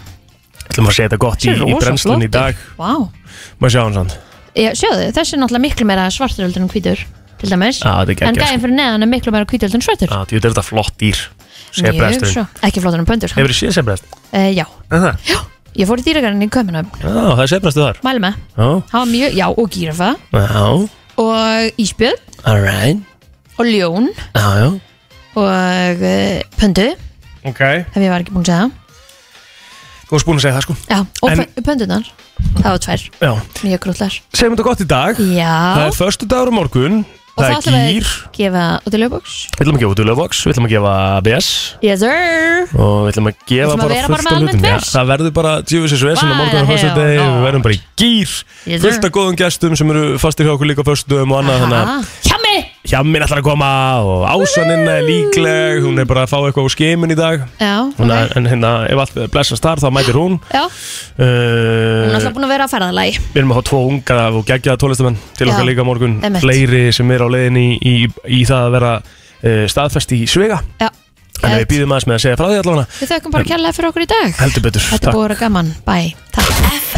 C: ætlum að segja þetta gott í,
B: Þessi er
C: í
B: rosa
C: brennslun í
B: flottur.
C: dag
B: Vá,
C: maður sjá hann sann
B: já, sjáðu, þessi er náttúrulega miklu meira svartur heldur en hvítur Til dæmis
C: Já, þetta er geggjað, sko.
B: En gæðin fyrir neðan er miklu meira hvítur heldur en svartur
C: að því þetta er þetta flott dýr segja
B: Mjög
C: bresturinn
B: svo, ekki flottur en pöndur sko.
C: hefur þið séð segja brest?
B: uh, Já,
C: það
B: ég fór í dýragarinn í kömuna
C: er segja brestu þar
B: Mælu með,
C: já,
B: hafa mjög, já, og gírafa
C: já,
B: Og íspjöð
C: alright
B: og ljón
C: já, já
B: og uh, pöndu Ef
C: ok,
B: ég var ekki búin að segja það
C: þú varst búin að segja það sko
B: Já, og
C: En-
B: en... pöndunar Það var tvær,
C: já,
B: mjög grútlar
C: segjum þetta gott í dag Það
B: Já,
C: er förstu dagur á morgun
B: og
C: Það
B: þá
C: er
B: ætlum við
C: gýr
B: að gefa út í lögbóks
C: Við ætlum að gefa Dulavox, við ætlum að gefa BS
B: Yes sir
C: Og við ætlum að
B: Við
C: gefa
B: ætlum að
C: bara
B: vera bara
C: fullt
B: með
C: af
B: almennt
C: hlutum Já,
B: VS.
C: Það verður bara djöfisins vesinn á
B: Bara
C: morgun og
B: hell
C: fyrstu degi
B: no.
C: Við verðum bara í gýr
B: Yes, sir.
C: Fullt af góðum gestum sem eru fastir hjá okkur líka á förstu dögum og annað Þannig að
B: Hjami
C: hjamminn ætlar að koma og ásaninna er líkleg Hún er bara að fá eitthvað úr skeimin í dag
B: Já,
C: Hún
B: ok
C: er, En hérna, ef allt blessast þar þá mætir hún
B: Já, hún er
C: uh,
B: alltaf búin að vera að ferðalægi
C: Við erum að fá tvo unga og geggjaða tólestamenn til
B: Já,
C: okkar líka á morgun
B: einmitt.
C: Fleiri sem er á leiðinni í, í, í það að vera uh, staðfest í Svega
B: Já,
C: Þannig
B: Eh,
C: að við býðum aðeins með að segja frá því allavega
B: við þökkum bara kærlega fyrir okkur í dag
C: Heldur betur,
B: Þetta er búið að vera gaman, bæ, takk
G: FM